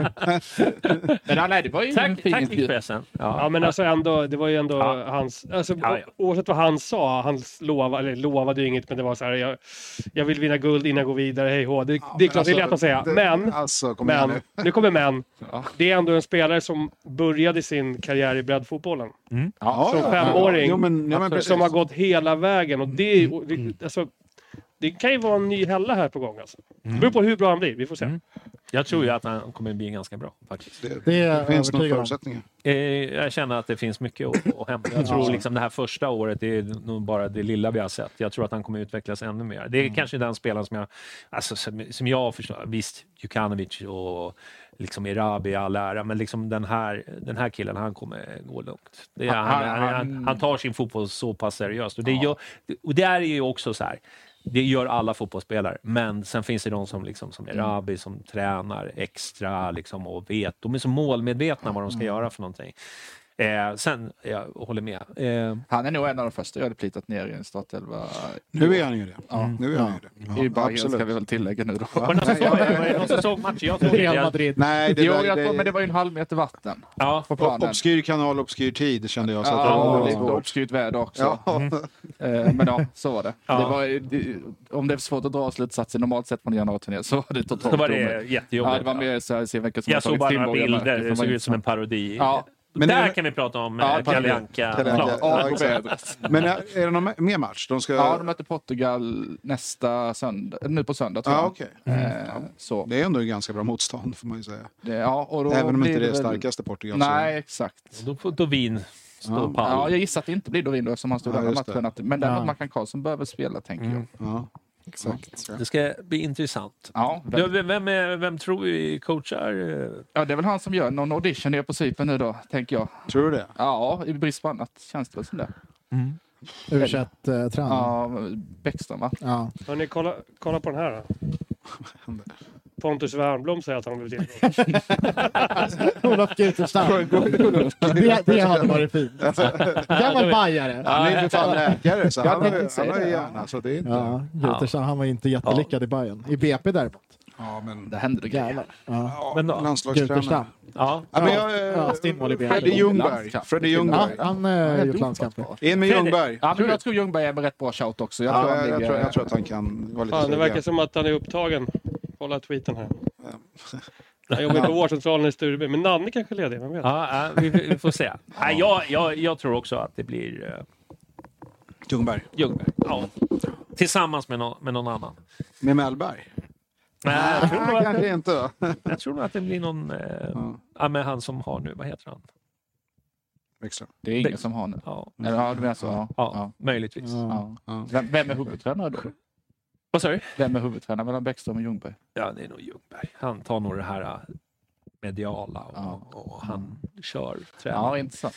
S2: men ja, nej, det var ju en
S5: Tack-
S2: fin
S5: tack,
S2: intervju.
S1: Expressen.
S5: Ja, men alltså ändå, det var ju ändå hans... Alltså, o- Oavsett vad han sa, han lova, eller lovade ju inget, men det var så här, jag, jag vill vinna guld innan jag går vidare, hej hå. Det, det är klart, det är lätt att säga. men,
S4: Alltså, kom igen
S5: men,
S4: nu.
S5: nu kommer men. Det är ändå en spelare som började sin karriär i breddfotbollen.
S2: Mm.
S4: Ja,
S5: som
S4: ja, ja.
S5: femåring.
S4: Jo, men- ja, men precis. Mm.
S5: som har gått hela vägen. Och det, och det, alltså, det kan ju vara en ny hälla här på gång. Alltså. Det
S4: Mm.
S5: beror på hur bra han blir. Vi får se.
S1: Jag tror ju att han kommer bli ganska bra faktiskt.
S3: Det är jag
S4: finns nog
S3: övertygad om.
S4: förutsättningar.
S1: Eh, Jag känner att det finns mycket att att hämta. Jag tror liksom det här första året, det är nog bara det lilla vi har sett. Jag tror att han kommer utvecklas ännu mer. Det är
S2: Mm.
S1: kanske den spelaren som jag, alltså, som, som jag förstår. Visst, Djukanovic och liksom Erabi i all ära, men liksom den här, den här killen, han kommer gå långt. Det är, han, han, han, han tar sin fotboll så pass seriöst. Och det, gör, och det är ju också så här, det gör alla fotbollsspelare, men sen finns det de som, liksom, som Erabi som tränar extra liksom, och vet. De är så målmedvetna vad de ska göra för någonting. Eh, sen, jag håller med. Eh,
S2: Han är nog en av de första jag hade plitat ner i en startelva.
S4: Nu är han ju det.
S2: Ja.
S4: Nu är han ju
S2: Ja,
S4: det.
S2: I
S4: Ja,
S2: Bayern
S4: absolut.
S2: ska vi väl tillägga nu då.
S1: var det någon som såg- var det någon som såg matchen? Jag såg inte. Jag-
S4: Nej, det
S2: jo,
S4: där-
S2: jag
S4: det-
S2: tror, men det var ju en halv meter vatten
S1: Ja,
S2: på
S4: Ob-
S2: planen.
S4: Obskyr kanal, obskyr tid kände jag. Så att
S2: Ja,
S4: det var
S2: det var
S4: svårt.
S2: obskyrt väder också.
S4: Ja.
S2: Eh, Men ja, så var det.
S1: Ja.
S2: det, var, det om det är svårt att dra slutsatser normalt sett från januari så var det totalt
S1: Så var det
S2: omöjligt.
S1: jättejobbigt,
S2: Ja, det var
S1: ja.
S2: mer så här, se vilka som har
S1: jag
S2: tagit
S1: såg bara några
S2: Timborg och
S1: bilder.
S2: Märke
S1: Det
S2: från
S1: såg ut som en parodi. Där kan vi prata om ja, Kalle
S4: Kalle Anka, ja, exakt.
S1: Anka.
S4: Men är är det någon mer match? De ska...
S2: Ja, de möter Portugal nästa söndag, nu på söndag tror jag.
S4: Ja, okej. Mm.
S2: Eh, så.
S4: Det är ändå en ganska bra motstånd får man ju säga.
S2: Det, ja, och då
S4: Även om inte
S2: blir
S4: det är
S2: väl-
S4: starkaste Portugal. så-
S2: Nej, exakt.
S1: Då får Dovin stå
S4: Ja.
S1: pall.
S2: Ja, jag gissar att det inte blir Dovin då eftersom han stod
S4: Ja,
S2: ja, den
S4: just det.
S2: matchen. Att, men däremot
S3: Ja.
S2: Mackan Karlsson behöver spela, tänker jag.
S4: Ja, exakt.
S1: Det ska bli intressant.
S2: Ja, väl-
S1: Du, vem, är- vem tror vi coachar? eh,
S2: ja, det är väl han som gör någon audition nere på Cypern nu då, tänker jag.
S4: Tror du det?
S2: Ja, i brist på annat känns det väl som det.
S3: U21-tränare.
S2: Ja, Bäckström va?
S3: Ja.
S5: Hörrni, kolla, kolla på den här. Då. Pontus Wernbloom säger att han vill till.
S3: Olof Guterstam. det, det hade varit fint. Gammal bajare.
S4: Han är ju för fan läkare så
S2: Jag
S4: han har,
S2: tänkte
S4: ju- han
S2: säga
S4: har ju
S2: det.
S4: hjärna. Så det är inte...
S3: Ja, Gutersson, han var inte jättelyckad i Bayern. I BP däremot.
S4: Ja, men...
S2: Det händer grejer.
S4: Ja,
S2: Men då?
S4: landslagstränare.
S2: Guterstam.
S4: Ja.
S3: Ja,
S4: men jag, eh,
S3: ja, Stenmål i benet.
S4: Freddy Ljungberg.
S2: Landskamp.
S4: Freddy Ljungberg.
S3: Ja, han har gjort landskamper.
S4: In med
S2: Fredrik.
S4: Ljungberg.
S2: Ja, men jag tror Ljungberg är en rätt bra shout också. Jag
S4: Ja,
S2: tror han
S4: jag- jag
S2: ligger-
S4: tror- jag tror att han kan vara lite
S5: Fan, det
S4: seg.
S5: verkar som att han är upptagen. Kolla tweeten här. Jag jobbar på vårdcentralen i Stureby, men Nanne kanske är ledig, vem vet?
S1: Ja, ja, vi, vi får se. Nej, jag, jag, jag tror också att det blir... eh,
S4: Ljungberg.
S1: Ljungberg. Ja. Tillsammans med, någon med någon annan.
S4: Med Mellberg?
S1: Nej, jag tror nog att
S4: kanske
S1: det,
S4: inte då.
S1: jag tror nog att det blir någon... Eh, ja. men han som har nu, vad heter han?
S4: Växlö.
S2: Det är ingen som har nu.
S1: Ja,
S2: Eller, ja du menar så? Ja.
S1: ja,
S2: ja.
S1: möjligtvis.
S2: ja. Vem, vem är huvudtränare då?
S1: Vad sa du?
S2: Vem är huvudtränare mellan Bäckström och Ljungberg?
S1: Ja, det är nog Ljungberg. Han tar nog det här eh, mediala och, och han kör. Tränar.
S2: Ja, intressant.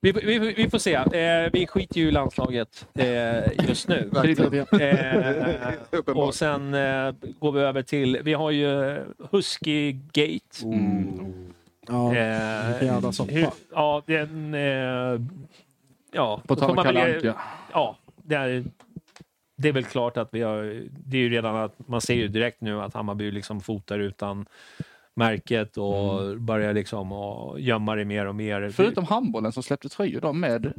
S1: Vi, vi, vi får se. Eh, vi skiter ju i landslaget eh, just nu. Eh, och sen eh, går vi över till... Vi har ju Husky Gate.
S2: Mm.
S3: Ja,
S1: Eh,
S3: jävla soppa.
S1: hur- ja, den... Eh, ja,
S2: På
S1: då
S2: tal
S1: får
S2: om
S1: man väl-
S2: Kalle Anka.
S1: Ja, det är, det är väl klart att vi har... Det är ju redan att man ser ju direkt nu att Hammarby liksom fotar utan märket och
S2: Mm.
S1: börjar liksom att gömma det mer och mer.
S2: Förutom handbollen som släppte tröjor då med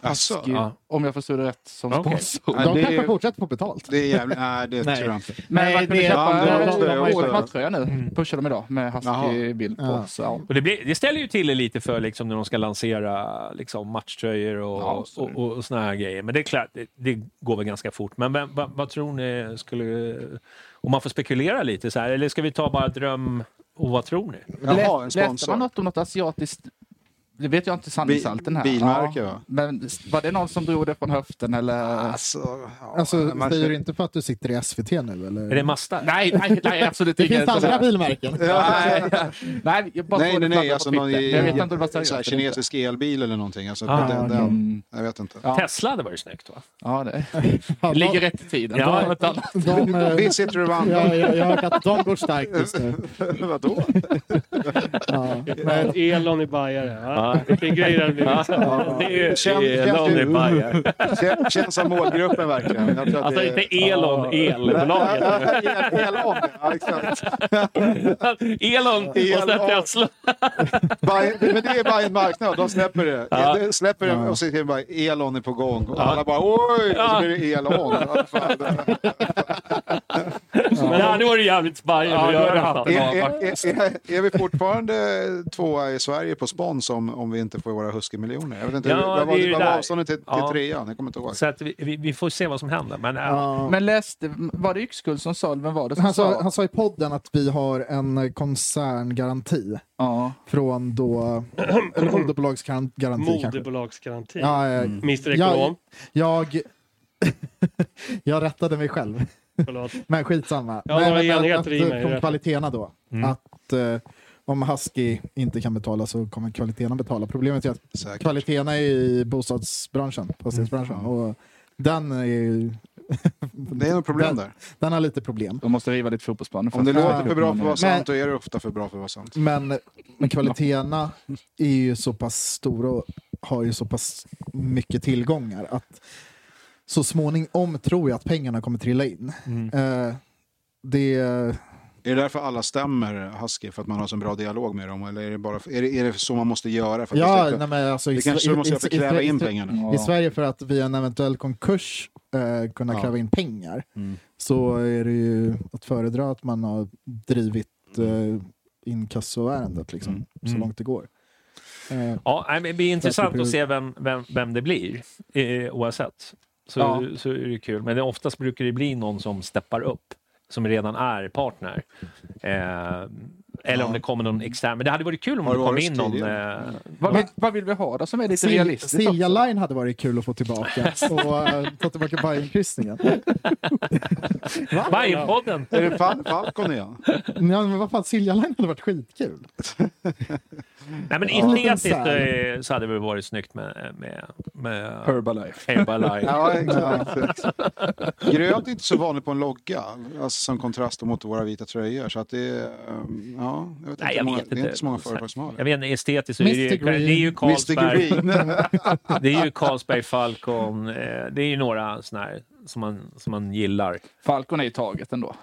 S4: Alltså,
S2: Husky,
S1: ja.
S2: om jag förstod det rätt, som
S1: Okej.
S2: sponsor.
S4: Ja,
S3: De
S4: det,
S3: kanske
S4: är,
S3: fortsätter få betalt.
S4: det är jävligt... Nej, det tror jag inte.
S2: Men man
S3: det-
S2: kunde
S4: ja, det-
S2: köpa
S4: just det, just det.
S2: årets matchtröja
S4: Mm.
S2: nu. Pushar de idag med Husky-bild på.
S3: Ja.
S2: Så, ja.
S1: Och det, blir, det ställer ju till det lite för liksom, när de ska lansera liksom, matchtröjor och,
S2: Ja, så är
S1: och,
S2: det.
S1: och, och såna här grejer. Men det är klart, det, det går väl ganska fort. Men vem, vad, vad tror ni skulle... Om man får spekulera lite så här, eller ska vi ta bara dröm och vad tror ni?
S4: Jaha, en
S2: Läs- Läste man
S4: sponsor.
S2: något om något asiatiskt? Det vet jag inte sanningshalten här.
S4: Bi- bilmärke,
S2: ja.
S4: va?
S2: Men var det någon som drog det från höften eller?
S4: Alltså, ja,
S3: Alltså,
S4: man
S3: säger
S4: känner-
S3: du inte för att du sitter i SVT nu eller?
S1: Är det Masta?
S2: Nej, nej, nej absolut
S3: det finns
S2: sån
S3: andra
S2: här-
S3: bilmärken.
S2: Nej, nej, jag bara
S4: Nej,
S2: såg
S4: nej,
S2: det
S4: nej.
S2: fladdra
S4: Alltså,
S2: på
S4: någon
S2: Twitter. jag vet inte om det var
S4: så här,
S2: seriöst. eller inte.
S4: kinesisk elbil eller någonting. Alltså,
S1: Ah,
S4: den,
S1: okej.
S4: den, jag vet inte.
S1: Tesla hade varit snyggt va?
S2: Mm. Ja, det
S3: Ja, de-
S2: ligger rätt i tiden.
S1: Ja.
S2: Ja, ja.
S3: de, eh,
S4: Visst sitter du vann?
S3: ja, jag, jag har hört att de går starkt just nu.
S4: Vadå?
S3: Ja.
S5: Men Elon i bajare. va? Vilken grej det hade blivit.
S6: Det är ju
S4: Känn-
S6: det är
S4: känns
S6: Lonely
S4: ju-
S6: Bayer.
S4: Kän- Känns som målgruppen verkligen. Jag tror att
S6: Alltså
S4: det-
S6: inte Elon, elbolaget.
S4: Ja, Elon, ja, exakt.
S6: Elon och
S4: Elon.
S6: sen Tesla.
S4: Bayern- Men det är bara en marknad, de släpper det. De släpper det och så skriver bara Elon är på gång. Och alla bara oj, och så blir det Elon. Ja, fan, det-
S6: Men här, nu var det jävligt Bayer att göra det
S4: Är,
S6: här.
S4: är, är, är- är vi fortfarande tvåa i Sverige på spons om, om vi inte får våra Husky-miljoner? Jag vet inte,
S1: Ja,
S4: hur- vad
S1: det är
S4: var,
S1: ju
S4: vad var
S1: där.
S4: avståndet till, till
S1: Ja.
S4: trean? Jag kommer inte ihåg.
S1: Så att vi, vi, vi får se vad som händer. Men, äh,
S2: Men läste, var det Yxkull som sa, vem var det som
S3: Han, sa,
S2: sa?
S3: han sa i podden att vi har en eh, koncerngaranti
S2: Ja.
S3: från då, eller moderbolagsgaranti kanske.
S5: Moderbolagsgaranti.
S3: Ja, eh,
S1: Mm.
S5: Mr
S3: jag,
S5: Ekonom.
S3: jag, jag rättade mig själv.
S5: Förlåt.
S3: Men skitsamma.
S5: Ja, några
S3: men att,
S5: enheter i mig,
S3: att, från
S5: rätt.
S3: kvaliteterna då. Att eh, om Husky inte kan betala så kommer kvaliteterna betala. Problemet är att
S4: Säkert.
S3: kvaliteterna är i bostadsbranschen, fastighetsbranschen. Och den, är, ju-
S4: Det är något problem där.
S3: den har lite problem.
S2: De måste riva lite fotbollsplaner.
S4: Om det
S2: först.
S4: låter för bra för att vara
S3: Men-
S4: sant, då är det ofta för bra för att vara sant.
S3: Men, men kvaliteterna är ju så pass stora och har ju så pass mycket tillgångar att så småningom tror jag att pengarna kommer trilla in. Eh, det
S4: Är det därför alla stämmer Husky? För att man har så bra dialog med dem? Eller är det, bara, är det, är det så man måste göra? För att
S3: Ja,
S4: det ska-
S3: nej, men alltså,
S4: det
S3: i-
S4: kanske
S3: i-
S4: du måste
S3: i-
S4: göra för att
S3: i-
S4: kräva
S3: i-
S4: in pengarna.
S3: I Sverige för att via en eventuell konkurs eh, kunna
S4: Ja. Mm.
S3: kräva in pengar så är det ju att föredra att man har drivit
S4: Mm.
S3: eh, inkassoärendet liksom, så långt det går. Eh,
S1: ja, nej, men det är intressant att se vem, vem, vem det blir, eh, oavsett. Så,
S2: Ja.
S1: så är det kul. Men det, oftast brukar det bli någon som steppar upp, som redan är partner. Eh, eller om det kommer någon extern. Men det hade varit kul om
S4: Har
S1: det
S4: det
S1: kom
S4: varit
S1: in någon...
S4: tidigare?
S1: Eh,
S2: Vad, vill, vad vill vi ha då som är lite
S3: Sil-
S2: realistiskt?
S3: Silja
S2: också?
S3: Line hade varit kul att få tillbaka och eh, ta tillbaka Bajenkryssningen.
S1: Bajenpodden!
S4: Är det Fal Falcon igen?
S3: Ja, men vad fan, Silja Line hade varit skitkul.
S1: Nej, men
S3: Ja.
S1: estetiskt
S3: Liten sär.
S1: eh, så hade det varit snyggt med, med, med
S2: Herbalife.
S1: Herbalife.
S4: Ja, exakt. Grönt är inte så vanligt på en logga alltså, som kontrast mot våra vita tröjor. Så att det, är, ehm, ja, jag vet
S1: Nej,
S4: inte hur
S1: jag
S4: många,
S1: vet
S4: det är
S1: inte.
S4: inte så många företag som har
S1: Jag
S4: det.
S1: vet inte, estetiskt så är det ju,
S3: Mr.
S1: det är
S3: Green.
S1: ju
S4: Mr
S1: Carlsberg.
S4: Green.
S1: Det är ju Carlsberg, Falcon. eh, Det är ju några såna här som man, som man gillar.
S2: Falcon är i taget ändå.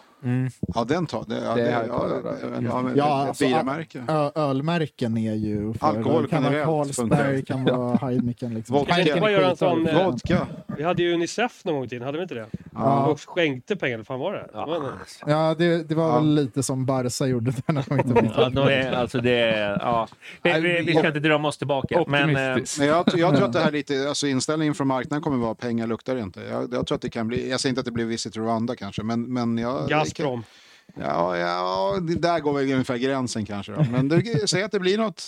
S4: Ja, den tar... Det, ja,
S2: Det
S4: det,
S2: är
S4: ja,
S2: alkohol,
S4: ja,
S2: ja.
S4: ja, men
S2: Ja,
S4: ett
S2: alltså,
S4: biramärke.
S3: Ö- ölmärken är ju... För,
S4: Alkohol
S3: kan vara
S4: generellt
S3: Carlsberg,
S4: funkar.
S3: kan vara Heineken. Liksom.
S5: Vi kanske ska bara göra en sån, eh,
S4: Vodka.
S5: Vi hade ju Unicef någon gång i tiden, hade vi inte det?
S3: Ja.
S5: Och skänkte pengar, eller fan var det? Det var en-
S3: Ja, det, det var väl lite som Barca gjorde där när de inte fick
S1: Ja, då är, alltså det är, ja. vi, vi, vi ska inte drömma oss tillbaka. Men, eh,
S4: Men jag, jag tror att det här är lite, alltså inställningen från marknaden kommer vara pengar luktar inte. Jag, jag tror att det kan bli, jag säger inte att det blir Visit Rwanda kanske, men, men jag...
S5: Gazprom.
S4: Ja, ja, det där går väl ungefär gränsen kanske. Då. Men du, säg att det blir något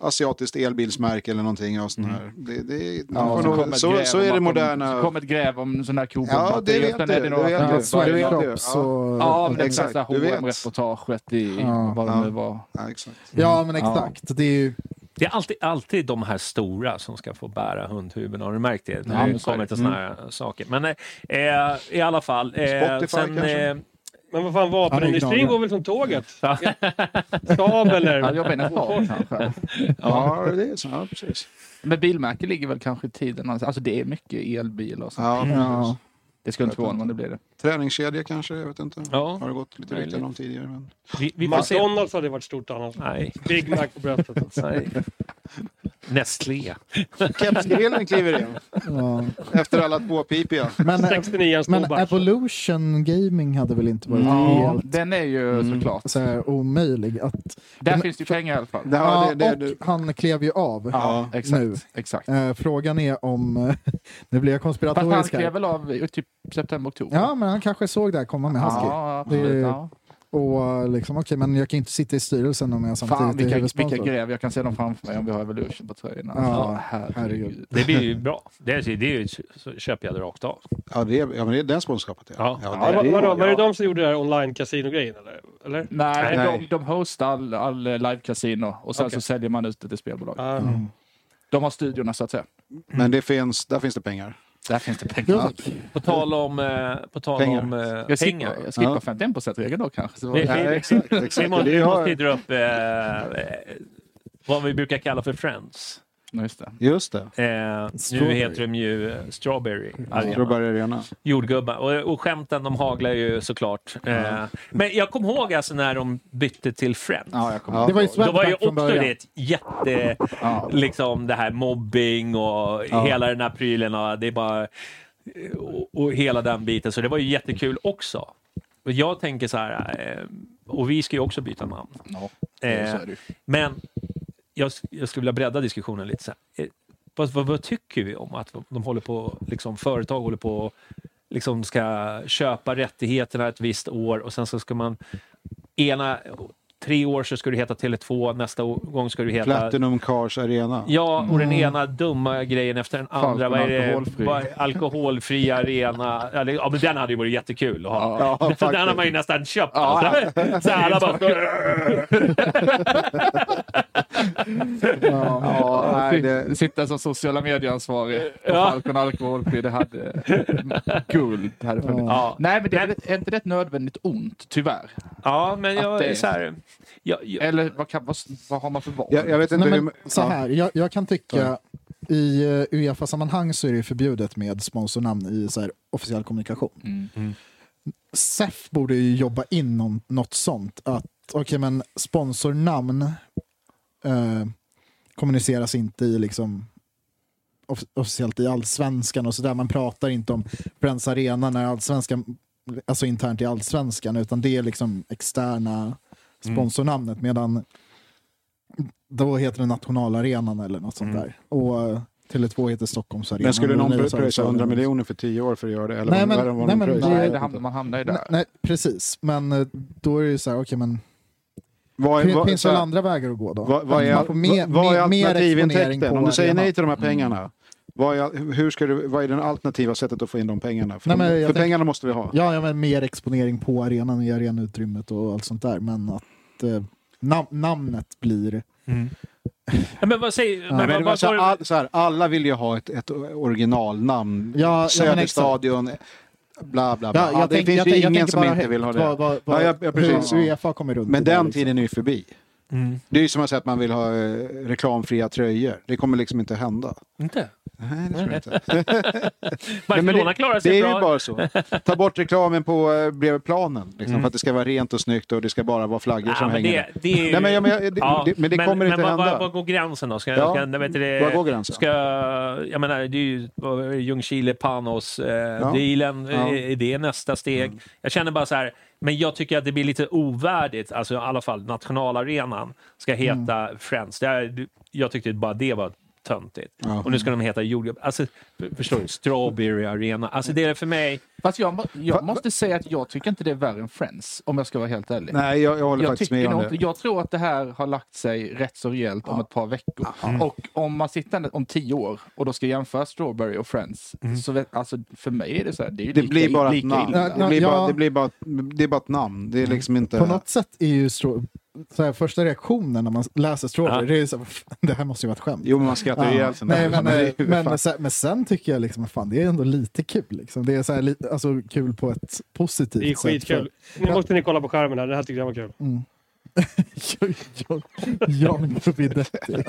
S4: asiatiskt elbilsmärke eller någonting av sån här.
S5: Mm.
S4: Det, det, man får
S2: så
S4: nog-
S2: kommer ett
S4: så,
S2: gräv
S4: så
S2: om
S4: är det
S2: bakom-
S4: moderna...
S2: Så kommer ett gräv om sån där kobalt.
S4: Ja, det vet du, det vet du.
S2: Ja,
S4: Det vet du.
S2: Ja,
S4: Ja.
S2: ja men det
S4: Exakt,
S2: exakt.
S4: du vet.
S2: H&M-reportaget i
S3: Ja.
S2: vad
S3: Ja.
S2: det nu var.
S4: Ja, exakt.
S3: Ja, men exakt. Det är ju...
S1: Det är alltid, alltid de här stora som ska få bära hundhuvuden. Har du märkt det? Det
S2: Ja,
S1: har
S2: men
S1: ju
S2: så är
S1: kommit
S2: det. Mm.
S1: till såna här saker. Men eh, i alla fall. Eh,
S5: Spotify
S1: sen,
S5: kanske?
S1: eh,
S5: Men vad fan,
S1: Han är
S5: vapenindustrin
S1: gnagare.
S5: går väl som tåget? Saab eller...
S2: Han jobbar i en stab kanske.
S4: Ja, det är så. Ja, precis.
S2: Men bilmärke ligger väl kanske i tiden. någonstans. Alltså det är mycket elbilar och
S4: Ja,
S2: sånt.
S4: precis.
S2: Det skulle inte förvåna mig om det blir det.
S4: Träningskedja kanske, jag vet inte. Har det gått lite
S2: möjligt.
S4: rykten om tidigare. Men...
S1: vi, vi får se.
S5: McDonalds hade varit stort annars.
S1: Nej.
S5: Big Mac på bröstet.
S1: Nej. Nestlé.
S4: Kepsgrillen kliver in.
S3: Ja.
S4: Efter alla tvåpipiga.
S3: Men, eh,
S5: 69
S3: men
S5: småback.
S3: Evolution Gaming hade väl inte
S4: Mm.
S3: varit
S2: Ja,
S3: helt
S2: den är ju såklart.
S3: så här, omöjlig att...
S2: Där
S3: Men-
S2: finns det ju pengar i alla fall.
S3: Ja,
S4: Ja, det, det,
S3: och
S4: det,
S3: han klev ju av
S2: Ja, exakt.
S3: nu.
S2: exakt.
S3: Eh, frågan är om... eh, nu blir jag
S2: Fast han
S3: konspiratorisk
S2: skrev
S3: här.
S2: väl av i typ september, oktober?
S3: Ja, men han kanske såg det här komma med Husky.
S2: ja
S3: Det är-
S2: absolut. Ja.
S3: Och eh, liksom, okej, men jag kan inte sitta i styrelsen om jag samtidigt
S2: Fan
S3: är
S2: vilka,
S3: huvudsponsor.
S2: vilka gräv. Jag kan se dem framför mig om vi har Evolution på tröjorna. Alltså,
S3: Ja,
S2: herregud.
S1: Det blir ju bra. Det, är, det är ju, så köper jag det rakt av.
S4: ja, det, är- ja, men det är den sponsorskapet.
S1: Ja.
S5: Ja, vad- vadå, var det
S4: ja.
S5: de som gjorde det här online casino-grejen eller? eller?
S2: Nej,
S4: Nej.
S2: De, de hostar all, all eh, live-casino och sen
S5: Okej.
S2: så säljer man ut det till spelbolag.
S5: Ah.
S3: Mm.
S2: De har studiorna så att säga.
S4: Men det finns, där finns det pengar.
S2: Där finns det pengar.
S1: På tal om, eh, på tal
S4: Pengar.
S1: om eh,
S2: Jag
S1: pengar.
S2: skippar, jag
S4: Ja.
S2: skippar 51%-regeln då kanske. Så var
S1: Vi,
S2: det-
S1: vi,
S4: exakt,
S1: vi
S4: exakt.
S1: måste,
S4: Det
S1: vi
S4: har-
S1: måste hydra upp eh, eh, vad vi brukar kalla för friends.
S2: Ja, Just det.
S4: Just det.
S1: Eh, nu
S3: Strawberry.
S1: heter de ju eh, Strawberry Arena.
S4: Strawberry Arena.
S1: Jordgubbar. Och, och skämten de haglar ju såklart. Eh, men jag kommer ihåg alltså när de bytte till Friends.
S2: Ja, jag kommer
S3: Det var ju
S1: Då var ju
S3: Swedbank från
S1: också det
S3: början.
S1: ett jätte... Liksom det här mobbing och hela den här prylen. Och det är bara... Och, och hela den biten. Så det var ju jättekul också. Och jag tänker så här... Eh, och vi ska ju också byta namn.
S2: Ja,
S1: Eh,
S2: så är det ju.
S1: Men jag, jag skulle vilja bredda diskussionen lite. Så här. Eh, Vad, vad, vad tycker vi om att de håller på, liksom, företag håller på och liksom ska köpa rättigheterna ett visst år och sen så ska man ena tre år så ska du heta Tele2, nästa o- gång ska du heta...
S4: Platinum Cars Arena.
S1: Ja, och den
S4: Mm.
S1: ena dumma grejen efter den
S2: Falcon
S1: andra. Vad är det?
S2: alkoholfri.
S1: Vad är- Alkoholfri arena. Eller, Ja, men den hade ju varit jättekul att ha.
S4: Ja,
S1: den
S4: faktiskt.
S1: har man ju nästan köpt. alltså. Så alla bara...
S2: Ja,
S4: nej,
S2: sit-
S4: det-
S2: Sitta som sociala medieansvarig på
S1: Ja.
S2: Falcon Alkoholfri, det hade guld. Det hade funnits.
S1: Ja.
S2: Nej, men det är, är inte det ett nödvändigt ont, tyvärr?
S1: Ja, men
S2: Att
S1: jag
S2: det
S1: är
S2: är-
S1: så här... Jag,
S4: Eh.
S1: jag,
S2: Eller vad, kan, vad, vad har man för val?
S4: Jag, jag vet inte
S3: Nej, men,
S4: hur...
S3: så
S4: ja.
S3: här, jag, jag kan tycka i eh, Uefa-sammanhang så är det förbjudet med sponsornamn i så här, officiell kommunikation.
S2: Mm.
S3: SEF borde ju jobba in någon, något sånt. Att okej, men sponsornamn eh, kommuniceras inte i liksom off- officiellt i allsvenskan och sådär. Man pratar inte om Friends Arena när allsvenskan, alltså internt i allsvenskan, utan det är liksom externa
S4: Mm.
S3: sponsornamnet. Medan då heter det nationalarenan eller något sånt där. Och eh, Tele2 heter Stockholmsarenan.
S4: Mm. Men skulle
S3: och
S4: någon
S3: Luleå-
S4: pröjsa 100 miljoner för 10 år för att göra det? Eller
S3: Nej,
S4: vad-
S3: men-
S4: vad- vad
S3: nej,
S4: de
S3: men
S4: pröjsar?
S3: det-
S2: Nej, det hamnar, man hamnar ju
S3: Nej,
S2: där.
S3: nej, precis. Men eh, då är det ju så här, okej men
S4: Vad
S3: Fin-
S4: är- vad-
S3: finns
S4: så
S3: det
S4: här,
S3: väl andra vägar att gå då?
S4: vad- vad är-
S3: Man får mer-
S4: vad- vad är
S3: mer- mer exponering på
S4: alternativintäkten? Om du säger
S3: arenan.
S4: nej till de här pengarna, vad är, hur ska du, vad är det alternativa sättet att få in de pengarna? För,
S3: Nej, men
S4: de-
S3: jag
S4: för
S3: tänker-
S4: pengarna måste vi ha.
S3: Ja, ja men mer exponering på arenan i arenautrymmet och allt sånt där. Men att eh, nam- namnet blir...
S1: Ja, men vad säger... men,
S4: Men
S1: vad,
S4: det var
S1: vad,
S4: så här,
S1: vad,
S4: all, så här, alla vill ju ha ett, ett originalnamn.
S3: Ja, ja, men
S4: Söderstadion, bla bla bla. Ja, det
S3: tänk-
S4: finns ju
S3: tänk-
S4: ingen
S3: tänker
S4: som
S3: bara
S4: inte
S3: högt
S4: vill ha det.
S3: Vad, vad, vad,
S4: ja, ja, precis.
S3: hur Uefa kommer runt.
S4: Men
S3: i det,
S4: den
S3: liksom.
S4: tiden är ju förbi. Det är ju som att säga att man vill ha eh, reklamfria tröjor. Det kommer liksom inte hända.
S1: inte?
S4: Nej, det tror jag inte. Nej, men
S1: Barcelona
S4: det-
S1: klarar sig
S4: Det är
S1: bra.
S4: ju bara så. Ta bort reklamen på eh, bredvid planen. Liksom,
S1: Mm.
S4: För att det ska vara rent och snyggt och det ska bara vara flaggor
S1: Ja,
S4: som
S1: men
S4: hänger. där.
S1: det, det är ju...
S4: Nej, men, jag- men, jag- det,
S1: Ja,
S4: det, men det
S1: men-
S4: kommer
S1: men
S4: inte
S1: vad-
S4: hända.
S1: Vad, vad går gränsen då? Ska,
S4: Ja,
S1: ska, vet du det,
S4: var går gränsen?
S1: Ska, jag menar, det är ju vad var det, Ljungskile, Panos-dealen.
S4: Ja. Mm.
S1: Det eh, är nästa steg. Jag känner bara så här, men jag tycker att det blir lite ovärdigt, alltså i alla fall nationalarenan ska
S4: Mm.
S1: heta Friends. Det här, jag tyckte bara det var töntigt.
S4: Ja.
S1: Och nu ska de heta jordgubb... Alltså, för- förstår du? Strawberry Arena. Alltså det är för mig...
S2: Fast jag, må- jag måste säga att jag tycker inte det är värre än Friends, om jag ska vara helt ärlig.
S4: Nej, jag- jag håller faktiskt
S2: tycker
S4: med om
S2: nog
S4: det.
S2: inte- Jag tror att det här har lagt sig rätt så rejält om ett par veckor. Och om man sitter där om tio år och då ska jämföra Strawberry och Friends, så vet, alltså, för mig är det så här, det är ju
S4: Det
S2: lika,
S4: blir bara ett
S2: lika
S4: namn.
S2: illa.
S4: Det blir bara,
S3: Ja.
S4: det blir bara, det är bara ett namn. Det är liksom inte...
S3: På något sätt är ju strå- så här, första reaktionen när man läser Strawberry,
S4: Ja.
S3: det är ju så här, "Fan, det här måste ju vara ett skämt.
S4: Jo, men man skrattar ju ihjäl sig.
S3: Nej,
S4: Men
S3: men,
S4: det är
S3: eh,
S4: ju fan-
S3: men, sen, men sen tycker jag liksom, fan, det är ändå lite kul. Liksom. Det är så här, lite, alltså, kul på ett positivt
S5: Det är skitkul.
S3: sätt.
S5: Nu måste ni kolla på skärmen här, det här tyckte jag var kul.
S3: Mm. John- John Providetti.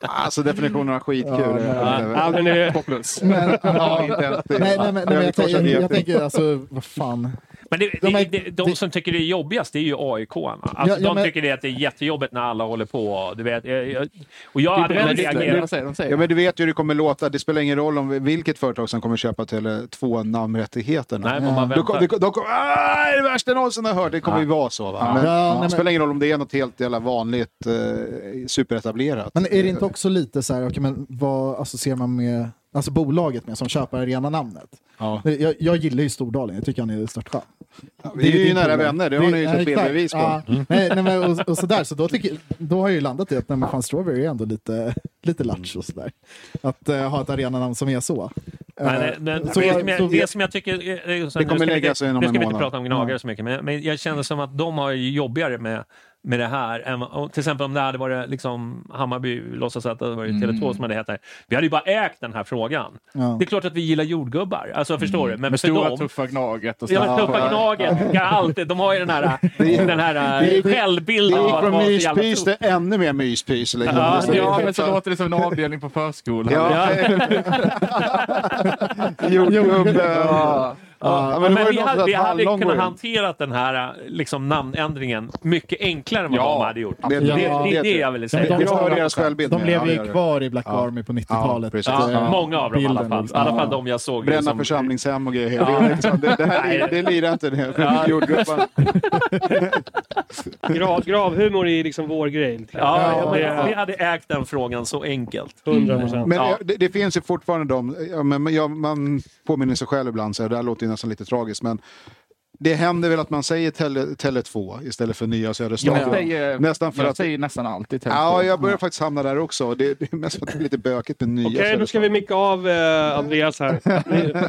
S4: Alltså definitionen av skitkul.
S3: Ja,
S4: är-
S3: nej.
S4: är-
S3: Ja, men det-
S4: På plus.
S3: Men,
S4: Ja, inte ens det.
S3: nej, nej, men, nej, men jag,
S4: Överkors
S3: tänker- jag,
S4: är-
S3: tänker alltså, vad fan.
S1: Men det, de, det, de som tycker det är jobbigast, det är ju AIK-arna. Alltså,
S3: Ja, ja,
S1: de
S3: men-
S1: tycker det att det är jättejobbigt när alla håller på. och Du vet, jag, jag, och jag hade väl reagerat.
S4: Ja, men du vet ju hur det kommer låta. Det spelar ingen roll om vi- vilket företag som kommer köpa Tele2 namnrättigheterna.
S1: Nej, men man
S4: Då kom-
S1: väntar.
S4: då kom- då kom- Ah, det är det värsta jag någonsin har hört. Det kommer
S1: Ja.
S4: ju vara så. Va?
S3: Ja.
S4: Men,
S3: Ja, nej,
S4: det
S3: men-
S4: spelar ingen roll om det är något helt jävla vanligt eh, superetablerat.
S3: Men är det inte också lite så här, okej, men vad associerar man med, alltså bolaget med som köper arenanamnet?
S4: Ja.
S3: Men Jag, jag gillar ju Stordalen, jag tycker han är störtskön.
S4: Eh, vi är ju
S3: din
S4: nära
S3: problem.
S4: vänner, det har ni ju
S3: ja,
S4: sett
S3: exakt.
S4: bevis på.
S3: Ja.
S4: Mm.
S3: Nej, nej, men, och, och sådär, så då, tycker, då har jag ju landat i att nej, men fan, Strawberry är ändå lite, lite lattjo och sådär. Att eh, ha ett arenanamn som är så.
S1: Nej,
S3: Eh,
S1: nej, men
S3: så-
S1: det, som jag,
S3: så-
S1: det som jag tycker... är- är- så-
S3: Det
S1: nu
S3: kommer
S1: ska vi
S3: lägga
S1: inte-
S3: sig inom
S1: Nu
S3: en
S1: ska vi inte
S3: månad.
S1: prata om gnagare så mycket, men, men jag känner som att de har ju jobbigare med, med det här. Än, vad- och till exempel om det hade varit liksom Hammarby, låtsas att det hade varit Tele2 som hade hetat. Vi hade ju bara ägt den här frågan.
S3: Mm. Ja. Mm.
S1: Det är klart att vi gillar jordgubbar, alltså förstår du? Men
S2: Med
S1: för
S2: stora
S1: dem,
S2: tuffa Gnaget och
S1: Ja, men
S2: sådär.
S1: tuffa Gnaget. kan Alltid, de har ju den här, den här
S4: Det är- Det
S1: självbilden av
S4: gick
S1: att
S4: från
S1: vara så jävla
S4: myspys till ännu mer myspys. Liksom.
S2: Ja,
S4: Det är-
S2: ja, men så låter det som en avdelning på förskolan.
S4: Ja.
S1: Jordgubbe.
S2: Ja.
S1: Ja,
S2: Ja,
S1: men
S2: det var ju
S1: vi
S2: någon
S1: hade,
S2: sån
S1: vi
S2: här
S1: hade
S2: hallon
S1: kunnat
S2: går in.
S1: hantera den här liksom, namnändringen mycket enklare än vad
S2: Ja,
S1: de hade gjort.
S2: det-
S1: Det,
S2: ja,
S1: det, det är det
S2: det-
S1: jag ville
S3: Ja,
S1: säga.
S3: men de- De
S4: Ja,
S3: lever
S4: det
S3: ju
S4: gör det.
S3: kvar i Black
S4: Ja.
S3: Army på 90-talet.
S4: precis.
S1: Ja,
S4: Ja.
S1: Många av dem i alla
S4: Bilden
S1: fall. I
S4: liksom.
S1: alla fall de jag såg.
S4: Bränna
S1: liksom-
S4: församlingshem och grejer.
S1: Ja.
S4: Det, är liksom, det, det här
S1: Nej.
S4: det lirar inte det.
S1: Ja.
S4: Jordgubbar.
S5: Grav, gravhumor är liksom vår grej.
S1: Ja, ja,
S5: Det-
S1: men, vi hade ägt den frågan så enkelt.
S5: 100%.
S4: Men
S1: Ja.
S4: eh, det, det finns ju fortfarande de, ja, men, men jag, man påminner sig själv ibland, så här, det här låter ju nästan lite tragiskt, men det händer väl att man säger Tele, Tele2 istället för Nya Söderstan.
S2: Jag säger,
S4: nästan för
S2: jag
S4: att...
S2: säger nästan alltid Tele2.
S4: Ja, jag börjar faktiskt hamna där också. Det, det är mest för att det är lite bökigt med Nya liksom.
S5: Okej, då ska
S4: Söderstan.
S5: vi micka av eh, Andreas här.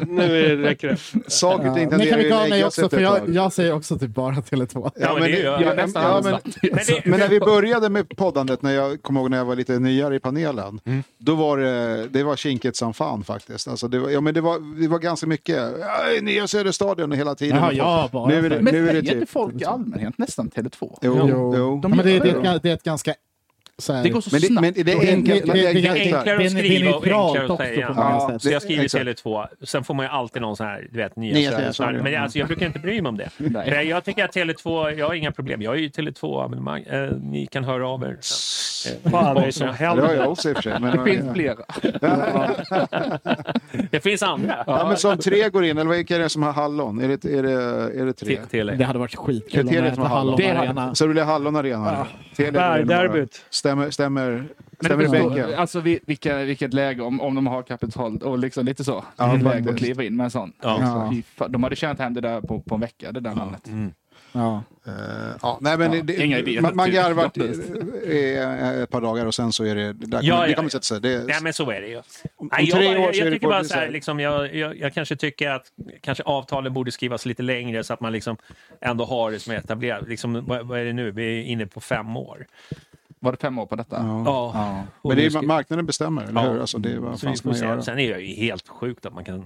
S5: Nu, nu räcker det.
S4: Saker och ting
S3: Ni kan
S4: tenderar ju
S3: vi
S4: att
S3: av mig
S4: lägga
S3: också,
S4: sig
S3: för
S4: ett
S3: jag,
S4: tag.
S3: jag säger också typ bara Tele2.
S4: Ja, men det- ja, men- ja, men- Men när vi började med poddandet, när jag kommer ihåg när jag var lite nyare i panelen,
S3: Mm.
S4: då var det, det var kinkigt som fan faktiskt. Alltså det, var, ja, men det, var, det var ganska mycket "Aj, nya Söderstadion hela tiden.
S3: Jaha,
S4: Och
S3: ja,
S4: folk-
S3: bara.
S4: nu är det,
S2: men
S4: nu är det
S2: säger
S4: typ.
S2: inte folk i allmänhet nästan Tele2?
S4: Jo,
S3: Jo.
S4: jo.
S3: Ja, men det, det, är ett- det är ett ganska... Så här,
S2: Det går så
S4: Men det-
S2: snabbt.
S4: men det är
S3: Och
S4: enkelt-
S3: Det, det, det, det,
S4: det
S3: det,
S4: är enklare
S1: enklare att skriva och enklare att säga.
S3: Ja,
S1: så jag skriver Tele2. Sen får man ju alltid någon sån här, du vet, nya,
S4: Nya
S1: sådär.
S4: Tele2,
S1: Sådär.
S4: ja.
S1: Men jag- alltså, jag brukar inte bry mig om det. Nej. Jag tycker att Tele2, jag har inga problem. Jag är ju Tele2-abonnemang. Eh, ni kan höra av er. Eh,
S5: Fan, det är
S1: sponsra.
S5: så helvete. Det har jag
S4: också i och för sig, men-
S2: Det finns flera.
S1: det finns andra.
S4: Ja, men som tre går in, eller vilka är det som har hallon? Är det, är det, är det tre?
S1: Te- Tele.
S3: det hade varit skitkul
S4: Är
S3: om det
S4: Telia som
S3: hette
S4: har
S3: Hallon
S4: hallon?
S3: det Arena.
S4: Så det blir Hallon Arena? Telia går in och bara-
S5: Bärderbyt.
S4: Stämmer, stämmer,
S2: Men
S4: stämmer i
S2: det förstår-
S4: bänken?
S2: Alltså vi- vilka, vilket läge om, om de har kapital och liksom lite så.
S4: Ja,
S2: vilket läge
S4: faktiskt.
S2: att kliva in med en sån.
S4: Ja.
S2: Alltså, fy fan, de hade tjänat hem det där på, på en vecka, det där namnet.
S3: Ja.
S4: Eh, Ja, nej, men
S2: Ja,
S4: det,
S2: inga idéer.
S4: Man, man
S2: Typ.
S4: garvar i- i- i- eh, ett par dagar och sen så är det... det Där,
S1: Ja,
S4: det
S1: ja,
S4: kommer
S1: ja.
S4: sätta sig. Det,
S1: Nej, men så är det ju.
S4: Om-
S1: Nej,
S4: om
S1: jag,
S4: tre
S1: bara-
S4: år
S1: jag,
S4: så är
S1: jag
S4: det
S1: tycker bara
S4: fortfarande
S1: så här,
S4: så här.
S1: liksom, jag, jag, jag kanske tycker att kanske avtalen borde skrivas lite längre så att man liksom ändå har det som är etablerat. Liksom, vad, vad är det nu? Vi är inne på fem år.
S2: Var det fem år på detta?
S1: Ja.
S4: men det är, ju- marknaden bestämmer, eller hur? Alltså, det, är- vad
S1: Så
S4: fan
S1: vi
S4: ska
S1: får
S4: man
S1: se.
S4: göra?
S1: Sen är det ju helt sjukt att man kan...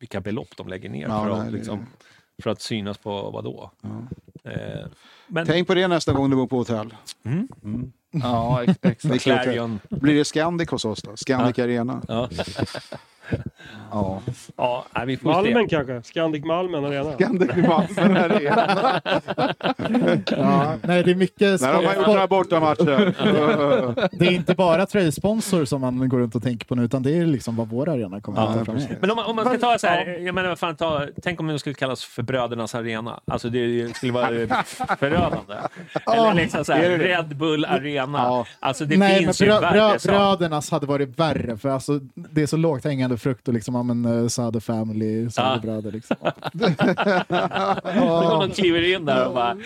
S1: Vilka belopp de lägger ner
S4: Ja,
S1: för,
S4: nej,
S1: att,
S4: det-
S1: liksom, för att synas på vadå? Eh, men
S4: Tänk på det nästa gång du bor på hotell.
S1: Mm.
S2: Ja, ex-
S4: Det är
S2: exakt.
S4: klart. Blir det Scandic hos oss då? Scandic Arena?
S1: Ja.
S4: ja.
S1: Ja, nej, vi får se.
S5: Malmen kanske? Scandic Malmen Arena?
S4: Scandic Malmen Arena.
S3: Ja, nej, det är mycket...
S4: När de har gjort några bortamatcher.
S3: det är inte bara tröjsponsor som man går runt och tänker på nu, utan det är liksom vad vår arena kommer att ta fram.
S1: Men om, man- om man ska ta så här, jag menar, vad fan, ta, tänk om den skulle kallas för Brödernas Arena. Alltså det skulle vara eh, förödande. Eller liksom så
S3: är
S1: här,
S3: det det?
S1: Red Bull Arena. Alltså det
S3: Nej,
S1: finns
S3: men
S1: ju
S3: brö- brö-
S1: värre saker.
S3: brödernas hade varit värre, för alltså, det är så lågt hängande frukt och liksom, ja men eh, Söder family, Söderbröder liksom.
S1: Då kommer de kliver in där och bara...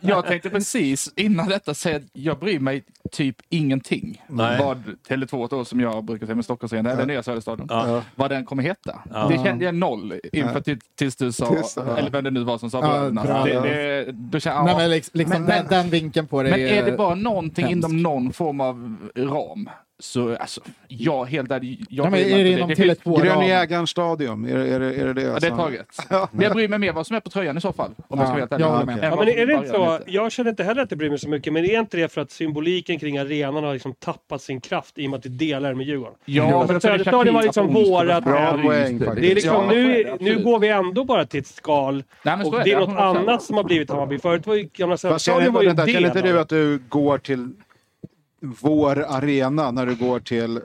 S2: Jag tänkte precis innan detta säga att jag bryr mig typ ingenting.
S1: Nej.
S2: Vad Tele2 då, som jag brukar säga med Stockholmsserien, eller nya Söderstadion, vad den kommer heta.
S1: Ja.
S2: Det kände jag noll inför
S3: Ja.
S2: till, tills du sa,
S3: Tills- ja.
S2: eller vem det nu var som sa
S3: Ja,
S2: bröderna.
S3: bröderna.
S2: Det, det, då kände, jag,
S3: Nej,
S2: ja.
S3: men liksom,
S2: Men-
S3: den,
S2: men-
S3: den vinkeln på det
S2: men är det bara någonting
S3: hemskt.
S2: inom någon form av ram så alltså, jag helt ärligt, jag
S3: Ja, men
S2: bryr mig
S3: är det
S2: inte.
S3: inom
S2: finns-
S3: Tele2
S2: Grön
S4: Grön
S2: jä-
S4: jägaren stadion, är, är, det- är det det?
S2: Ja, det är taget. Men jag bryr mig mer vad som är på tröjan i så fall. Om
S4: alltså? Ja,
S2: jag ska vara helt
S4: jag håller
S2: ärlig.
S4: med.
S2: Än
S5: Ja,
S2: vad
S5: men är det
S2: som
S5: inte
S2: bara-
S5: så? Jag känner inte heller att det bryr mig så mycket, men är inte det för att symboliken kring arenan har liksom tappat sin kraft i och med att vi delar den med Djurgården?
S2: Ja, men
S5: alltså,
S2: för det är
S5: Söderstadion var liksom
S2: Shakira Pontus.
S5: vårat...
S2: Bra poäng,
S5: det är
S2: faktiskt.
S5: liksom,
S2: Ja, så är det,
S5: nu,
S2: absolut.
S5: nu går vi ändå bara till ett skal
S2: Nej, men så
S5: och
S2: är
S5: det är
S2: det,
S5: något
S2: 100%.
S5: annat som har blivit Hammarby. Förut var ju gamla
S4: Fast känner,
S5: Söderstadion var ju en
S4: vänta, känner
S5: del
S4: inte
S5: av
S4: du
S5: det.
S4: att du går till vår arena när du går till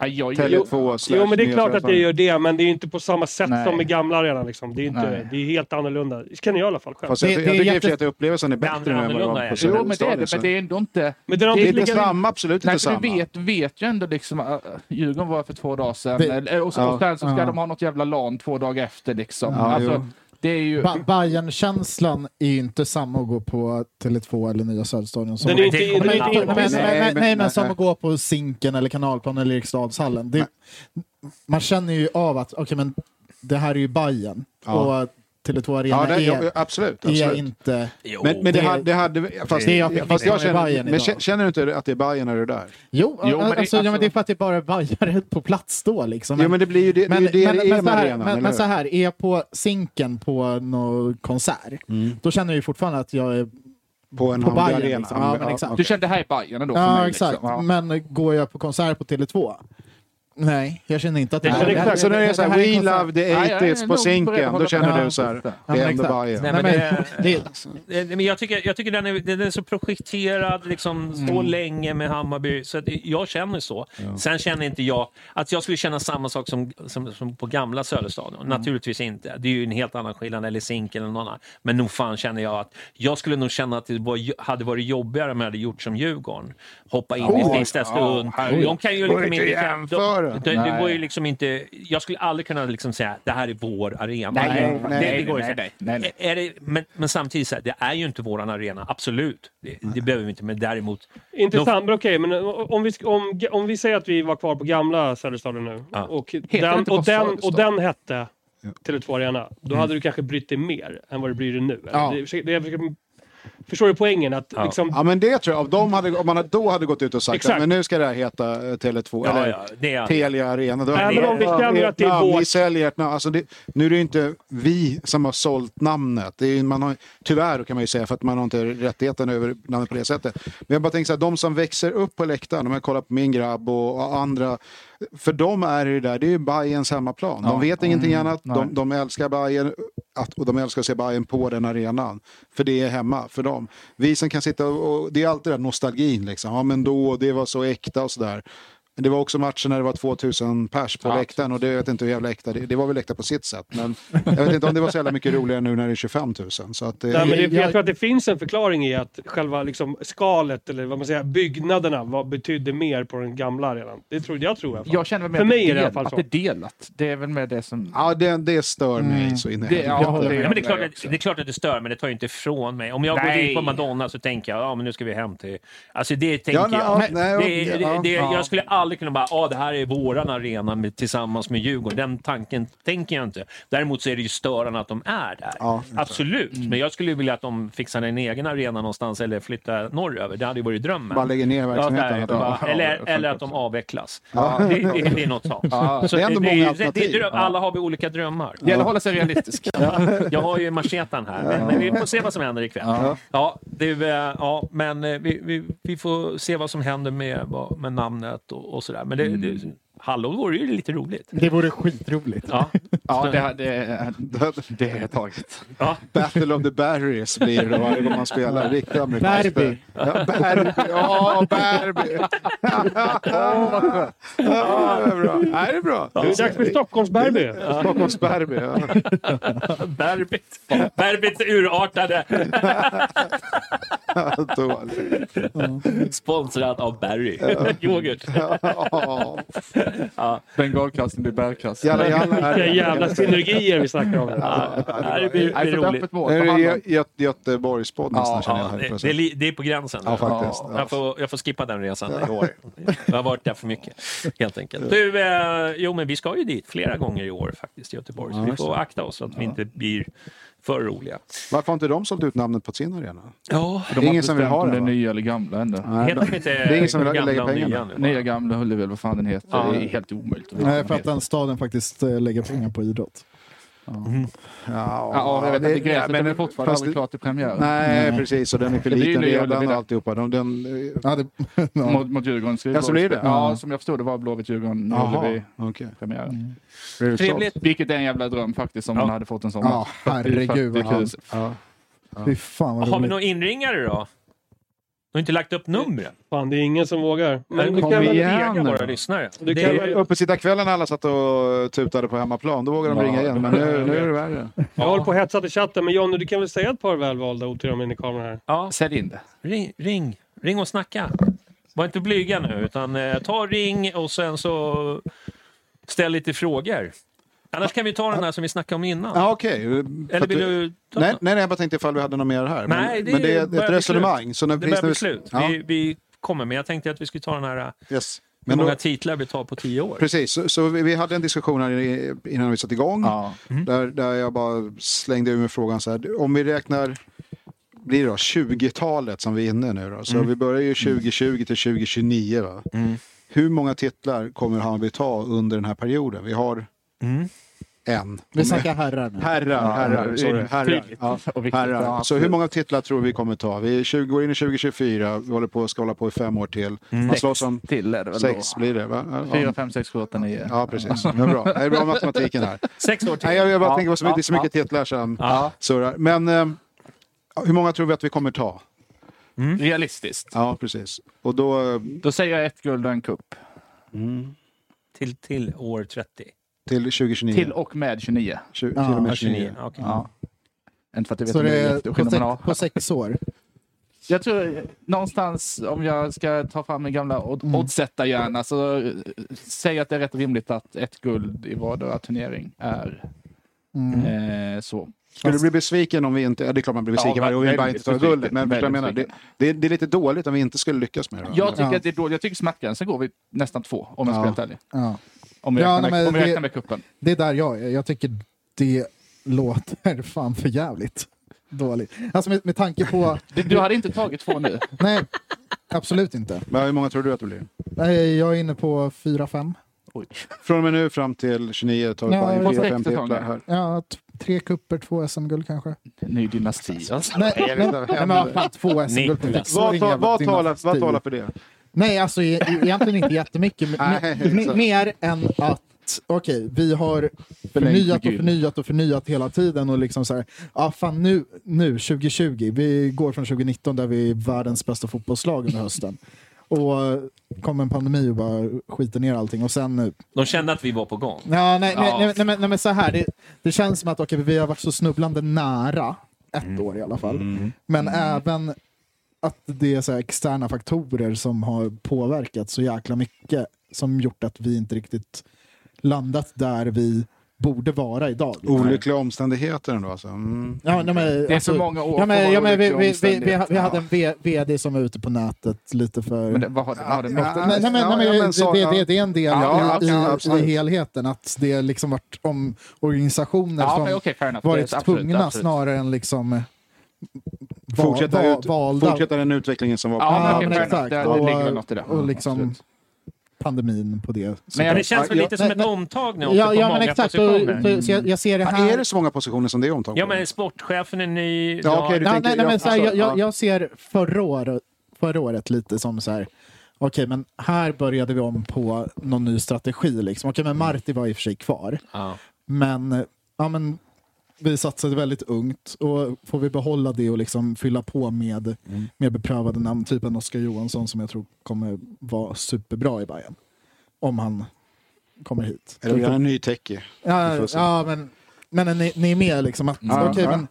S4: Tele2? slash
S5: Jo, men det är klart att
S4: Nyhetsvärlden?
S5: det gör det, men det är ju inte på samma sätt
S4: Nej.
S5: som med gamla arenan. Liksom. Det, är inte,
S4: Nej.
S5: det är helt annorlunda. Det känner jag i alla fall själv.
S4: Fast jag, jag tycker i och för sig att upplevelsen är bättre nu än vad det var på
S2: Jo, men det är
S4: Söderstadion,
S2: det.
S4: så-
S2: Men det är ändå inte...
S5: Men det är
S4: inte samma, absolut
S2: nej,
S4: inte
S2: för Du
S4: liksom- samma.
S2: vet, vet ju ändå liksom... äh, Djurgården var för två dagar sedan.
S3: Det-
S2: eller- och, så,
S3: Ja.
S2: och sen så ska
S3: Ja.
S2: de ha något jävla LAN två dagar efter liksom.
S3: Ja,
S2: alltså,
S3: jo.
S2: det är ju...
S3: Ba- Bayern-känslan är ju inte samma att gå på Tele2 eller Nya Söderstadion som,
S5: Den är inte- den är inte
S3: Nej, men-
S5: inomhus.
S3: men-
S5: Nej,
S3: men-
S5: men-
S3: nej, men som
S5: nej.
S3: att gå på Zinken eller Kanalplan eller Eriksdalshallen. Det, man känner ju av att okej, men det här är ju Bayern
S4: Ja.
S3: och Tele2
S4: Ja,
S3: Arena
S4: det,
S3: är,
S4: ja, absolut.
S3: är
S4: absolut.
S3: inte...
S4: men men det, hade... Det hade fast,
S3: det är jag fick
S4: fast jag
S3: känner,
S4: känner,
S3: Bayern
S4: men
S3: idag.
S4: kä- känner du inte att det är Bayern när du är där?
S3: Jo,
S4: Jo, men det-
S3: alltså, ja, men
S4: alltså-
S3: det är för att det är bara bajare på plats då. Liksom.
S4: Jo, men det blir ju det- det är ju det det är
S3: men, så
S4: med
S3: här,
S4: arenan,
S3: men,
S4: eller
S3: men
S4: hur?
S3: så här, är jag på Zinken på någon konsert,
S4: Mm.
S3: då känner jag ju fortfarande att jag är
S4: På en
S3: Bayern,
S4: Hammarby-arena.
S3: liksom. Ja, men exakt.
S2: Du kände här i Bajen ändå? för
S3: Ja,
S2: mig,
S3: exakt.
S2: Liksom. Ja.
S3: Men går jag på konsert på Tele2? Nej, jag känner inte att
S4: Nej, men exakt. Så när det är så här,
S3: här är
S4: We
S3: konsert.
S4: Love the 80s på Zinken, då känner du så här,
S3: Ja,
S4: det
S3: men
S4: är ändå
S3: exakt.
S4: Bayern.
S3: Nej, men det-
S1: Eh, Men jag tycker, jag tycker den, är, den är så projekterad, liksom, så länge med Hammarby. Så att eh, jag känner så. Sen känner inte jag att jag skulle känna samma sak som, som, som på gamla Söderstadion. Naturligtvis inte. Det är ju en helt annan skillnad, eller Zink eller någon annan. Men nog fan känner jag att jag skulle nog känna att det var, hade varit jobbigare om jag hade gjort som Djurgården. Hoppa in
S4: Oj,
S1: i sista
S4: ja,
S1: stund.
S4: herregud.
S1: de kan ju
S4: Går
S1: liksom
S4: inte
S1: inte...
S4: att jämföra.
S1: de, de, det
S4: Nej.
S1: går ju liksom inte... Jag skulle aldrig kunna liksom säga det här är vår arena.
S2: Nej,
S1: Det-
S2: nej,
S1: det, det går ju
S2: nej,
S1: inte.
S2: nej, nej, nej.
S1: Är det, men, men samtidigt, så här, det är ju inte våran arena, absolut. Det, det behöver vi inte, men däremot...
S5: Intressant, men okej. Men eh, om vi, sk- om, om vi säger att vi var kvar på gamla Söderstadion nu och,
S1: det
S5: den,
S1: inte
S5: och,
S1: bara
S5: den, och
S1: Söderstadion?
S5: den hette Tele2 Arena, då hade du kanske brytt dig mer än vad du bryr dig nu. eller?
S4: Ja.
S5: Det, det, jag försöker- förstår du poängen? Att,
S4: Ja.
S5: liksom,
S4: ja, men det tror jag. Om, de hade, om man hade- då hade gått ut och sagt
S5: Exakt.
S4: men nu ska det här heta eh, Tele2
S1: Ja,
S4: eller
S1: ja, det är-
S4: Telia Arena. Då
S5: Nej,
S4: hade
S5: men
S4: de-
S5: om vi känner att det är
S4: namn,
S5: vårt-
S4: Vi säljer ett namn. Alltså det, nu är det ju inte vi som har sålt namnet. Det är, ju- man har, tyvärr kan man ju säga för att man har inte rättigheten över namnet på det sättet. Men jag bara tänker så här, de som växer upp på läktaren, om jag kollar på min grabb och, och andra, för dem är det ju där, det är ju Bajens hemmaplan. De
S2: Ja.
S4: vet ingenting
S2: Mm,
S4: annat.
S2: nej.
S4: De, de älskar Bayern att, och de älskar att se Bayern på den arenan. För det är hemma för dem. Vi som kan sitta och, och det är alltid den där nostalgin liksom. Ja men då, det var så äkta och sådär. Men det var också matcher när det var 2000 pers på
S2: Ja,
S4: läktaren och det jag vet inte hur jävla äkta det, det var väl äkta på sitt sätt. Men jag vet inte om det var så jävla mycket roligare nu när det är 25 000. Så att eh, det,
S5: Nej, men det, jag, tror att det finns en förklaring i att själva liksom, skalet, eller vad man säger, byggnaderna var, betydde mer på den gamla arenan. Det tror, jag tror i alla fall.
S2: Jag känner väl mer
S5: För mig
S2: att,
S5: är det i alla
S2: del,
S5: fall
S2: att
S5: så.
S2: det är delat. Det är väl med det som...
S4: Ja, det, det stör mig så in i
S2: Mm. Det-
S4: helvete.
S2: ja, det-
S1: Ja, men det, är klart att, det är klart att det stör, men det tar ju inte ifrån mig. Om jag går
S2: Nej.
S1: dit på Madonna så tänker jag, ja men nu ska vi hem till... Alltså det tänker
S4: Ja, nej,
S1: jag.
S4: ja, nej,
S1: det, det,
S4: ja,
S1: det,
S4: ja.
S1: jag skulle aldrig kunna bara, ah, det här är våran arena med, tillsammans med Djurgården. Den tanken tänker jag inte. Däremot så är det ju störande att de är där. Absolut,
S4: Mm.
S1: men jag skulle ju vilja att de fixar en egen arena någonstans eller flyttar norröver. Det hade ju varit drömmen.
S4: Bara lägger ner verksamheten.
S1: Ja, där,
S4: Ja,
S1: bara, eller,
S4: ja,
S1: eller att de avvecklas.
S4: Ja.
S1: Det, det, det är något sånt.
S4: Ja,
S1: Så
S4: det är ändå många
S1: ju-
S4: alternativ.
S1: det är dröm- alla har vi olika drömmar.
S2: Det gäller att hålla sig realistisk.
S1: Jag har ju machetan här, men, men vi får se vad som händer ikväll. Ja. Ja, du, eh, ja, men eh, vi, vi, vi får se vad som händer med, vad- med namnet och, och sådär. Men det, det, hallå vore ju lite roligt.
S3: Det vore skitroligt.
S1: Mm. Ja,
S2: Ja, det, det, det är taget.
S1: Ja.
S4: Battle of the Barriers blir det varje gång man spelar. Riktigt amerikanskt.
S3: Derby.
S4: Ja, Berby. Ja, Berby. Åh, vad skönt. Ja, det är bra. Nej, det är bra.
S5: Det är dags för Stockholmsderby.
S4: Stockholmsderby, ja.
S1: Berbit. Berbits urartade. Sponsrat av Barry. Yoghurt. Ja.
S2: Bengalkasten blir bärkast.
S4: Jalla, jalla, här.
S5: Vilka jävla synergier vi snackar om.
S1: det blir-
S2: Nej,
S1: blir
S2: för
S1: roligt.
S2: öppet mål.
S4: Nu är
S2: Ta
S4: det
S2: hand om-
S4: Gö- Gö- Göteborgspodd nästan, känner jag.
S1: Ja,
S4: här
S1: det,
S4: plötsligt.
S1: det, är li- det är på gränsen.
S4: Ja, faktiskt. Ja.
S1: Jag, får, jag får skippa den resan i år. Jag har varit där för mycket, helt enkelt. Du, eh, jo, men vi ska ju dit flera gånger i år faktiskt, i Göteborg. Så
S4: Ja,
S1: vi
S4: just
S1: får
S4: det.
S1: akta oss så att vi inte blir för roliga.
S4: Varför har inte de sålt ut namnet på sin arena?
S1: Ja,
S4: Det är ingen som vill ha
S2: om
S4: det,
S2: det är
S4: va?
S2: nya eller gamla ändå.
S4: Nej,
S1: Heter de inte
S4: det är ingen som vill
S1: Gamla
S4: lägga
S1: och Nya
S4: pengarna.
S1: nu?
S2: Nya gamla Hulleville, vad fan den heter.
S1: Ja.
S2: Det är helt omöjligt. att
S3: Nej, för
S2: veta vad
S3: att
S2: den
S3: den staden faktiskt eh, lägger pengar på idrott.
S1: Mm.
S2: Ja, jag vet inte.
S4: ja,
S2: Gräset men, är
S4: men-
S2: fortfarande
S4: fast-
S2: aldrig klart till premiären.
S4: Nej, precis. Och den är för
S2: Det blir
S4: liten
S2: ju nya
S4: redan
S2: Ullevi
S4: och
S2: där.
S4: alltihopa. De, den, eh,
S3: Ja, det, ja.
S2: Mot, mot Djurgården. Så
S4: Ja, så blir det.
S2: Ja, som jag förstod det var Blåvitt-Djurgården
S4: Jaha,
S2: Ullevi
S4: okej. Mm.
S2: premiären.
S4: Blev det
S1: Trevligt.
S4: sålt?
S2: Vilket är en jävla dröm faktiskt om
S1: Ja.
S2: man hade fått en sån.
S3: Ja, herregud, vad
S2: 40 000.
S4: Ja.
S3: Fy fan vad
S1: Har vi
S3: roligt.
S1: några inringare då? Du har inte lagt upp numren.
S5: Fan, det är ingen som vågar. Men
S1: du
S4: kom
S1: kan väl
S4: igen
S1: ega
S4: nu.
S1: våra lyssnare?
S5: Du
S1: Det
S5: kan
S1: är-
S5: väl-
S4: Uppe sitta kvällen alla satt och tutade på hemmaplan, då vågade de
S2: Ja.
S4: ringa igen. Men nu, nu är det värre.
S5: jag håller på och hetsat i chatten, men Jonny, du kan väl säga ett par välvalda ord till dem in i kameran här?
S1: Ja,
S2: Sälj in det.
S1: ring, ring, ring och snacka. Var inte blyga nu, utan eh, ta ring och sen så ställ lite frågor. Annars kan vi ta den här som vi snackade om innan.
S4: Ja, okej. För
S1: Eller
S4: att
S1: vill
S4: vi-
S1: du ta
S4: Nej,
S1: något?
S4: nej, nej, jag bara tänkte ifall vi hade något mer här. Men-
S1: Nej, det
S4: men det är
S1: börjar bli
S4: ett resonemang.
S1: slut.
S4: Så när
S1: Det
S4: finns
S1: börjar bli
S4: nu-
S1: slut.
S4: Ja,
S1: Vi, vi kommer, men jag tänkte att vi skulle ta den här eh,
S4: yes.
S1: hur
S4: Men
S1: många
S4: då,
S1: titlar vi tar på tio år.
S4: precis, så, så vi, vi hade en diskussion här i- innan vi satte igång.
S2: Ja.
S4: Där, där jag bara slängde ur mig frågan så här. Om vi räknar, blir det då 20-talet som vi är inne nu då?
S2: Mm.
S4: Så vi börjar ju 2020 till 2029 va? Hur många titlar kommer Hammarby ta under den här perioden? Vi har
S2: Mm.
S4: en.
S3: Vi snackar herrar nu.
S4: Herrar, herrar, sorry, herrar.
S2: tydligt.
S4: Ja,
S2: Och viktigt.
S4: herrar.
S2: Ja,
S4: Så hur många titlar tror vi kommer ta? Vi är 20, går in i 2024, vi håller på, ska hålla på i fem år till. Man slåss om
S2: Till är det väl
S4: sex,
S2: då?
S4: blir det va? Ja,
S2: Mm. Fyra, fem, sex, sju, åtta, nio.
S4: Ja, precis. Det är bra, det är bra matematiken här.
S1: Sex år till.
S4: Nej, jag, jag bara
S2: Ja,
S4: tänker på så mycket,
S2: ja,
S4: det är så mycket titlar som surrar. Men eh, hur många tror vi att vi kommer ta?
S2: Mm. Realistiskt.
S4: Ja, precis. Och då eh,
S2: Då säger jag ett guld och en kupp.
S1: Till, till år 30.
S4: till 2029?
S2: Till och med 29.
S4: Tju-
S3: Ja,
S4: till och med
S1: 29.
S4: 29.
S1: Okej.
S2: Ja. Inte för att jag vet
S3: Så
S2: om det
S3: det
S2: är
S3: är på
S2: jätteskillnad. men ja.
S3: sex, på sex år.
S2: Jag tror någonstans, om jag ska ta fram min gamla
S4: Mm.
S2: odd- oddsättarhjärna, så eh, säger jag att det är rätt rimligt att ett guld i vardera turnering är
S3: Mm.
S2: eh, så.
S4: Skulle du bli besviken om vi inte... Ja, det är klart man blir besviken
S2: Ja,
S4: varje gång vi
S2: väldigt
S4: bara inte tar
S2: besviken.
S4: guldet. Men förstår du vad jag menar? Det,
S2: Väldigt
S4: det, är- det är lite dåligt om vi inte skulle lyckas med det.
S2: Jag tycker att det är dåligt. Jag tycker smärtgränsen går vid nästan två, om jag
S4: Ja.
S2: ska vara helt ärlig.
S3: Ja.
S2: Om jag
S3: Ja, nej,
S2: räknar med,
S3: men
S2: om jag
S3: det-
S2: räknar med kuppen.
S3: Det är där jag är. Jag tycker det låter fan för jävligt dåligt. Alltså med, med tanke på...
S2: Du, du hade inte tagit två nu.
S3: Nej, absolut inte.
S4: Men hur många tror du att det blir?
S3: Nej, jag är inne på 4-5.
S2: Oj.
S4: Från och med nu fram till 29 tar vi
S3: Ja,
S4: bara
S3: på
S4: in fyra,
S2: sex
S4: fem
S2: säsonger.
S4: titlar här.
S3: Ja, t- tre kupper, två SM-guld kanske.
S2: Ny dynasti. Alltså.
S3: Nej,
S4: Jag vet
S3: nej,
S4: inte
S3: nej,
S4: vad
S3: men vad fan, två SM-guld på sex år är
S4: liksom- Vad,
S3: ingen
S4: ta,
S3: jävla
S4: vad, talar,
S3: dynasti.
S4: vad talar för det?
S3: Nej, alltså e- e- egentligen inte jättemycket. men-
S4: Nej,
S3: men-
S4: exakt.
S3: mer än att, okej, vi har förnyat och
S2: guld.
S3: förnyat och förnyat hela tiden och liksom så här, ja fan nu, nu 2020, vi går från 2019 där vi är världens bästa fotbollslag under hösten. Och eh, kom en pandemi och bara skiter ner allting och sen nu.
S1: De kände att vi var på gång.
S3: Ja, nej, nej,
S2: Ja.
S3: nej, nej, men- nej men så här, det, det känns som att okej, vi har varit så snubblande nära, ett
S2: Mm.
S3: år i alla fall, men även att det är så här externa faktorer som har påverkat så jäkla mycket som gjort att vi inte riktigt landat där vi borde vara idag.
S4: Olyckliga omständigheter ändå alltså. Mm.
S3: Ja, nej, men,
S2: Det är så många år
S3: ja, men,
S2: kvar
S3: ja, men, vi,
S2: olika
S3: vi, vi, vi,
S2: omständigheter.
S3: vi hade en V- vd som var ute på nätet lite för...
S2: Men det- vad har det- vad har det med-
S3: Nej, nej, men, nej, men,
S2: Ja, ja, men
S3: det,
S2: så-
S3: det, det, det är en del
S2: Ja,
S3: i,
S2: ja, absolut.
S3: i, i helheten. Att det liksom varit om organisationer
S2: Ja,
S3: som
S2: men okej, fair enough.
S3: varit
S2: Det är absolut,
S3: tvungna
S2: absolut.
S3: snarare än liksom eh, va-
S4: Fortsätta,
S3: va-
S4: ut,
S3: valda.
S4: fortsätta den utvecklingen som var
S3: Ja,
S4: på-
S3: men exakt.
S2: det- det
S3: och,
S2: ligger väl något i det.
S3: och liksom pandemin på det.
S4: Men jag- det känns väl lite som
S3: nej,
S4: ett
S3: nej.
S1: omtag nu också
S3: ja,
S1: på
S3: ja, men
S1: många
S3: exakt. Och,
S1: positioner.
S3: för, så jag, jag ser det
S4: Ja,
S3: här...
S4: Är det så många positioner som det är omtag
S1: Ja, men sportchefen är ny.
S4: Ja, okej, du
S3: Ja,
S4: tänker-
S3: nej, nej, men
S4: jag
S3: så här, jag,
S4: förstår.
S3: jag,
S4: Ja.
S3: jag ser förra, år, förra året lite som så här. Okej, men här började vi om på någon ny strategi. Liksom. Okej, men
S4: Mm.
S3: Marti var i och för sig kvar. Men, ja, men vi satsade väldigt ungt och får vi behålla det och liksom fylla på med
S4: Mm.
S3: mer beprövade namn, typ en Oskar Johansson som jag tror kommer vara superbra i Bayern Om han kommer hit.
S4: Eller vi har en ny techie. Vi
S3: Ja,
S4: får se.
S3: ja men, men ni, ni är med liksom att,
S4: Ja,
S3: okej,
S4: ja.
S3: men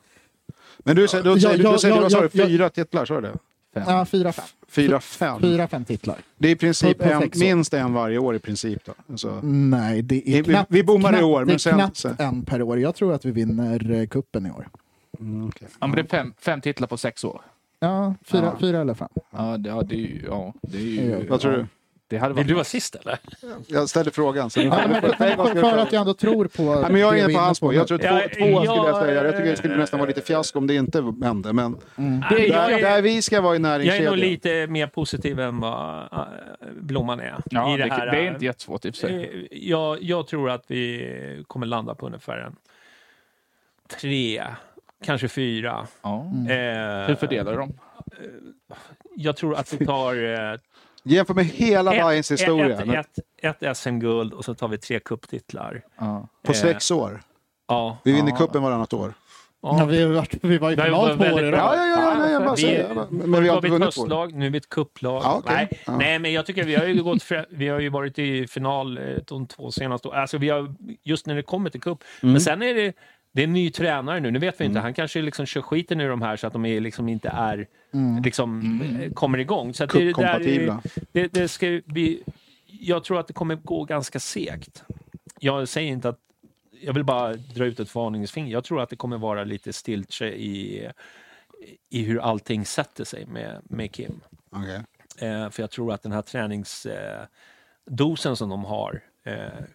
S4: Men du säger,
S3: Ja,
S4: du säger, du
S3: ja,
S4: säger
S3: ja,
S4: vad sa
S3: ja,
S4: du,
S3: ja.
S4: fyra titlar, sa du det?
S3: ja, fyra, fem.
S4: Fyra, fem.
S3: Fyra, fem titlar.
S4: Det är i princip
S3: På- på
S4: en,
S3: sex år.
S4: minst en varje år i princip då. Alltså,
S3: Mm. Nej, det
S4: Vi- vi-
S3: är knappt,
S4: vi bommar i
S3: knappt,
S4: år,
S3: det
S4: men
S3: är
S4: sen-
S3: knappt
S4: sen-
S3: en per år. Jag tror att vi vinner eh, kuppen i år.
S4: mm,
S2: Ja, men det är fem, fem titlar på sex år.
S3: Ja, fyra,
S2: Ja.
S3: fyra eller fem.
S2: Ja, det, ja, det är ju... Ja, det är ju
S4: Vad tror du?
S2: Ja, det hade
S1: Vill
S2: varit...
S1: du vara sist eller?
S4: jag ställer frågan. Så ni
S3: Ja,
S4: får-
S3: men,
S4: Nej, vad
S3: för,
S4: ska
S3: för
S4: jag
S3: att jag ändå tror på...
S4: Nej, men jag är inne på hans
S3: på
S4: spår. Jag tror två,
S1: Ja,
S4: två skulle jag
S1: jag-
S4: säga. Jag tycker det skulle nästan vara lite fiasko om det inte hände. Men
S1: Mm. Det är-
S4: där,
S1: jag är-
S4: där vi ska vara i
S1: Jag är nog
S4: näringskedjan.
S1: lite mer positiv än vad äh, Blomman är.
S2: Ja,
S1: i det,
S2: det,
S1: här,
S2: det är inte jättesvårt i och för sig.
S1: eh, jag, jag tror att vi kommer landa på ungefär en tre, kanske fyra.
S2: Ja.
S1: Eh,
S2: Hur fördelar du dem?
S1: Jag tror att vi tar eh,
S4: Jämför med hela Bajens historia. men-
S1: ett, ett, ett SM-guld och så tar vi tre cuptitlar. Eh,
S2: Ja.
S4: På sex år.
S1: Ja.
S4: Vi vinner
S2: Ja.
S4: cupen varannat år.
S3: Ja, vi, har varit, vi var i
S1: Det har ju
S3: final
S1: varit
S3: två år
S1: väldigt
S3: i
S1: bra.
S3: rad.
S4: Ja, ja, ja, nej, jag bara
S1: Vi-
S4: säger det. Men vi har
S1: var
S4: inte
S1: vi ett
S4: vunnit två.
S1: höstlag, nu är vi ett kupplag.
S4: Ja, okej.
S1: nej,
S4: Ja.
S1: nej, men jag tycker vi har ju, gått fra- vi har ju varit i final eh, de två senaste åren. Alltså, vi har, just när det kommer till cup.
S4: Mm.
S1: Men sen är det, det är en ny tränare nu. Nu vet vi inte. Han kanske liksom kör skiten ur de här så att de är liksom inte är,
S4: Mm.
S1: liksom, eh, kommer igång. Så att det, det, där,
S4: Kuppkompatibla.
S1: det, det ska bli, jag tror att det kommer gå ganska segt. Jag säger inte att jag vill bara dra ut ett varningsfinger. Jag tror att det kommer vara lite stiltje i, i hur allting sätter sig med, med Kim.
S4: Okej.
S1: Eh, för jag tror att den här träningsdosen eh, dosen som de har eh,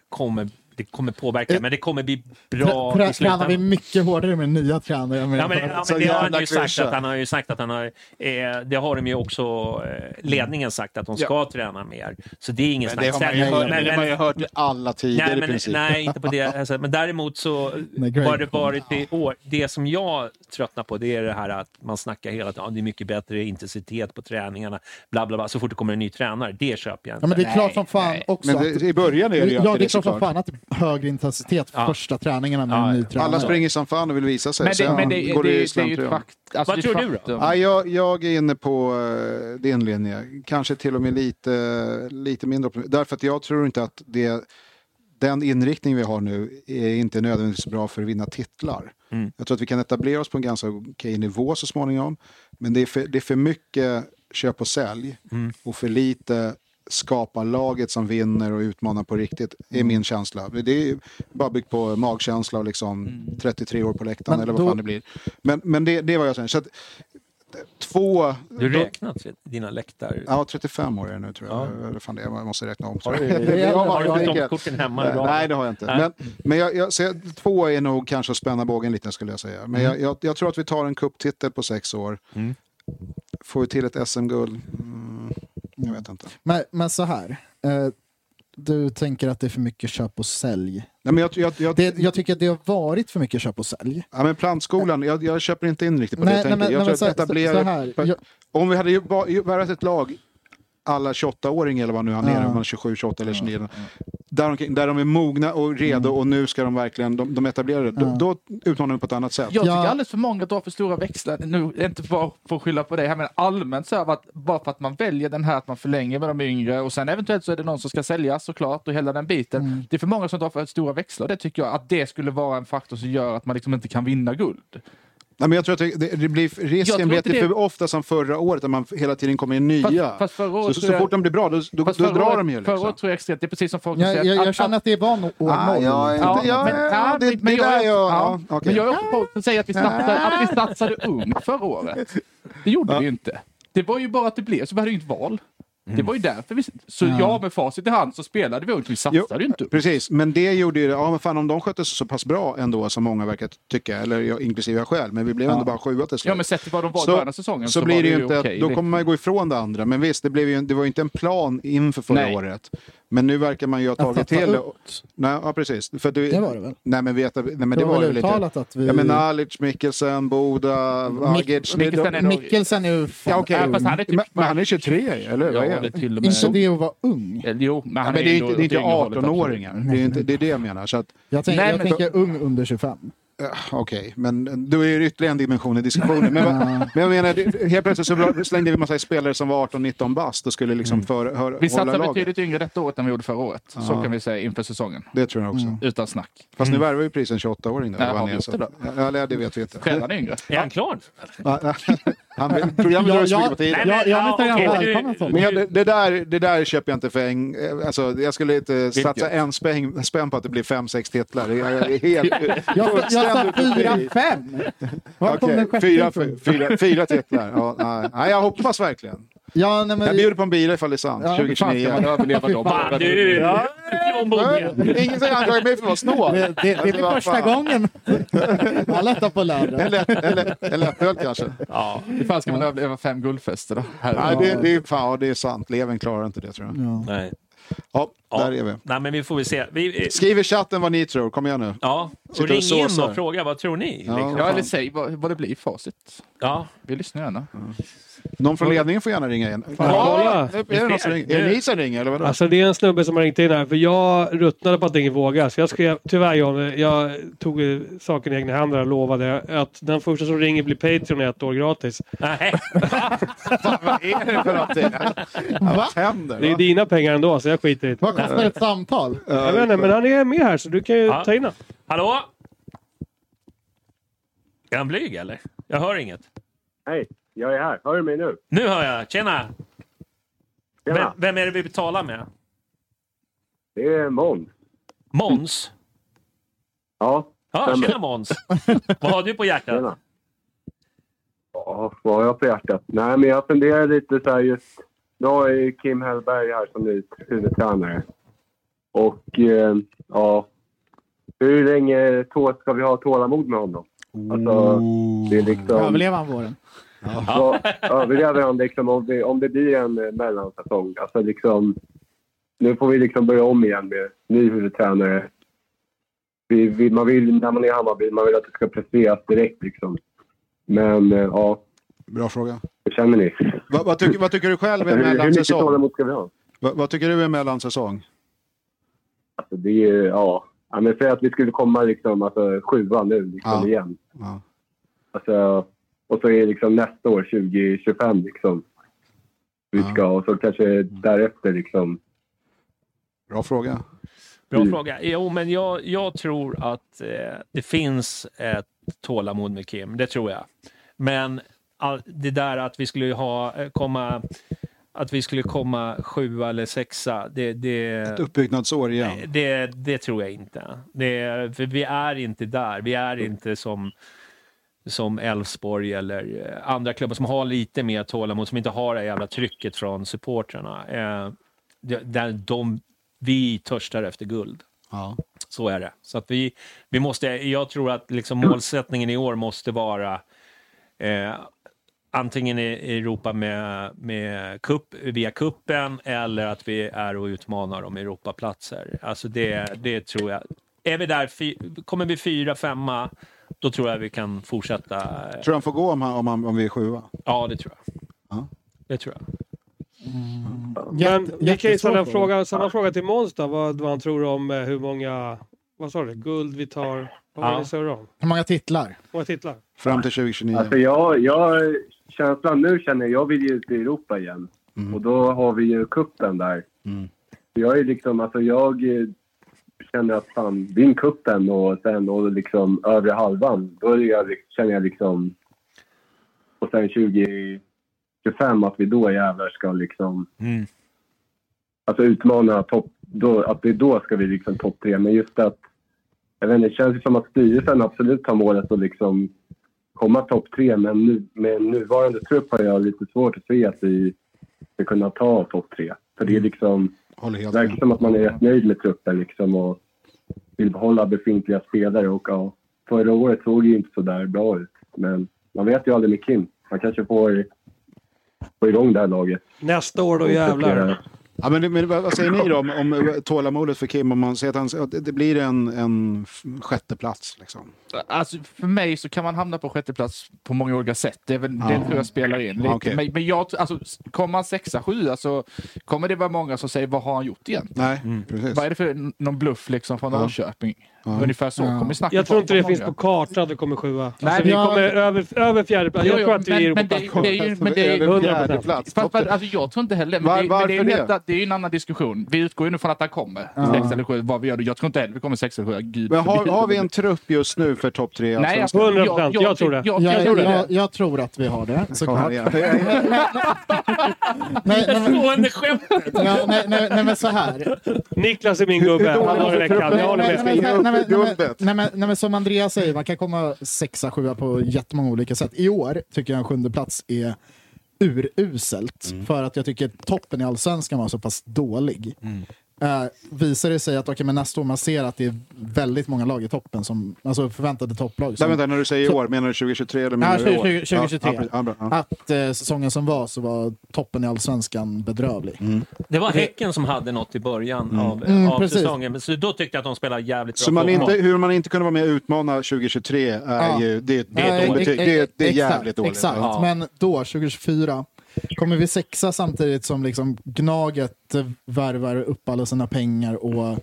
S1: kommer, det kommer påverka,
S3: Eh,
S1: men det kommer bli bra
S3: Trä- trä-
S1: i
S3: Tränar
S1: slutändan.
S3: vi mycket hårdare med nya tränare. Jag menar,
S1: Ja, men, ja,
S4: Så
S1: men det har han
S4: jävla
S1: ju sagt
S4: klyscha.
S1: att han har ju sagt att han har, eh, det har de ju också eh, ledningen sagt att de ska träna mer. Så det är ingen
S4: Men
S1: snack.
S4: det har man ju
S1: Sen-
S4: hört,
S1: men-
S4: det har man ju
S1: men-
S4: hört i alla tider
S1: Nej,
S4: i
S1: men,
S4: princip.
S1: nej, inte på det. Alltså, men däremot så
S3: Nej, Greg.
S1: har det varit i år. Det som jag tröttnar på det är det här att man snackar hela tiden. "Ja, Det är mycket bättre intensitet på träningarna. Bla, bla, bla. Så fort det kommer en ny tränare, det köper jag inte.
S3: Ja, men det är klart som fan också.
S4: Men det, i början är det ju
S3: att, ja,
S4: alltid
S3: det är
S4: det
S3: klart som
S4: såklart.
S3: fan att det är högre intensitet för
S1: Ja.
S3: första träningarna med
S1: Ja,
S3: en ny
S1: ja.
S3: tränare.
S4: Alla springer som fan och vill visa sig.
S2: Men det,
S4: sen
S2: men det, det,
S4: går det, i
S2: det är ju ett
S4: slentrian.
S2: fakt, alltså
S1: Vad
S2: det är ett
S1: tror du då?
S2: faktum.
S4: Ja, jag, jag är inne på eh, din linje, kanske till och med lite, lite mindre optimistisk. Därför att jag tror inte att det, den inriktning vi har nu är inte nödvändigtvis bra för att vinna titlar.
S3: Mm.
S4: Jag tror att vi kan etablera oss på en ganska okej nivå så småningom. Men det är för, det är för mycket köp och sälj
S3: Mm.
S4: och för lite skapa laget som vinner och utmanar på riktigt, är
S3: Mm.
S4: min känsla. Det är ju bara byggt på magkänsla och liksom 33 år på läktaren
S3: Mm. Men
S4: eller vad
S3: då-
S4: fan det blir. Men, men det, det är vad jag säger. Så att, två...
S1: Du räknar till dina läktar...
S4: Ja, 35 år är jag nu tror jag. Eller fan det är, jag måste räkna om.
S1: Har du-
S4: Jag
S1: har du
S4: jag
S1: inte
S4: gick-
S1: tomtkorten hemma?
S4: Nej, Nej, det har jag inte.
S1: Nej.
S4: Men, men jag, jag, så jag, två är nog kanske att spänna bågen lite skulle jag säga.
S1: Mm.
S4: Men jag, jag, jag tror att vi tar en cuptitel på sex år. Får vi till ett SM-guld? Mm, jag vet inte.
S3: Men, men så här. Eh, du tänker att det är för mycket köp och sälj.
S4: Nej, men jag, jag, jag,
S3: Det, jag tycker att det har varit för mycket köp och sälj.
S4: ja, men plantskolan, jag, jag köper inte in riktigt på det.
S3: Nej,
S4: jag
S3: nej,
S4: tänker.
S3: men,
S4: jag
S3: nej,
S4: tror
S3: men så,
S4: att
S3: så, så här.
S4: etablera...
S3: Jag,
S4: Om vi hade ju ba- ju varit ett lag, alla 28-åringar eller vad nu han är,
S3: Ja.
S4: om han är 27, 28 eller 29, Där, omkring, där de är mogna och redo
S2: Mm.
S4: och nu ska de verkligen, de, de etablerar det. Då, då utmanar de på ett annat sätt.
S2: Jag tycker
S3: Ja.
S2: alldeles för många drar för stora växlar, nu inte bara för att skylla på dig här, men allmänt så här, att bara för att man väljer den här att man förlänger med de yngre och sen eventuellt så är det någon som ska säljas såklart och hela den biten.
S3: Mm.
S2: Det är för många som drar för stora växlar och det tycker jag att det skulle vara en faktor som gör att man liksom inte kan vinna guld.
S4: Nej, men jag tror att det, det blir,
S2: Jag tror
S4: risken blir att det
S2: inte
S4: är för
S2: det-
S4: ofta som förra året, att man hela tiden kommer in nya.
S2: Fast- fast förra
S4: så,
S2: året
S4: så,
S2: tror jag-
S4: fort de blir bra, då, då, då
S2: Fast förra
S4: drar
S2: året-
S4: de ju. Liksom.
S2: Förra året tror jag extremt, det är precis som folk
S3: Jag,
S2: säger.
S3: jag, jag känner att det var no- år
S4: Ah,
S3: noll.
S4: jag är inte-
S2: Ja,
S4: jag-
S2: men- ja,
S4: det-
S2: men-
S4: det
S2: men jag
S4: där
S2: är-
S4: jag-
S2: ja,
S4: ja, okej.
S2: Men jag är också på att säga att vi satsade, att vi satsade ungt förra året. Det gjorde vi ju inte. Det var ju bara att det blev så. Vi hade ju inget val. Det var ju därför vi... Så
S4: Mm. Ja.
S2: ja, med facit i hand så spelade vi ungt. Vi satsade ju inte.
S4: Precis, men det gjorde ju det. Ja, men fan om de skötte sig så pass bra ändå som många verkar tycka, eller jag, inklusive jag själv, men vi blev
S2: Ja.
S4: ändå bara sjua till slut.
S2: Ja, men sett till vad de var i början av säsongen
S4: så,
S2: så
S4: blir
S2: var
S4: det ju
S2: det ju
S4: inte,
S2: okej,
S4: då
S2: liksom.
S4: kommer man ju gå ifrån det andra. Men visst, det, blev ju, det var ju inte en plan inför förra
S2: Nej.
S4: året. Men nu verkar man ju ha tagit till det. Nej, ja, precis. För du,
S3: Det var det väl?
S4: Nej, men, vet, nej, men det,
S3: Det var
S4: var
S3: väl
S4: det lite.
S3: uttalat att vi-
S4: Ja, men Nalic, Mikkelsen, Boda, Vagic. det-
S2: Mikkelsen är nog-
S3: Mikkelsen är ju fan
S4: Ja, okej.
S3: ung.
S2: fast han är typ-
S4: men, men han är 23, eller hur? Vad är
S2: Ja,
S4: han?
S2: det till och med...
S3: Inte det att vara ung.
S2: Eller Jo, men
S4: Ja,
S2: han
S4: men det är
S2: ändå
S4: inte, det är inte
S2: åt hållet,
S4: 18-åringar. Det är, inte, det är det jag menar. Så att,
S3: Jag, tänk,
S2: Nej,
S3: jag
S2: men-
S3: tänker ung under 25.
S4: Eh, Okej, men då är det ytterligare en dimension i diskussionen. Men, vad- men jag menar, det- helt plötsligt så bra- slängde vi en massa spelare som var 18-19 bast och skulle liksom
S3: Mm.
S4: för, hör,
S2: Vi
S4: hålla
S2: satsar
S4: laget.
S2: betydligt yngre detta året än vi gjorde förra året.
S4: Ja.
S2: Så kan vi säga inför säsongen.
S4: Det tror jag också.
S3: Mm.
S2: Utan snack.
S4: Fast nu värvar vi precis en 28-åring. där,
S2: Ja,
S4: vad
S2: har
S4: han
S2: vi
S4: är,
S2: gjort
S4: så-
S2: det då?
S4: Ja, eller, det vet vi inte.
S2: Själva är yngre.
S1: Är han klar?
S4: Han, programmet drar
S3: Ja,
S4: ut så
S3: ja,
S4: mycket på tiden.
S3: ja, jag
S1: ja,
S3: vet inte
S1: okej,
S3: vad
S1: men du-
S3: välkommen för.
S4: Men jag, det- det, där, det där köper jag inte för en... eh, Alltså, jag skulle inte satsa en spänn, spänn på att det blir fem, sex titlar. Jag, jag är helt...
S3: Jag, jag sa
S4: fullständigt uppe i-
S3: 4-5. Var kom
S4: Okej,
S3: den sjätte
S4: fyra,
S3: ifrån?
S4: fyra, fyra titlar. Ja, nej. nej, jag hoppas verkligen.
S3: Ja, nej, men,
S4: Jag bjuder på en bil ifall det är sant.
S3: Ja,
S2: Fan ska
S4: 2029.
S2: man överleva dem?
S1: Fan, du! Ja.
S4: Nej, Ingen säger anklagar mig för att vara snål.
S3: det, det, det
S4: Alltså,
S3: blir
S4: vad
S3: första
S4: fan.
S3: gången. Alla tar på
S4: En
S3: lördag.
S4: lätt- En lätt- en lättöl kanske.
S1: Ja.
S2: Hur fan ska man överleva fem guldfester då?
S4: Nej, det, det, är, fan, ja, det är sant. Levern klarar inte det tror jag.
S1: Nej.
S4: Ja,
S1: Ja.
S4: där är vi.
S1: Nej, men vi får väl se. Vi, eh,
S4: Skriv i chatten vad ni tror. Kom igen nu.
S1: ja.
S4: Sitter
S1: Och
S4: och
S1: ring in
S4: såsar.
S1: och fråga, vad tror ni?
S4: Ja.
S1: Liksom.
S2: Ja, eller säg vad, vad det blir facit.
S1: Ja.
S2: Vi lyssnar gärna.
S4: Någon från ledningen får gärna ringa in.
S5: kolla.
S4: Nu Är det, någon som ringer? är det ni som ringer eller vadå?
S5: Alltså det är en snubbe som har ringt in här, för jag ruttnade på att ingen vågar. Så jag skrev, tyvärr John, jag tog eh, saken i egna händer och lovade att den första som ringer blir Patreon i ett år gratis.
S1: Nej.
S4: Vad är det för någonting? Ja, Vad händer?
S5: Det är
S4: va?
S5: dina pengar ändå, så jag skiter i det.
S3: Vad kostar ett samtal?
S5: Jag vet inte, men han är med här så du kan ju
S1: Ja.
S5: ta in honom.
S1: Hallå? Är han blyg eller? Jag hör inget.
S6: Hej, jag är här. Hör du mig nu?
S1: Nu hör jag. Tjena! Vem,
S6: Tjena.
S1: vem är det vi betalar med?
S6: Det är Måns.
S1: Måns?
S6: Ja,
S1: Ja,
S6: Stämmer.
S1: tjena Måns! Vad har du på hjärtat?
S6: tjena. Ja, vad har jag på hjärtat? Nej, men jag funderar lite så här just... Nu har jag ju Kim Hellberg här som ny huvudtränare. Och eh, ja, hur länge tå- ska vi ha tålamod med honom? Alltså, det är liksom...
S3: Överlever han våren?
S6: Vad överlever han liksom om det, om det blir en eh, mellansäsong? Alltså liksom, nu får vi liksom börja om igen med ny huvudtränare. Vi, vi, man vill, när man är i Hammarby, man vill att det ska presteras direkt liksom. Men eh, ja,
S4: Bra fråga.
S6: hur känner ni?
S4: Vad, vad, tycker, vad tycker du själv
S6: Hur,
S4: är
S6: hur mycket
S4: mellansäsong?
S6: tålamod ska vi ha?
S4: Vad, vad tycker du är mellansäsong?
S6: Alltså det är ju, ja. ja men säg att vi skulle komma liksom alltså, sjua nu liksom
S4: Ja.
S6: igen.
S4: Ja.
S6: Alltså, och så är det liksom nästa år 2025 liksom. Vi
S4: Ja. Mm.
S6: ska, och så kanske därefter liksom.
S4: Bra fråga.
S1: Bra
S6: Mm.
S1: fråga. Jo, men jag, jag tror att eh, det finns ett tålamod med Kim. Det tror jag. Men all, det där att vi skulle ha, eh, komma, att vi skulle komma sjua eller sexa, det, det,
S4: Ett uppbyggnadsår igen.
S1: Eh, Det, det tror jag inte. Det, för vi är inte där. Vi är inte som som Elfsborg eller eh, andra klubbar som har lite mer tålamod, som inte har det här jävla trycket från supportrarna. Eh, det- där de, vi törstar efter guld.
S4: Ja.
S1: Så är det. Så att vi, vi måste, jag tror att liksom målsättningen i år måste vara eh, antingen i i Europa med, med kupp, via kuppen eller att vi är och utmanar om Europaplatser. Alltså det, det tror jag. Är vi där, fy, kommer vi fyra, femma, då tror jag vi kan fortsätta.
S4: Tror du han får gå om, han, om, han, om vi är sjua?
S1: Ja, det tror jag.
S4: Ja.
S1: Det tror jag.
S5: Men vi kan ju
S3: jättesvår
S5: ställa en
S3: fråga.
S5: Mm. fråga, samma fråga till Måns då, vad, vad han tror om eh, hur många, vad sa du, guld vi tar? Vad var det
S1: Ja.
S5: ni surrade om?
S3: Hur många titlar?
S5: Många titlar?
S4: Fram till 2029?
S6: Alltså jag, jag, känslan nu känner jag, jag vill ju ut i Europa igen. Och då har vi ju kuppen där. Jag är liksom, alltså jag eh, kände att fan, vinn kuppen och sen och liksom övre halvan. Då är jag, känner jag liksom... Och sen 2025 att vi då jävlar ska liksom...
S1: Mm.
S6: Alltså utmana topp... Då, att det då ska vi liksom topp tre. Men just att... Jag vet inte, det känns ju som att styrelsen absolut har målet att liksom komma topp tre. Men nu, med nuvarande trupp har jag lite svårt att se att vi ska kunna ta topp tre. För det är liksom...
S4: Håller
S6: Det
S4: helt
S6: verkar som att man är rätt nöjd med truppen liksom och vill behålla befintliga spelare. Och, ja, förra året såg det ju inte så där bra ut, men man vet ju aldrig med Kim. Man kanske får, får igång det här laget.
S5: Nästa år då jävlar.
S4: Ja, men, men vad vad säger ni då om, om tålamodet för Kim? Om man säger att han, att det- det blir en, en f- sjätte plats liksom.
S2: Alltså, för mig så kan man hamna på sjätte plats på många olika sätt. Det, är väl, det tror jag spelar in. Lite.
S4: Ja, okej.
S2: Men, men jag, alltså, kommer han sexa, sjua så kommer det vara många som säger vad har han gjort egentligen?
S4: Nej, precis.
S2: Vad är det för någon bluff liksom från
S4: Ja.
S2: Norrköping? Ungefär så kommer snacket
S5: Jag tror
S2: vara
S5: inte det
S2: på
S5: finns
S2: många.
S5: på kartan att vi kommer
S2: Nej,
S5: sjua. alltså, vi
S2: men-
S5: kommer över, över fjärde plats.
S2: Jo,
S5: Jag
S2: jo,
S5: tror att vi
S2: men-
S5: är
S2: men
S5: Europaplats.
S2: det- det är ju- men det är ju-
S4: Över
S5: 100%.
S4: fjärde plats.
S2: Fast, fast, alltså, jag tror inte heller... Men
S4: Var-
S2: det, men det, är
S4: varför
S2: ju
S4: det?
S2: helt- det är ju en annan diskussion. Vi utgår ju nu från att han kommer. Sex eller sju, vad vi gör. då. Jag tror inte heller vi kommer sex eller sju. Gud
S4: Men har,
S2: förbjude.
S4: har vi en trupp just nu för topp tre? i
S2: Nej,
S4: Allsvenskan?
S2: alltså,
S5: 100%, jag tror det.
S2: Jag, jag,
S3: Jag,
S2: tror det.
S3: jag, jag tror att vi har det,
S4: Kom här
S3: såklart.
S4: igen. Jag-
S3: Nej, nej, men-
S1: Stående skämt!
S3: ja, nej, nej, nej, men så här.
S5: Niklas är min gubbe. Han håller med Kalle. Jag håller
S3: Nej,
S5: med.
S3: nej,
S4: Ge
S3: nej,
S4: upp
S3: nej, men- nej, men-
S4: guldet.
S3: nej, men- nej, men Som Andreas säger, man kan komma sexa, sjua på jättemånga olika sätt. I år tycker jag en sjunde plats är uruselt
S4: Mm.
S3: för att jag tycker toppen i allsvenskan var så pass dålig.
S4: Mm.
S3: Eh, visar det sig att okay, men nästa år man ser att det är väldigt många lag i toppen, som, alltså förväntade topplag.
S4: Nej,
S3: Som,
S4: vänta, när du säger i år, menar du 2023 eller
S3: Ja,
S4: menar du i år?
S3: 20,
S4: Ja,
S3: 2023.
S4: Ja, ja, bra, ja.
S3: Att eh, säsongen som var så var toppen i allsvenskan
S4: Mm.
S3: bedrövlig.
S1: Det var Häcken som hade något i början av,
S3: Mm,
S1: av
S3: precis.
S1: säsongen. Men Så då tyckte jag att de spelade jävligt bra
S4: Så man inte,
S1: fotboll.
S4: hur man inte kunde vara med och utmana 2023 är
S3: Ja.
S4: ju... Det, det,
S1: är
S3: Ja,
S4: är
S1: dåligt.
S3: e-
S4: det,
S3: e-
S4: det, det är
S3: exakt,
S4: jävligt dåligt.
S3: Exakt,
S1: Ja.
S3: men då, 2024, kommer vi sexa samtidigt som liksom Gnaget eh, värvar upp alla sina pengar och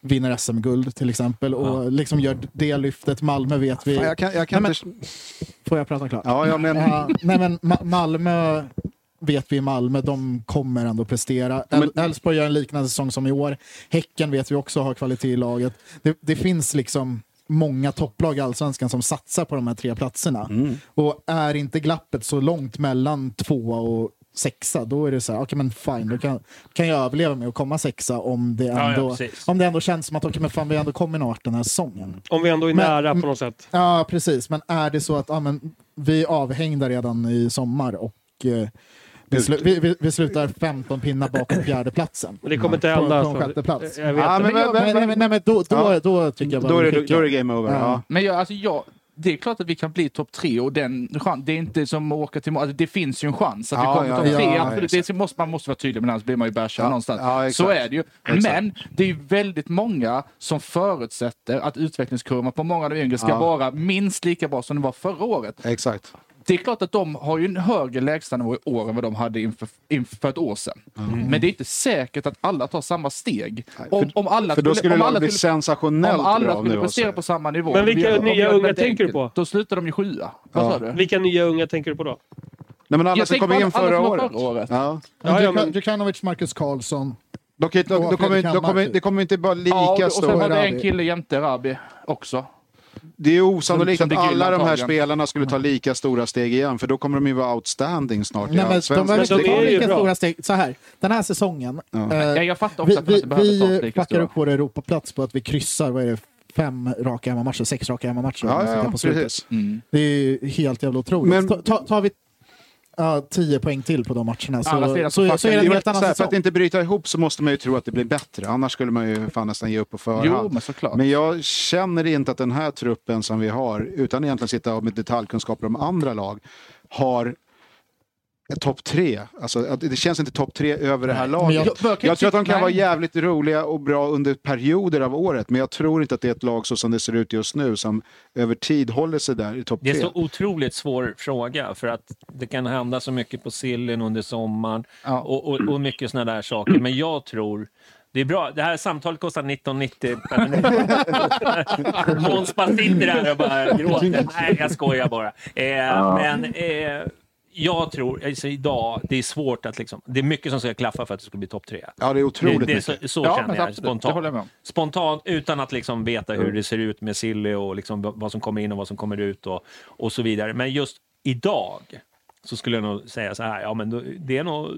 S3: vinner SM-guld till exempel och liksom gör det lyftet. Malmö vet vi...
S4: Fan, jag kan, jag kan
S3: Nej,
S4: inte...
S3: Får jag prata klart?
S4: Ja, ja, men...
S3: Ja, nej, men Ma- Malmö vet vi i Malmö, de kommer ändå prestera. El- Elfsborg gör en liknande säsong som i år. Häcken vet vi också har kvalitet i laget. Det, det finns liksom många topplag i Allsvenskan som satsar på de här tre platserna.
S1: Mm.
S3: Och är inte glappet så långt mellan tvåa och sexa, då är det så här, okej men fine, då kan, kan jag överleva med att komma sexa om det
S1: ja,
S3: ändå,
S1: precis.
S3: om det ändå känns som att okej men fan, vi har ändå kommit någon vart den här säsongen.
S5: Om vi ändå är
S3: Men-
S5: nära på något sätt.
S3: Ja, precis. Men är det så att ja, men, vi är avhängda redan i sommar och eh, vi, slu- vi, vi, vi slutar 15 pinnar bakom fjärdeplatsen?
S5: Men det kommer inte
S3: På-
S5: hända.
S3: På en
S5: alltså.
S3: sjätteplats?
S5: Jag vet
S4: Ja,
S5: inte.
S4: men-
S3: Nej, nej, nej, nej, men då, då,
S4: Ja.
S3: då tycker jag bara
S4: Då är,
S3: vi
S4: det,
S3: skickar.
S4: då är det game over.
S3: Ja.
S4: Ja.
S2: Men jag, alltså jag, det är klart att vi kan bli topp tre och den chan- det är inte som att åka till mål. Alltså det finns ju en chans att vi
S4: Ja,
S2: kommer
S4: ja,
S2: topp
S4: ja,
S2: tre.
S4: ja,
S2: absolut.
S4: exakt.
S2: det måste, man måste vara tydlig med det, annars blir man ju bärsad
S4: Ja,
S2: någonstans.
S4: ja, exakt.
S2: så är det ju.
S4: Exakt.
S2: Men det är ju väldigt många som förutsätter att utvecklingskurvan på många av de yngre ska
S4: Ja.
S2: vara minst lika bra som den var förra året.
S4: Exakt.
S2: Det är klart att de har ju en högre lägstanivå i år än vad de hade inför, inför ett år sedan. Men det är inte säkert att alla tar samma steg.
S4: Mm. Nej,
S2: Om, om alla
S4: För då skulle
S2: om
S4: det
S2: alla
S4: bli
S2: skulle-
S4: sensationellt
S2: om alla
S4: bra nu.
S2: skulle prestera
S4: alltså.
S2: på samma nivå.
S5: Men vilka
S2: om vi gör- om vi
S5: nya
S2: gör det
S5: unga
S2: väldigt
S5: tänker du på?
S2: Då slutar de ju sjua.
S4: Ja.
S2: Vad sa du?
S5: Vilka nya unga tänker du på då?
S4: Nej, men alla
S2: Jag
S4: som
S2: tänker
S4: kom
S2: på alla-
S4: in förra
S2: alla som var
S4: året.
S2: förra året.
S4: Ja.
S5: Ja, ja, men-
S3: Djukanovic, Marcus Karlsson.
S4: Då, kan- då, då kommer, då kommer, det kommer inte bara lika
S2: Ja, och, och sen var
S4: stor...
S2: det en
S3: Rabi.
S2: kille jämte Rabi också.
S4: Det är ju osannolikt
S2: som
S4: att
S2: det gillar
S4: alla de här
S2: antagligen.
S4: spelarna skulle ta lika stora steg igen, för då kommer de ju vara outstanding snart i
S3: Nej, men de
S4: Allsvenskan.
S3: behöver inte
S5: Men de
S3: ta
S5: är ju
S3: lika
S5: bra.
S3: stora steg. Så här, den här säsongen. eh,
S2: Ja, jag fattar också
S3: vi
S2: att man
S3: vi,
S2: inte behöver ta
S3: vi
S2: lika
S3: packar
S2: stora.
S3: upp vår Europaplats på att vi kryssar, vad är det, fem raka hemmamatcher, sex raka hemmamatcher. om
S4: Ja,
S3: man
S4: ja,
S3: ska ta
S4: ja,
S3: på slutet.
S4: precis.
S3: Det är ju helt jävla otroligt.
S4: Men-
S3: Ta, ta, tar vi ja, 10 poäng till på de matcherna så,
S2: Alla
S3: så,
S2: spelar på
S3: så, är det en
S4: Jo, men
S3: helt annan
S4: så här, för
S3: säsong.
S4: att inte bryta ihop så måste man ju tro att det blir bättre. Annars skulle man ju fan nästan ge upp på förhand.
S2: Jo, men såklart.
S4: Men jag känner inte att den här truppen som vi har, utan egentligen sitta med detaljkunskaper om andra lag, har ett topp tre. Alltså, att det känns inte topp tre över det här laget.
S2: jag-
S4: Jag,
S2: jag kan
S4: tror att de
S2: tycka-
S4: kan vara
S2: nej.
S4: jävligt roliga och bra under perioder av året, men jag tror inte att det är ett lag så som det ser ut just nu, som över tid håller sig där i topp
S1: Det är
S4: tre.
S1: så otroligt svår fråga för att det kan hända så mycket på sillen under sommaren
S2: Ja.
S1: och, och, och mycket sådana där saker. Men jag tror det är bra. Det här samtalet kostar 1990 per minut. Måns bara sitter där och bara gråter. Nej, jag skojar bara. Eh, Men eh, jag tror, alltså idag, det är svårt att liksom, det är mycket som ska klaffa för att det ska bli topp tre.
S4: Ja, det är otroligt
S1: det, det är
S4: mycket.
S1: Så, så
S2: Ja,
S1: känner
S2: men
S1: jag
S2: absolut, det håller jag med om.
S1: spontant. Spontant, utan att liksom veta hur det ser ut med Silly och liksom v- vad som kommer in och vad som kommer ut och, och så vidare. Men just idag så skulle jag nog säga så här, ja men då, det är nog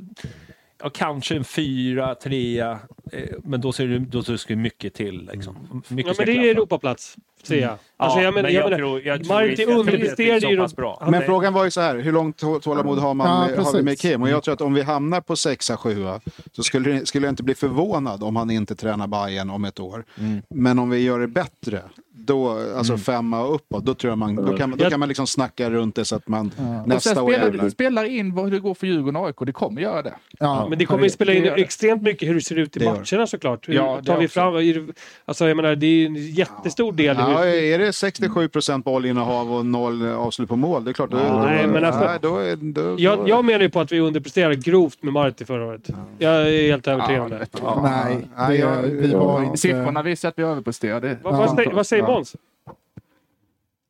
S1: Ja, kanske en fyra, trea, eh, men då ser det, då ser det mycket till. Liksom. Mycket
S5: Ja,
S1: ska
S5: men det är
S1: klaffa.
S5: Europaplats, ser
S4: Mm.
S5: jag.
S1: Ja,
S5: men-
S1: men jag
S5: menar,
S1: tror- jag tror-
S5: Marti
S1: jag tror det är
S5: underpresterade ju...
S1: så pass bra.
S5: Han-
S4: Men frågan var ju så här, hur långt tå- tålamod har, man
S3: Ja,
S4: med, har vi
S3: precis.
S4: med Kim?
S5: Mm.
S4: Och jag tror att om vi hamnar på sexa, sjua så skulle, det- skulle jag inte bli förvånad om han inte tränar Bayern om ett år. Men om vi gör det bättre, då, alltså femma och uppåt, då, tror jag man, då, kan, man- då kan man liksom snacka runt det så att man
S2: Och sen
S4: nästa år
S2: spelar,
S4: jävlar.
S2: det spelar in vad- hur det går för Djurgården och AIK. Det kommer göra det.
S3: Ja,
S5: Men det kommer ju spela in
S2: Det gör det.
S5: extremt mycket hur det ser ut i
S4: Det gör
S5: matcherna såklart. Hur
S2: Ja, det
S5: tar vi
S2: också.
S5: fram... är det- Alltså jag menar, det är en jättestor del. i hur-
S4: Ja, är det 67 procent bollinnehav och noll avslut på mål, det är klart. Då, då,
S5: Nej, men alltså-
S4: nej, då, är- då, då,
S5: Jag, jag menar ju på att vi underpresterade grovt med Marti förra året. Jag är helt övertygad om det.
S4: Ja.
S3: Nej, det,
S4: jag-
S3: vi var
S4: ja.
S3: inte...
S2: Siffrorna visar att vi överpresterade.
S5: Vad, vad, säger, vad säger
S2: Ja.
S5: Måns?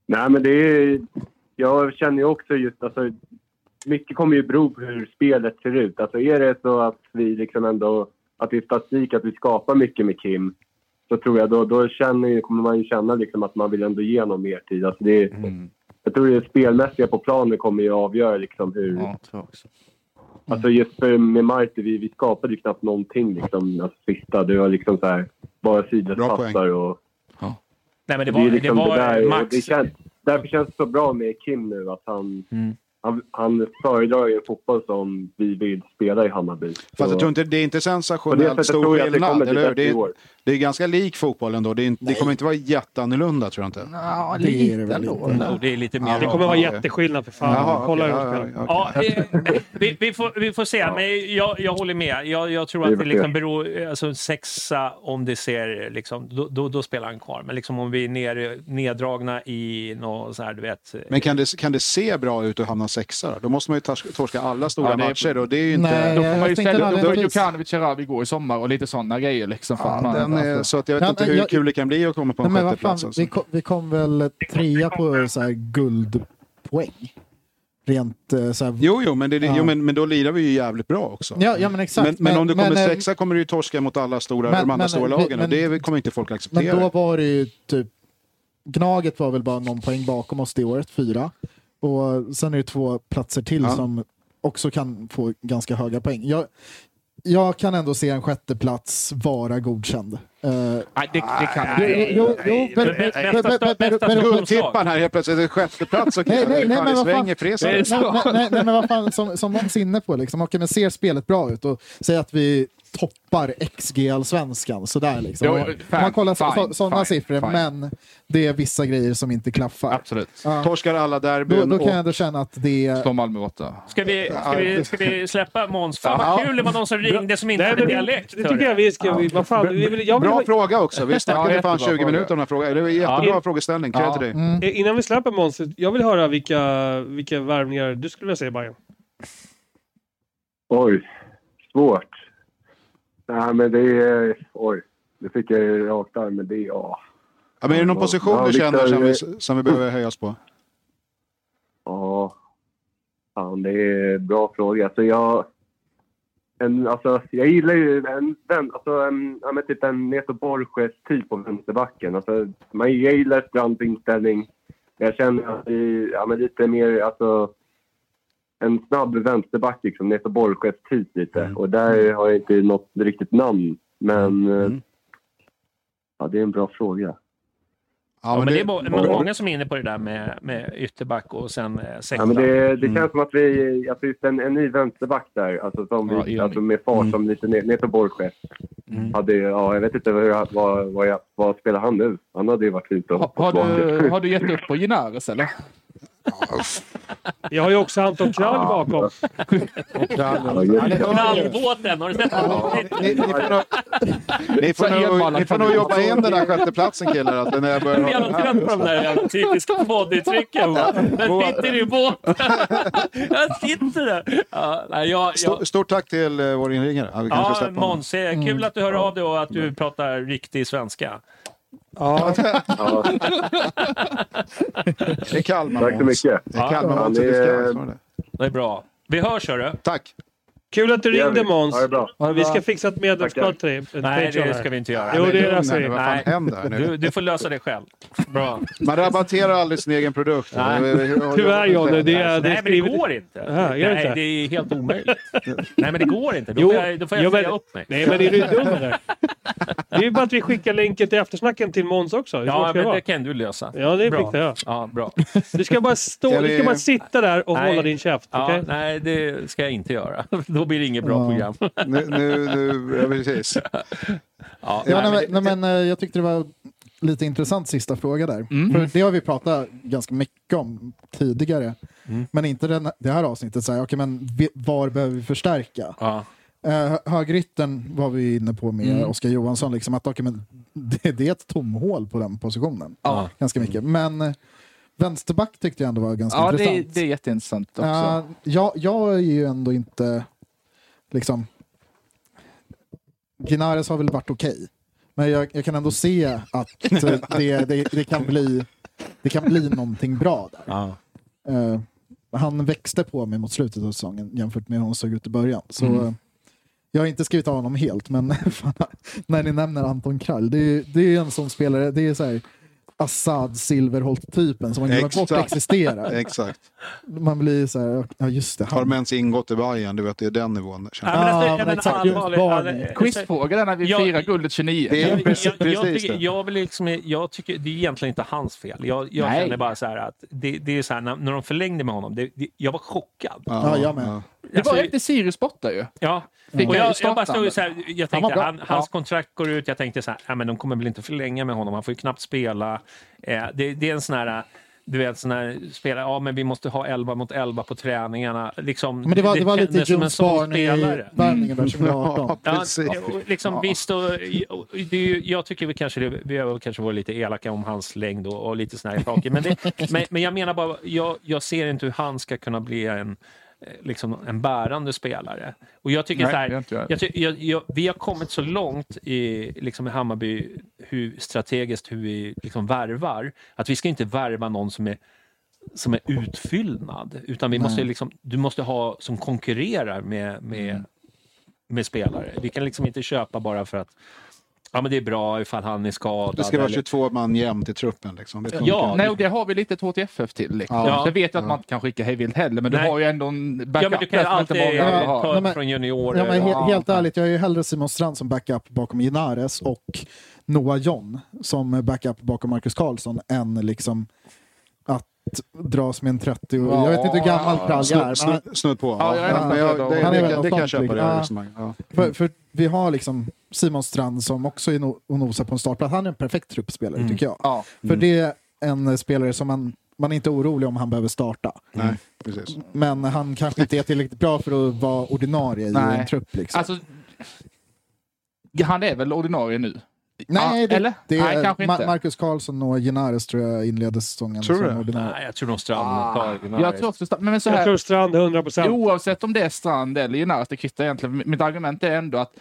S6: Nej, men det är... Jag känner ju också just... Alltså, mycket kommer ju bero på hur spelet ser ut. Alltså, är det så att vi liksom ändå... Att det är statistik, att vi skapar mycket med Kim så tror jag då, då känner, ju- kommer man ju känna liksom att man vill ändå ge honom mer tid. Alltså, det är, Jag tror det spelmässiga på planen kommer ju avgöra liksom hur...
S2: Ja, tror jag också.
S6: Alltså just för, med Marti, vi, vi skapade ju knappt någonting liksom, alltså, sista. Det var liksom så här, bara sidledspassar och...
S1: Nej, men det
S6: Det,
S1: var,
S6: är liksom
S1: det var
S6: det där,
S1: max.
S6: Det känns, därför känns det så bra med Kim nu att han, han, han föredrar ju en fotboll som vi vill spela i Hammarby.
S4: Fast
S6: Så-
S4: jag tror inte, det är inte
S6: på det
S4: sensationellt
S6: sättet
S4: stor
S6: tror jag att det
S4: skillnad,
S6: kommer
S4: eller hur?
S6: bli bättre i
S4: Det är,
S6: år.
S4: det är ganska lik fotbollen då. Det, är, inte- det kommer inte vara jätteannorlunda tror jag inte.
S2: Ja,
S3: Det är
S2: lite
S3: det väl
S2: ändå.
S3: inte.
S1: Jo, det är lite mer.
S4: Ja,
S5: Det kommer vara
S4: ja, ja.
S5: jätteskillnad för fan.
S4: Jaha,
S5: Kolla
S4: okej,
S5: hur de
S4: ja,
S5: spelar.
S4: ja, ja.
S1: Ja, eh, vi, vi, får, vi får se, men jag, jag håller med. Jag, jag tror
S6: Vi
S1: att
S6: får
S1: det
S6: se.
S1: liksom beror... Alltså en sexa, om det ser... Liksom, då, då, då spelar han kvar. Men liksom om vi är ner, neddragna i något så här, du vet...
S4: Men kan det, kan det se bra ut att hamna sexa då? Då måste man ju tors- torska alla stora
S2: Ja, det är-
S4: matcher och det är ju inte...
S3: Nej,
S2: Då får man ju
S3: Eh, Jag tänkte
S2: ställa
S3: väl
S2: upp
S3: det-
S2: Djukanovic, Sharawi går i sommar och lite sådana grejer. Liksom,
S4: Ja,
S2: fan, man,
S4: den är,
S2: alltså.
S4: så att jag vet
S3: Ja,
S4: inte
S3: men
S4: hur
S3: jag-
S4: kul det kan bli att komma på
S3: Nej,
S4: en
S3: men vad
S4: sjätteplats.
S3: fan,
S4: Alltså.
S3: vi, kom, vi kom väl trea på så här guldpoäng? Rent eh, så här...
S4: Jo, jo, men, det, det-
S3: Ja.
S4: jo men, men då lirar vi ju jävligt bra också.
S3: Ja, ja, men exakt.
S4: Men, men, om du kommer
S3: eh,
S4: sexa kommer du ju torska mot alla stora,
S3: men-
S4: de andra
S3: men-
S4: stora
S3: vi-
S4: lagen och
S3: men-
S4: det kommer inte folk
S3: Men
S4: acceptera.
S3: då var det ju typ... Gnaget var väl bara någon poäng bakom oss det året, fyra. Och sen är det två platser till
S4: Ja.
S3: som också kan få ganska höga poäng. Jag, jag kan ändå se en sjätteplats vara godkänd. Eh,
S2: Nej, det, det kan
S3: jo, jo, jo, jo, men- men-
S1: Bästa-
S3: men- men- men-
S1: bästa
S3: men-
S1: skuld-
S4: Guldtipparen här helt plötsligt, en sjätteplats och
S3: Nej, nej, nej, men
S4: fan i
S3: vad fan.
S4: svänger Fresan.
S3: Nej, nej, nej, nej, men vad fan, som, som Måns är inne på, liksom, okej, men ser spelet bra ut och säg att vi toppar XGL-svenskan sådär. Liksom.
S2: Jo,
S3: Om man-
S2: fine,
S3: om man kollar
S2: fine,
S3: sådana
S2: fine,
S3: siffror,
S2: fine.
S3: men det är vissa grejer som inte klaffar.
S2: Absolut.
S3: Ja,
S4: Torskar alla
S3: då,
S4: derbyn
S3: då kan jag
S4: och
S3: ändå känna att det är...
S2: Slå Malmö borta.
S1: Ska vi, ska, vi, ska vi släppa Måns? Fan
S4: Ja.
S1: vad kul det var någon som ringde som inte
S5: Nej,
S1: hade
S5: men det,
S1: dialekt.
S5: det tycker jag vi ska... Vi, vad fan, vi vill, jag vill,
S4: Bra fråga också. Vi snackade
S2: Ja,
S4: fan
S2: jättebra
S4: 20
S2: fråga.
S4: minuter om den här frågan. Det var en jättebra frågeställning. Kredd
S2: Ja.
S4: till dig.
S5: Eh, Innan vi släpper Måns, jag vill höra vilka, vilka värvningar du skulle vilja se i Bayern.
S6: Oj, svårt. Nej, men det är... Oj, det fick jag ju rakt av, men det är... Ja.
S4: Ja, men är det någon position
S6: Ja,
S4: du känner
S6: Viktor,
S4: som vi,
S6: eh,
S4: som vi behöver höja oss på?
S6: ja. Fan, det är en bra fråga. Alltså, jag... En, alltså, jag gillar ju en, den, alltså, en, ja, men typ en Neto Borges-typ på vänsterbacken. Alltså, man, jag gillar Strands inställning. Jag känner att vi, ja, men lite mer, alltså, en snabb vänsterback liksom, Neto Borges-typ lite. Och där har jag inte något riktigt namn. Men, eh, ja, det är en bra fråga.
S1: Ja, men det är bo- men många som är inne på det där med, med ytterback och sen eh, sexa.
S6: Ja, men det, det känns som att vi... Att just en, en ny vänsterback där, alltså, som
S2: Ja, Mm.
S6: vi,
S2: Elmi.
S6: alltså med fart som lite ner, ner på Borges. Hade, ja, jag vet inte hur, vad, vad, jag, vad spelar han nu? Han hade ju varit fint
S2: Ha, har, du, har du gett upp på Ginares eller?
S5: Jag har ju också Anton Krall bakom.
S1: Knallbåten, har du sett den?
S4: Ni, ni får nog, ni får
S2: Så
S4: nog,
S2: enballa
S4: ni får nog
S2: familj.
S4: jobba in den där sjätteplatsen killar. Att när jag börjar
S1: Jag är jävla trött på de där jävla typiska podduttrycken. va? Den sitter i båten. Den sitter där. Ja, nej, jag, jag,
S4: Stort, stort tack till eh, vår inringare. Ja, vi kanske
S1: ja,
S4: släpper honom.
S1: Måns, eh,
S5: Mm.
S1: kul att du hör av dig och att du pratar riktig svenska.
S3: Ja,
S6: Ja,
S4: Det är Kalmar
S6: tack så
S4: Måns.
S6: mycket.
S4: Det är Kalmar
S6: Ja,
S4: Måns.
S6: det
S4: vi ska
S6: är-
S4: ansvara det.
S1: Det är bra. Vi hörs hörru.
S4: Tack.
S5: Kul att du
S1: Det gör
S5: ringde
S1: vi.
S5: Måns.
S1: Ha det bra. Ha det
S5: Vi
S1: bra.
S5: ska fixa ett medlemskap till dig. ett
S1: Nej,
S5: Patreon
S1: det
S5: här.
S1: ska vi inte göra.
S5: Jo, det
S4: lugna
S5: löser
S4: nu, Vad fan
S1: Nej.
S4: händer här nu?
S1: Du, du får lösa det själv. Bra.
S4: Man rabatterar aldrig sin egen produkt.
S1: Nej.
S4: Jag- jag- jag-
S5: Tyvärr, Jonny, det är-
S1: Nej, men det
S5: skrivet-
S1: går inte.
S5: Aha, gör det
S1: Nej,
S5: inte?
S1: det är helt omöjligt. Nej, men det går inte. Då
S5: Jo,
S1: får jag, då får jag
S5: jo, men-
S1: säga upp mig.
S5: Nej, men är du dum eller? Det är ju bara att vi skickar länken till eftersnacken till Måns också. Hur svårt
S1: Ja,
S5: ska
S1: men
S5: vara?
S1: det kan du lösa.
S5: Ja, det
S1: Bra.
S5: fixar jag.
S1: Ja, bra.
S5: Du ska bara, stå,
S4: Ska
S5: du
S4: vi-
S5: ska bara sitta där och
S1: Nej.
S5: hålla din käft.
S1: Ja,
S5: okej?
S1: Nej, det ska jag inte göra. Då blir det inget bra
S3: Ja.
S1: program.
S4: Nu, nu, nu, ja, precis.
S1: Ja,
S3: Ja, nej,
S1: men-
S3: men, nej, men, eh, jag tyckte det var lite intressant sista fråga där. För det har vi pratat ganska mycket om tidigare. Men inte den, det här avsnittet. Så här, okej, men vi, var behöver vi förstärka?
S1: ja.
S3: Eh, högrytten var vi inne på med Oskar Johansson. Liksom, att, okej, men det, det är ett tomhål på den positionen.
S1: Ja.
S3: Ganska mycket. Men eh, vänsterback tyckte jag ändå var ganska
S2: Ja, det,
S3: intressant.
S2: det är jätteintressant också.
S3: Eh, jag, jag är ju ändå inte... Liksom, Ginares har väl varit okej. Men jag, jag kan ändå se att eh, det, det, det, kan bli, det kan bli någonting bra där.
S1: Ja.
S3: Eh, han växte på mig mot slutet av säsongen jämfört med hur han såg ut i början. Så eh, Jag har inte skrivit av honom helt, men fan, när ni nämner Anton Krall, det är, ju- det är ju en sån spelare, det är så här Assad Silverholt-typen som man glömmer bort
S4: Exakt.
S3: existerar.
S4: Exakt.
S3: Man blir så här, ja just det.
S4: Har
S3: Han,
S4: de ens ingått i Bayern? Du vet, det är den nivån. känner jag.
S1: men alltså,
S3: Ja, men exakt.
S1: jag menar,
S3: Just
S1: allvarligt, alltså,
S3: barn.
S1: allvarligt.
S2: Quizfråga där när vi
S1: Ja,
S2: firar guldet 29.
S4: Det är
S1: Jag, jag,
S4: precis-
S1: jag,
S4: precis
S1: tycker,
S4: det.
S1: jag, vill liksom, jag tycker det är egentligen inte hans fel. Jag, jag
S2: Nej.
S1: känner bara så här att det, det är så här, när, när de förlängde med honom, det, det, jag var chockad.
S3: ja, jag med.
S2: Det var
S1: Alltså,
S2: efter Sirius borta ju.
S1: Ja,
S2: Fick
S3: Mm.
S1: och
S2: han ju
S1: jag, jag bara
S2: starten.
S1: stod ju så här, jag
S2: var
S1: tänkte,
S2: bra.
S1: han, hans
S2: Ja.
S1: kontrakt går ut, jag tänkte så här, "Ja, men de kommer väl inte förlänga med honom, han får ju knappt spela. Eh, det, det är en sån här, du vet, sån här spelare, ja men vi måste ha 11 mot 11 på träningarna. Liksom,
S3: Men det var, det var lite
S1: kändes som en
S3: Jones
S1: sån
S3: Barn i
S1: spelare.
S3: värmningen där 2018.
S4: Ja,
S1: Ja,
S4: precis.
S1: och liksom, Visst, och, och, det är ju- jag tycker vi kanske det, vi har väl kanske varit lite elaka om hans längd och, och lite såna här saker. Men, det, men, men jag menar bara, jag, jag ser inte hur han ska kunna bli en, eh, liksom, en bärande spelare. Och jag tycker
S2: Nej,
S1: så
S2: det är
S1: här,
S2: inte jag.
S1: jag ty, jag, jag, vi har kommit så långt i, liksom, i Hammarby hur, strategiskt hur vi liksom, värvar, att vi ska inte värva någon som är som är utfyllnad, utan vi måste liksom, du måste ha som konkurrerar med, med,
S2: Mm.
S1: med spelare. Vi kan liksom inte köpa bara för att ja, men det är bra ifall han är skadad.
S4: Det ska vara
S1: eller-
S4: 22 man jämnt i truppen. Liksom. Det funkar.
S1: Ja,
S2: Nej, och det har vi lite HTFF till. Liksom.
S1: Ja.
S2: Jag vet att man inte kan skicka hej vilt heller, men
S1: Nej.
S2: du har ju ändå en backup.
S1: ja, men du kan ju
S2: där som inte
S1: alltid
S2: många andra
S1: ta
S2: har.
S3: Nej, men-
S1: från juniorer.
S3: Ja, men he
S2: Ja.
S3: helt ärligt, jag är ju hellre Simon Strand som backup bakom Ginares och Noah John som backup bakom Marcus Karlsson än liksom att dras med en 30 och, Jag vet inte hur gammal Krall
S4: Snu-
S3: är. Men,
S4: snu- Snudd på.
S2: Ja, jag är
S4: men jag, det,
S3: Han
S4: det,
S3: är väl
S4: kan- det kan jag köpa det
S3: offentlig.
S4: här
S3: Ja.
S4: resonemanget. Ja.
S3: för, för vi har liksom Simon Strand som också är no och nosar på en startplats. Han är en perfekt truppspelare tycker jag.
S2: Ja.
S3: För det är en spelare som man, man är inte orolig om han behöver starta.
S4: Nej, precis.
S3: Men han kanske inte är tillräckligt bra för att vara ordinarie i
S2: Nej.
S3: en trupp. Liksom.
S2: Alltså, han är väl ordinarie nu?
S3: Nej,
S2: Ja,
S3: det,
S2: eller?
S3: det
S2: Nej,
S3: är
S2: kanske
S3: Ma-
S2: inte.
S3: Marcus Karlsson och Genares tror jag inledde säsongen
S4: Tror du
S3: som
S4: det?
S3: ordinarie.
S1: Nej, jag tror nog Strand
S2: Ah,
S1: tar
S2: jag tror också, men, men så
S5: Jag
S2: här,
S5: tror Strand 100 procent.
S2: Oavsett om det är Strand eller Gennares, det kvittar egentligen. Mitt argument är ändå att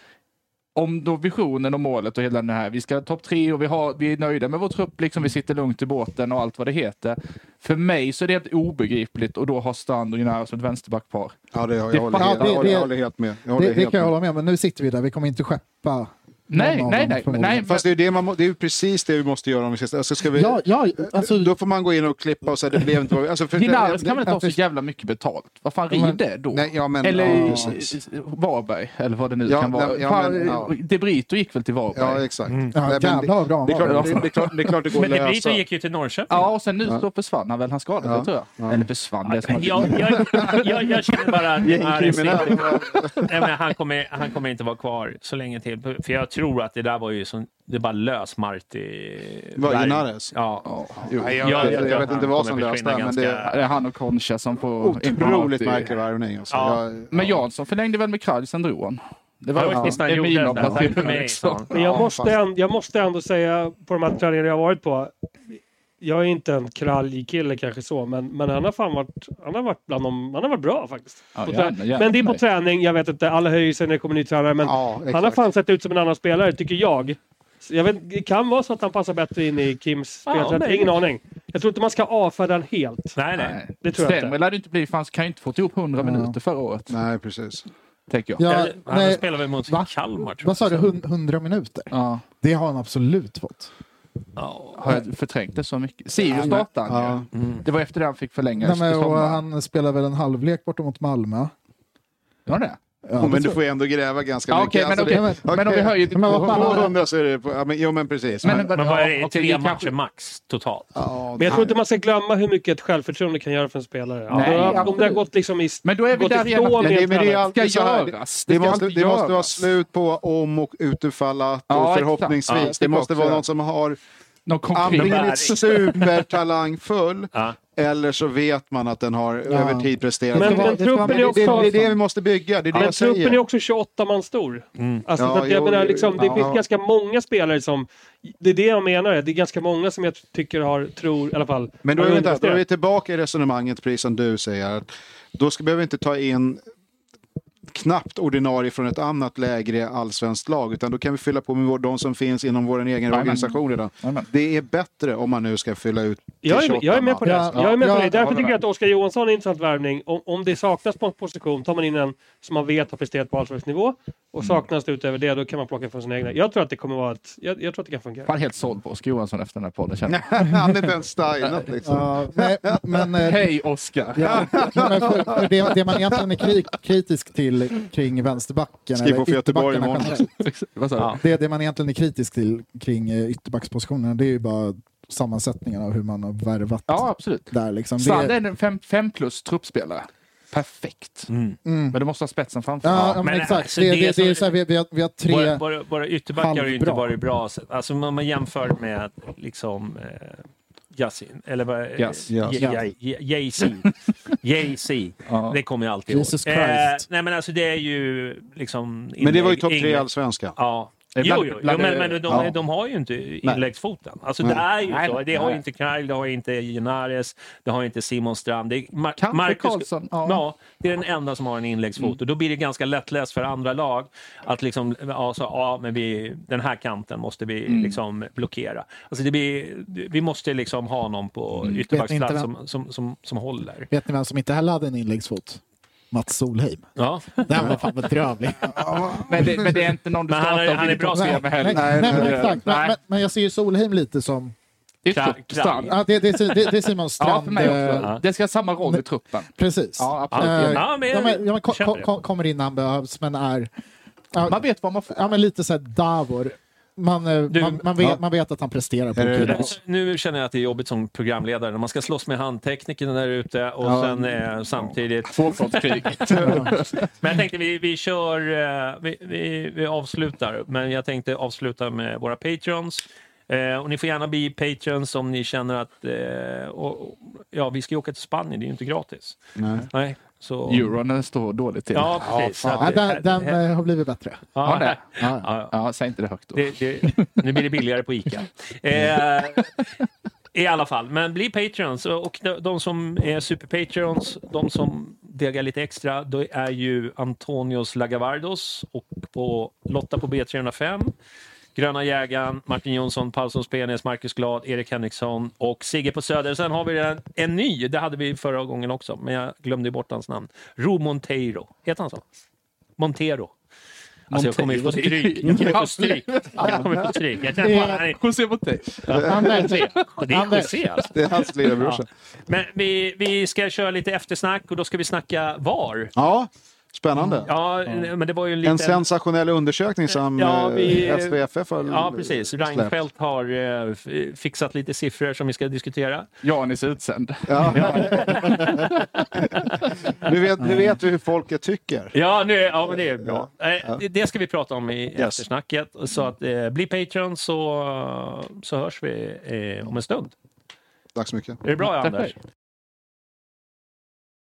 S2: om då visionen och målet och hela den här, vi ska topp tre och vi, har, vi är nöjda med vår trupp, liksom vi sitter lugnt i båten och allt vad det heter. För mig så är det helt obegripligt och då har Strand och Gennares som ett vänsterbackpar.
S4: Ja, det, jag,
S2: Det-
S4: håller,
S3: ja,
S4: helt,
S3: det-
S4: jag, håller, jag
S3: det-
S4: håller helt med. Jag håller
S3: Det, det
S4: helt
S3: kan jag
S4: med.
S3: hålla med om, men nu sitter vi där. Vi kommer inte skeppa
S2: Nej,
S3: någon av
S2: nej,
S3: dem
S2: nej,
S3: förmodligen.
S2: nej.
S4: Fast det är ju det man må, det är ju precis det vi måste göra om vi ska... Alltså ska vi,
S3: Ja, ja, alltså,
S4: Då får man gå in och klippa och säga det blev inte vad vi... Alltså för-
S2: Gennares kan väl inte
S4: det-
S2: ha så jävla mycket betalt? Vad fan, riv det då.
S4: Nej, ja, men,
S2: eller
S4: ja,
S2: i-
S4: precis.
S2: i- Varberg, eller vad det nu
S4: Ja,
S2: kan vara.
S4: nej, ja,
S2: fan,
S4: men, ja.
S2: De Brito gick väl till
S4: Ja,
S2: Varberg?
S4: exakt.
S3: Mm. ja,
S4: Nej, men
S3: jävlar
S4: det,
S3: vad bra han
S4: det, är
S3: var.
S4: klart, det, det, är klart, det är klart det går
S1: Men
S4: att
S1: det
S4: lösa.
S1: Brito gick ju till Norrköping.
S2: Ja, och sen nu så försvann han väl. Han skadade sig tror jag. Eller försvann. Det är som att-
S1: Jag, jag, jag, jag känner bara att Mahrez
S4: Gängkriminell.
S1: inte- Nej, men han, kommer, han kommer inte vara kvar så länge till. För jag tror att det där var ju som, det bara lös Marti.
S4: Vad, Linares?
S1: Ja.
S2: Jo.
S4: Nej,
S1: Jag
S4: jag,
S1: vet
S4: jag,
S1: att
S4: vet
S1: han
S4: inte vad som
S1: kommer
S4: löste det, men
S1: försvinna
S4: det
S1: ganska-
S4: är
S2: Ja, Det är han och Concha som får...
S4: otroligt
S2: Ja.
S4: märklig värvning. Alltså.
S1: Ja.
S4: Jag,
S2: Men Jansson förlängde väl med Kralj, sen drog han.
S1: Det var det sista han gjorde.
S2: Emilio
S1: där. Tack för
S2: Platini
S1: mig,
S2: också.
S1: sa han.
S5: Men jag, måste
S4: fast-
S5: ändå, jag måste ändå säga på de här träningarna jag har varit på. Jag är inte en krallig kille kanske så, men, men han har fan varit, han har varit bland dem, han har varit bra faktiskt.
S2: Ja,
S5: På
S2: jävlar,
S5: trä-
S2: jävlar
S5: men det är på
S2: mig.
S5: träning, jag vet inte, alla höjer sig när det kommer ny tränare, men
S4: ja,
S5: han har
S4: exakt.
S5: fan sett ut som en annan spelare tycker jag. Så Jag vet, det kan vara så att han passar bättre in i Kims
S1: Ja,
S5: spelsätt,
S1: men-
S5: ingen aning. Jag Jag tror inte man ska avfärda den helt.
S1: Nej, nej.
S5: Det tror jag
S2: Stenberg
S5: inte.
S2: lär det inte bli, för han kan ju inte få ihop 100
S3: Ja.
S2: minuter förra året.
S4: Nej, precis.
S2: Tänker jag.
S3: Ja,
S1: Eller, han
S3: nej.
S1: spelar väl mot Kalmar, tror
S3: Vad sa du?
S1: jag.
S3: Hun- 100 minuter?
S2: Ja.
S3: Det har han absolut fått.
S1: Ja.
S2: Har jag förträngt det så mycket? Sirius startade han
S4: Ja.
S2: ju. Det var efter det han fick förlänga
S3: Nej,
S2: i
S3: men, och
S2: sommar.
S3: han spelar väl en halvlek borta mot Malmö.
S2: Ja, det.
S3: Ja,
S4: men
S3: det
S4: du
S3: tror
S4: får ju ändå gräva ganska
S2: Ja,
S4: mycket. Alltså,
S2: okej, men, okej.
S3: det-
S2: men om vi
S4: okej.
S2: höjer till
S3: Men vad fan-
S4: 200 så är det... På, ja, men, jo, men precis.
S2: Men,
S1: Men vad är det?
S2: ja, okej,
S1: Tre
S2: vi
S1: matcher
S2: kanske-
S1: max totalt?
S4: ja,
S5: Men jag tror inte man ska glömma hur mycket ett självförtroende kan göra för en spelare. Alltså,
S2: Nej,
S5: om, det har
S2: absolut.
S5: gått liksom i...
S2: Men då är vi
S5: gått
S2: där igen.
S5: ifrån
S2: att
S4: men det,
S5: helt
S4: men det är
S5: annat.
S4: alltid
S2: ska
S4: så här.
S2: göras.
S4: Det,
S2: Det ska
S4: måste,
S2: alltid
S4: det måste vara
S2: göras.
S4: slut på om och utifallat
S2: Ja,
S4: och
S2: exakt.
S4: förhoppningsvis.
S1: Ja,
S4: det
S2: tycker
S4: måste
S2: också
S4: vara
S2: det.
S4: någon som har
S2: Någon konkret.
S4: antingen
S1: bäring.
S4: är supertalangfull
S1: Ja.
S4: eller så vet man att den har över tid presterat.
S5: Men-
S4: Det-
S5: men
S4: det-
S5: truppen
S4: det-
S5: är också-
S4: det, det är det vi måste bygga, det är det
S5: Men
S4: jag säger.
S5: truppen är också 28 man stor. Alltså,
S4: Ja,
S5: så att jag
S4: jo,
S5: menar,
S4: jo,
S5: liksom, det
S4: ja.
S5: finns ganska många spelare som... Det är det jag menar. Det är ganska många som jag tycker har, tror, i alla fall...
S4: Men då
S5: har
S4: är, vi inte, då är vi
S5: underpresterat.
S4: tillbaka i resonemanget, precis som du säger. Att då ska, behöver vi inte ta in knappt ordinarie från ett annat lägre allsvenskt lag, utan då kan vi fylla på med vår- de som finns inom vår egen organisation redan.
S2: Jajamän.
S4: Det är bättre om man nu ska fylla ut till
S5: Jag är,
S4: 28
S5: jag är med på det.
S3: Ja,
S5: jag är med på
S3: ja,
S5: det.
S3: jag
S5: Därför
S2: håller
S5: tycker jag
S2: med.
S5: att Oskar Johansson är en intressant värvning. Om, om det saknas på en position tar man in en som man vet har presterat på allsvensk nivå. Och saknas det utöver det, då kan man plocka från sina egna. Jag tror att det kommer vara ett... Jag, jag tror att det kan fungera.
S2: Fan helt såld på Oskar Johansson efter den här podden. Känner. jag.
S4: man. Han är inte ens signat liksom.
S3: Ja, nej, men, eh,
S2: Hej Oskar!
S3: ja, men för, för det, det man egentligen är kri- kritisk till kring vänsterbacken,
S4: Skriv på för Göteborg
S3: ytterbackarna
S4: imorgon.
S3: generellt,
S2: Vad sa du?
S3: det, det man egentligen är kritisk till kring eh, ytterbackspositionerna, det är ju bara sammansättningen av hur man har värvat
S2: Ja, absolut.
S3: där. Liksom. Det,
S2: Sand är en 5 plus truppspelare. Perfekt.
S3: mm.
S2: Men du måste ha spetsen framför.
S3: Ja,
S2: Ja.
S3: ja, men
S1: Men,
S3: exakt.
S1: alltså,
S3: det,
S1: det
S3: det, det är
S1: som-
S3: så här, vi, vi, har, vi har tre...
S1: Våra, våra, våra ytterbackar har ju inte
S3: Halvbra.
S1: varit bra. Alltså, om man jämför med liksom, eh, Yasin, eller vad... eh,
S2: Yes, yes.
S1: Ye- Ye- Jay-Z. Jay-Z.
S2: Ja.
S1: Det kommer jag alltid ihåg.
S3: Jesus Christ.
S1: nej, men alltså det är ju liksom...
S4: Men det var ju
S1: inlägg-
S4: topp tre i
S1: inlägg-
S4: allsvenskan.
S1: Ja. Jo,
S2: Ibland-
S1: jo, jo.
S2: ibland är det-
S1: men, men de,
S2: ja.
S1: de har ju inte inläggsfoten. Alltså, det är ju
S2: Nej,
S1: så.
S2: nej,
S1: Det har ju
S2: nej.
S1: inte Kyle, det har ju inte Genares, det har ju inte Simon Strand. Det är Mar-
S2: Kanske Karlsson,
S1: Ja.
S2: ja.
S1: det är den enda som har en inläggsfot.
S3: Mm.
S1: Och då blir det ganska lättläst för andra lag att liksom, ja, så, ja men vi, den här kanten måste vi
S3: Mm.
S1: liksom blockera. Alltså, det blir, vi måste liksom ha någon på
S3: Mm. Vet
S1: ytterbacksplats
S3: inte
S1: som, som, som, som håller.
S3: Vet ni vem som inte heller hade en inläggsfot? Mats Solheim.
S1: Ja.
S3: Den var fan bedrövlig.
S2: Men, det, men det är inte någon du
S1: Men han
S2: startar
S1: är-
S2: och
S1: han är
S2: vill
S1: bra
S2: toppspela
S3: Nej,
S2: med
S3: nej,
S2: heller.
S3: nej, men, exakt. Men,
S2: nej.
S3: men, men jag ser ju Solheim lite som...
S1: Kra- kra-
S2: Ytterstrand.
S3: Ja, det, det, är- det, det är Simon
S2: Ja,
S3: Strand.
S2: för mig
S3: eh,
S2: också. Det ska ha samma roll i truppen.
S3: Precis.
S2: Ja, absolut.
S3: Eh,
S1: Ja,
S3: ja,
S1: men
S3: men,
S1: jag-
S3: ja, men ko-
S1: jag köper
S3: ko- ko- kommer in när han behövs, men är... Ja,
S2: Man vet vad man får.
S3: ja, men lite såhär Davor. Man, eh,
S1: Du-
S3: man, man, vet,
S4: Ja.
S3: man vet att han presterar på
S4: Är det-
S3: kul.
S1: Så Nu känner jag att det är jobbigt som programledare när man ska slåss med handteknikerna där ute och sen eh, samtidigt...
S2: Tvåfrontskrig.
S1: Men jag tänkte vi, vi kör... Eh, vi, vi, vi avslutar, men jag tänkte avsluta med våra patrons. Eh, och ni får gärna bli patrons om ni känner att... Eh, och, och- ja, vi ska ju åka till Spanien, det är ju inte gratis. Nej. så...
S2: Euronen står dåligt till.
S1: Ja, precis. Så
S3: Ja,
S1: att-
S3: den, den eh, har blivit bättre.
S1: Ja,
S2: det.
S1: ja, ja.
S2: Ja, säg inte det högt då.
S1: Det, det, nu blir det billigare på ICA. Eh, I alla fall, men bli Patreons. Och de, de som är super-Patreons, de som degar lite extra, då är ju Antonios Lagavardos och på Lotta på B305. Gröna jägaren, Martin Jonsson, Paulsson Spenes, Marcus Glad, Erik Henriksson och Sigge på Söder. Sen har vi en, en ny, det hade vi förra gången också, men jag glömde ju bort hans namn. Ro Monteiro, heter han så? Montero. Alltså jag kommer ju få stryk. Jag kommer få stryk. Jag kommer få stryk. Jag träffar honom. Han är-
S2: José Montez.
S1: han är José. Det är José alltså.
S4: Det är hans
S1: Ja.
S4: lillebrorsa.
S1: Men vi, vi ska köra lite eftersnack och då ska vi snacka VAR.
S4: Ja, spännande.
S1: Ja, men det var ju en eh, liten...
S4: En sensationell undersökning som eh,
S1: Ja,
S4: ja,
S1: vi-
S4: SVFF har
S1: Ja, precis.
S4: släppt.
S1: Reinfeldt har eh, f- fixat lite siffror som vi ska diskutera.
S2: Janis är utsänd.
S4: Nu vet, nu vet vi hur folket tycker.
S1: Ja, nu, ja men det är bra. Eh, det- Det ska vi prata om i eftersnacket. Så att, eh, bli Patreon så, så hörs vi eh, om en stund.
S4: Tack så mycket.
S1: Är det bra, Anders?